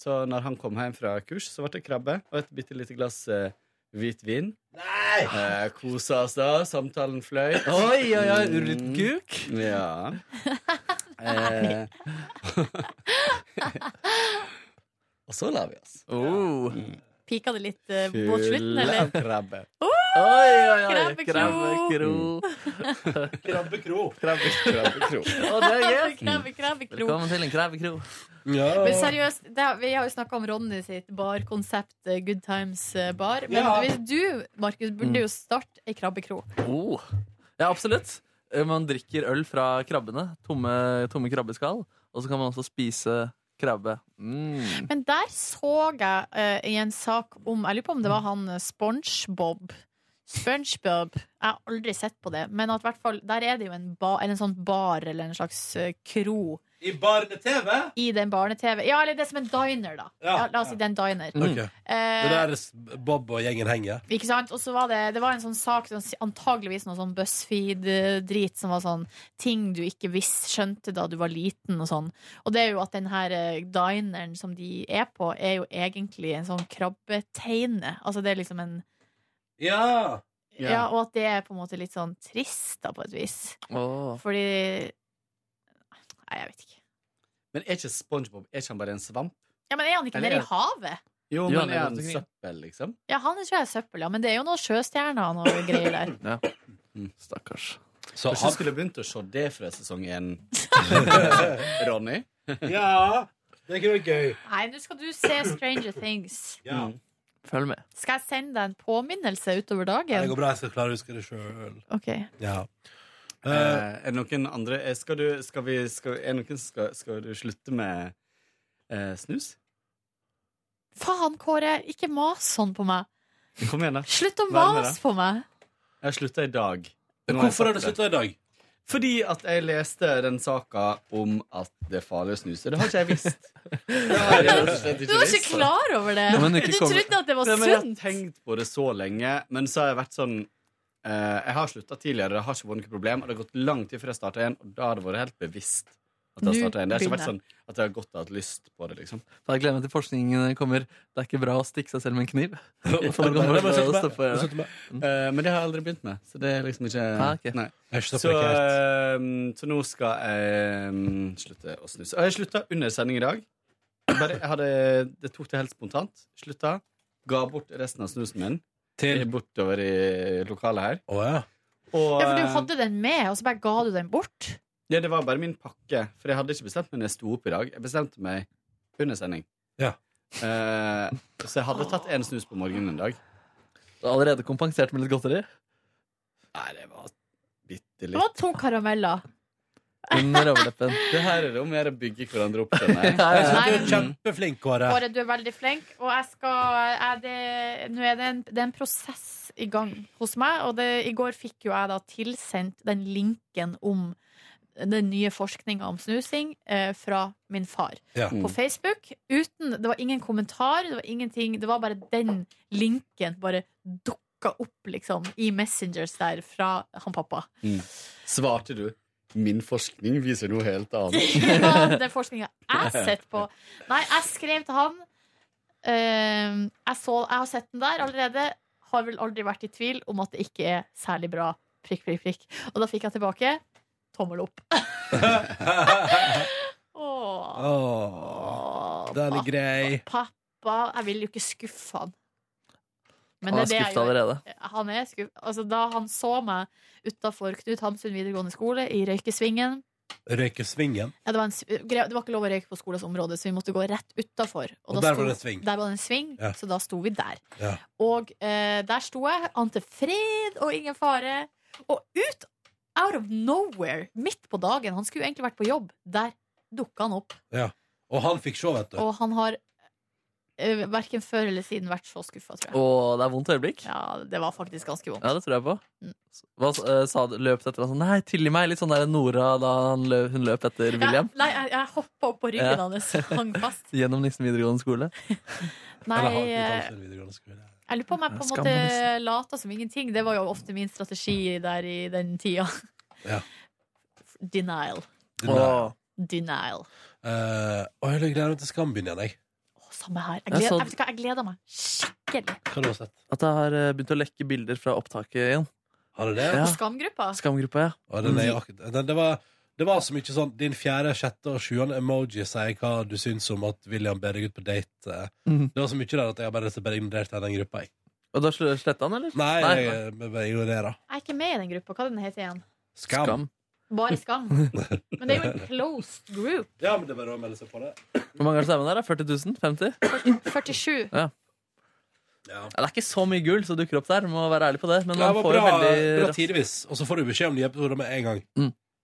S10: så når han kom hjem fra kurs, så ble det krabbe og et bitte lite glass eh, hvit vin. Nei! Eh, kosa oss da, samtalen fløyt.
S3: Oi, oi, oi, rundguk.
S10: Ja. Eh. og så la vi oss.
S3: Oh.
S2: Pika det litt eh, mot slutten,
S10: Fulle av
S2: eller?
S10: krabbe.
S3: Oi, oi, oi.
S2: Krabbekro.
S3: Krabbekro.
S1: Krabbekro.
S10: Krabbe, krabbekro.
S3: Å, det er gøy.
S2: Krabbe, krabbe, krok.
S3: Velkommen til en krabbekro.
S2: Men seriøst, det, har- vi har jo snakka om Ronny sitt barkonsept, eh, Good Times eh, bar. Men hvis du, Markus, burde jo starte ei krabbekrok.
S3: Oh. Ja, absolutt. Eh, Man drikker øl fra krabbene. Tomme, tomme krabbeskall. Og så kan man også spise krabbe. Mm.
S2: Men der så jeg eh, i en sak om Jeg lurer på om det var han eh, SpongeBob. SpongeBob. Jeg har aldri sett på det, men at hvert fall, der er det jo en, ba, eller en sånn bar eller en slags eh, kro
S1: I barne-TV?
S2: i den barne-TV. Ja, eller det er som en diner, da. Ja,
S1: Ja,
S2: la oss si det er en diner.
S1: Ok,
S10: Mm.
S1: Det
S2: Eh,
S1: der s- Bob og gjengen henger.
S2: Ikke sant? Og så var det, det var en sånn sak, sånn- antageligvis noe sånn BuzzFeed-drit, som var sånn ting du ikke visste, skjønte da du var liten og sånn. Og det er jo at den her eh, dineren som de er på, er jo egentlig en sånn krabbeteine. Altså det er liksom en
S1: Ja!
S10: Ja.
S2: ja. og at det er på en måte litt sånn trist, da, på et vis.
S3: Åh.
S2: Fordi Nei, jeg vet ikke.
S10: Men er ikke SpongeBob er ikke han bare en svamp?
S2: Ja, Men er han ikke
S10: Eller
S2: nede
S10: er-
S2: i havet?
S10: Jo,
S3: Jo, han
S10: men
S3: er
S10: er han
S3: godt omkring.
S10: søppel, liksom?
S2: Ja, han er tror jeg søppel, ja. Men det er jo noen sjøstjerner og noe greier der.
S3: Ja. Stakkars.
S1: Så
S10: Kanskje
S1: han
S10: du skulle begynt å se det fra sesong én, Ronny?
S1: Ja! Det kunne vært gøy.
S2: Nei, nå skal du se Stranger Things.
S1: Ja.
S10: Mm.
S3: Følg med.
S2: Skal jeg sende deg en påminnelse utover
S1: Det
S2: dagen?
S1: går bra, jeg skal klare å huske det sjøl.
S2: Ok
S1: Ja.
S10: Eh,
S1: Eh,
S10: er det noen andre eh, Skal du, skal vi, skal, er det noen, som skal, skal du slutte med eh, snus?
S2: Faen, Kåre, ikke mas sånn på meg.
S10: Kom igjen, da.
S2: Slutt å
S10: Vær med,
S2: mase på meg!
S10: Jeg har slutta i dag. Nå har jeg
S1: hvorfor har
S10: sagt
S1: du slutta i dag?
S10: Fordi at jeg leste den saka om at det er farlig å snuse. Det har ikke jeg visst. Det har jeg rett og slett
S2: Du var ikke
S10: visst.
S2: klar over det!
S3: men ikke
S2: Du
S3: kom-
S2: trodde at det var
S10: Nei, men jeg har
S2: sunt!
S10: tenkt på det så lenge, men så har jeg vært sånn eh, Jeg har slutta tidligere, det har ikke vært noe problem, og det har gått lang tid før jeg starta igjen, og da har det vært helt bevisst. At jeg
S2: Nå
S10: startet igjen. Det har ikke vært
S2: begynner
S10: sånn at jeg har godt hatt lyst på det, liksom.
S3: Da gleder jeg meg til forskningen kommer. Det er ikke bra å stikke seg selv med en kniv.
S1: Jeg
S3: For det kommer
S1: har
S3: til å stoppe å gjøre det.
S1: ikke
S10: Eh, men det har jeg aldri begynt med, så det er liksom ikke
S3: Ah, ok.
S10: Nei.
S1: stoppa
S10: Så,
S1: det helt.
S10: ehm, så nå skal jeg ehm, slutte å snuse. Og jeg slutta under sending i dag. Bare, jeg hadde, det tok det helt spontant. Slutta. Ga bort resten av snusen min
S1: Til
S10: bortover i lokalet her.
S1: Å ja.
S10: Og,
S2: Ja, for du
S10: eh,
S2: hadde den med, og så bare ga du den bort?
S10: ja, det var bare min pakke, for jeg hadde ikke bestemt meg når jeg sto opp i dag. Jeg bestemte meg under sending.
S1: Ja.
S10: Eh, så jeg hadde tatt en snus på morgenen en dag.
S3: Du har allerede kompensert med litt godteri.
S10: Nei, det var bitte
S2: Det var
S10: litt.
S2: to karameller.
S3: Under overleppen.
S10: Det her er det om å gjøre å bygge hverandre opp, skjønner jeg.
S3: Ja, ja.
S2: Nei,
S1: Du er
S2: men
S1: kjempeflink, Kåre.
S2: Kåre, du er veldig flink, og jeg skal er det, Nå er det en, det er en prosess i gang hos meg, og det, i går fikk jo jeg da tilsendt den linken om den nye forskninga om snusing eh, fra min far
S1: Ja.
S2: på Facebook. Uten, det var ingen kommentar, det var ingenting. Det var bare den linken bare dukka dukka opp liksom, i Messengers der fra han pappa.
S10: Mm. Svarte du? Min forskning viser noe helt annet.
S2: ja, det er forskninga jeg har sett på. Nei, jeg skrev til han. Ehm, jeg, så, jeg har sett den der allerede. Har vel aldri vært i tvil om at det ikke er særlig bra. Prikk, prikk, prikk. Og da fikk jeg tilbake tommel opp. Åh,
S1: Åh, den er grei.
S2: pappa Jeg vil jo ikke skuffe han. Men
S3: Han
S2: det
S3: er
S2: det jeg
S3: skuffet
S2: gjør.
S3: allerede.
S2: Han er skuff- Altså, da han så meg utafor Knut Hamsun videregående skole i Røykesvingen
S1: Røykesvingen.
S2: ja, det, var en, s- gre- det var ikke lov å røyke på skolens område, så vi måtte gå rett utafor.
S1: Og der var det en sving.
S2: Der var det en sving,
S1: Ja.
S2: så da sto vi der.
S1: Ja.
S2: Og eh, der sto jeg, ante fred og ingen fare. Og ut, out of nowhere, midt på dagen, han skulle jo egentlig vært på jobb, der dukka han opp.
S1: Ja. Og han fikk se, vet du.
S2: Og han har uh, verken før eller siden vært så skuffa, tror jeg.
S3: Og det er vondt øyeblikk.
S2: Ja, Mm. det var faktisk ganske vondt.
S3: det tror jeg på. Hva eh, sa du? Løp etter han sånn Nei, tilgi meg! Litt sånn der Nora da han løp, hun løp etter William.
S2: Jeg, nei, jeg, jeg hoppa opp på ryggen
S3: Ja.
S2: hans, hang fast.
S3: Gjennom Nissen videregående skole.
S2: Nei,
S3: Eller har ikke
S2: eh,
S3: tatt
S2: Jeg lurer på om jeg på en
S3: Skam og
S2: måte lata som ingenting. Det var jo ofte min strategi der i den tida.
S1: Ja.
S2: Denial.
S1: Denial.
S2: Denial.
S1: Eh, og jeg gleder meg til Skam begynner igjen, jeg.
S2: Samme her. Jeg
S3: Jeg
S2: gleder,
S3: så-
S2: jeg, vet ikke hva, jeg gleder meg skikkelig.
S1: Hva har du sett?
S3: At jeg har eh, begynt å lekke bilder fra opptaket igjen.
S1: Har du det?
S3: Ja.
S2: På Skamgruppa.
S3: Skamgruppa, ja.
S1: Og den er jo akkurat- den, det, var, det var så mye sånn Din fjerde, sjette og sjuende emoji sier hva du syns om at William ber deg ut på date. eh.
S3: Mhm.
S1: Det var så mye der at jeg har bare bare ignorert hele den gruppa. Jeg.
S3: Og da sletta han, eller?
S1: Nei,
S3: Nei,
S1: jeg eh, bare ignorerer.
S2: Jeg er ikke med i den gruppa. Hva den heter igjen?
S1: Skam.
S2: Bare Skam. Men det er jo en closed group.
S1: Ja, men det er bare å melde seg på det.
S3: Hvor mange er det som er med der? da? 40 000? 50?
S2: 47.
S3: Ja.
S1: Ja.
S3: Det er ikke så mye gull som dukker opp der, må være ærlig på det. Men
S1: Ja,
S3: man
S1: det var
S3: får jo
S1: bra,
S3: veldig
S1: bra tidvis, og så får du beskjed om nye episoder med en gang.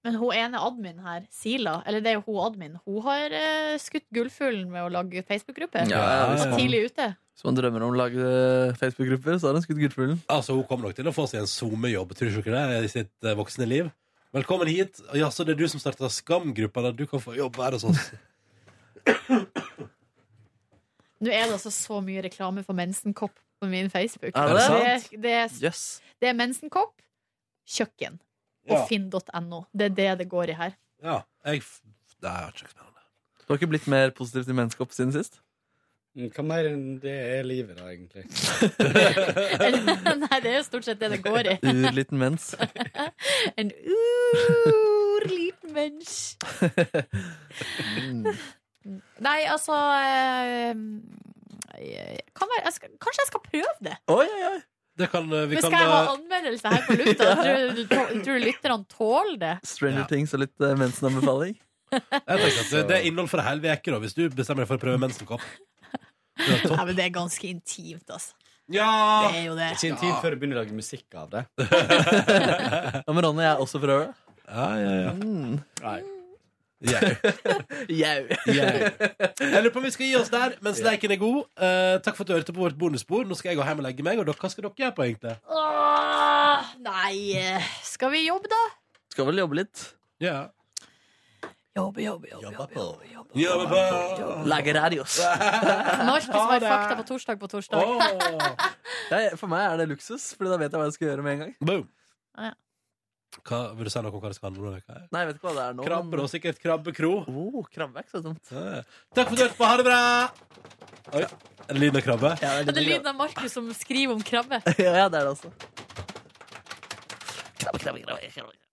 S2: Men hun ene admin her, Sila, eller det er jo hun admin, hun har eh, skutt gullfuglen med å lage Facebook-gruppe.
S3: Ja, ja, hvis man-
S2: Tidlig ute.
S3: Hvis man drømmer om å lage eh, Facebook-grupper, så har han skutt gullfuglen.
S1: Altså, Hun kommer nok til å få seg en SoMe-jobb, tror du ikke det, i sitt eh, voksne liv. Velkommen hit. Ja, så det er du som starta Skam-gruppa, der du kan få jobb her hos oss.
S2: Nå er det altså så mye reklame for mensenkopp på min Facebook.
S3: Er det sant?
S2: det, er- det,
S3: Jøss.
S2: er- det er mensenkopp, kjøkken
S1: Ja.
S2: og finn.no. Det er det det går i her.
S1: Ja, jeg f- Nei, jeg har ikke spennende.
S3: Du har ikke blitt mer positiv til menneskehopp siden sist?
S10: Hva mer enn det er livet, da, egentlig?
S2: Nei, det er jo stort sett det det går i.
S3: Urliten mens.
S2: En urliten mens.
S1: Mm.
S2: Nei, altså eh, kan være, jeg skal, Kanskje jeg skal prøve det?
S3: Oi, oi, oi.
S1: Det kan eh, vi
S2: Men
S1: kan,
S2: skal jeg ha
S1: eh,
S2: anmeldelse her på lufta? Tror du, tror du lytterne tåler det?
S3: Stranger
S1: Ja.
S3: Things og litt eh, mensenanbefaling.
S1: jeg tenker at det, det er innhold for ei hel uke, da, hvis du bestemmer deg for å prøve mensenkopp. Det er
S2: Nei,
S1: topp.
S2: men det er ganske intimt, altså.
S1: Ja!
S2: Det er jo det.
S10: Ikke en tid før du begynner å lage musikk av det.
S3: Ja, men Ronny, jeg er også fra Øra.
S1: Ja, ja, ja.
S3: Mm.
S10: Nei.
S1: Yeah.
S3: Jau.
S1: Yeah. Jeg lurer på om vi skal gi oss der mens leken er god. Eh, takk for at du hørte på vårt bonusbord. Nå skal jeg gå hjem og legge meg, og dere, hva skal dere gjøre på, egentlig?
S2: Åh, nei eh, Skal vi jobbe, da?
S3: Skal vel jobbe litt.
S1: Ja.
S2: Jobbe, jobbe, jobbe. jobbe,
S1: på.
S2: jobbe, jobbe.
S1: Jobbe på.
S3: Lage radios.
S2: Markus var fakta på torsdag på torsdag.
S1: Åh.
S3: Ja, for meg er det luksus, Fordi da vet jeg hva jeg skal gjøre med en gang.
S1: Boom.
S2: Ja.
S1: Hva, vil du si noe om hva det skal handle om? denne uka her?
S3: Nei, jeg vet ikke hva det er nå.
S1: Krabber og sikkert krabbekro.
S3: Oh, krabbe er ikke så dumt.
S1: Eh, Takk for at du hørte på. Ha det bra! Oi, er det lyden av krabbe?
S3: Ja,
S2: Det er lyden av Markus som skriver om krabbe.
S3: Ja, det er det også.
S4: Krabbe, krabbe, krabbe, krabbe.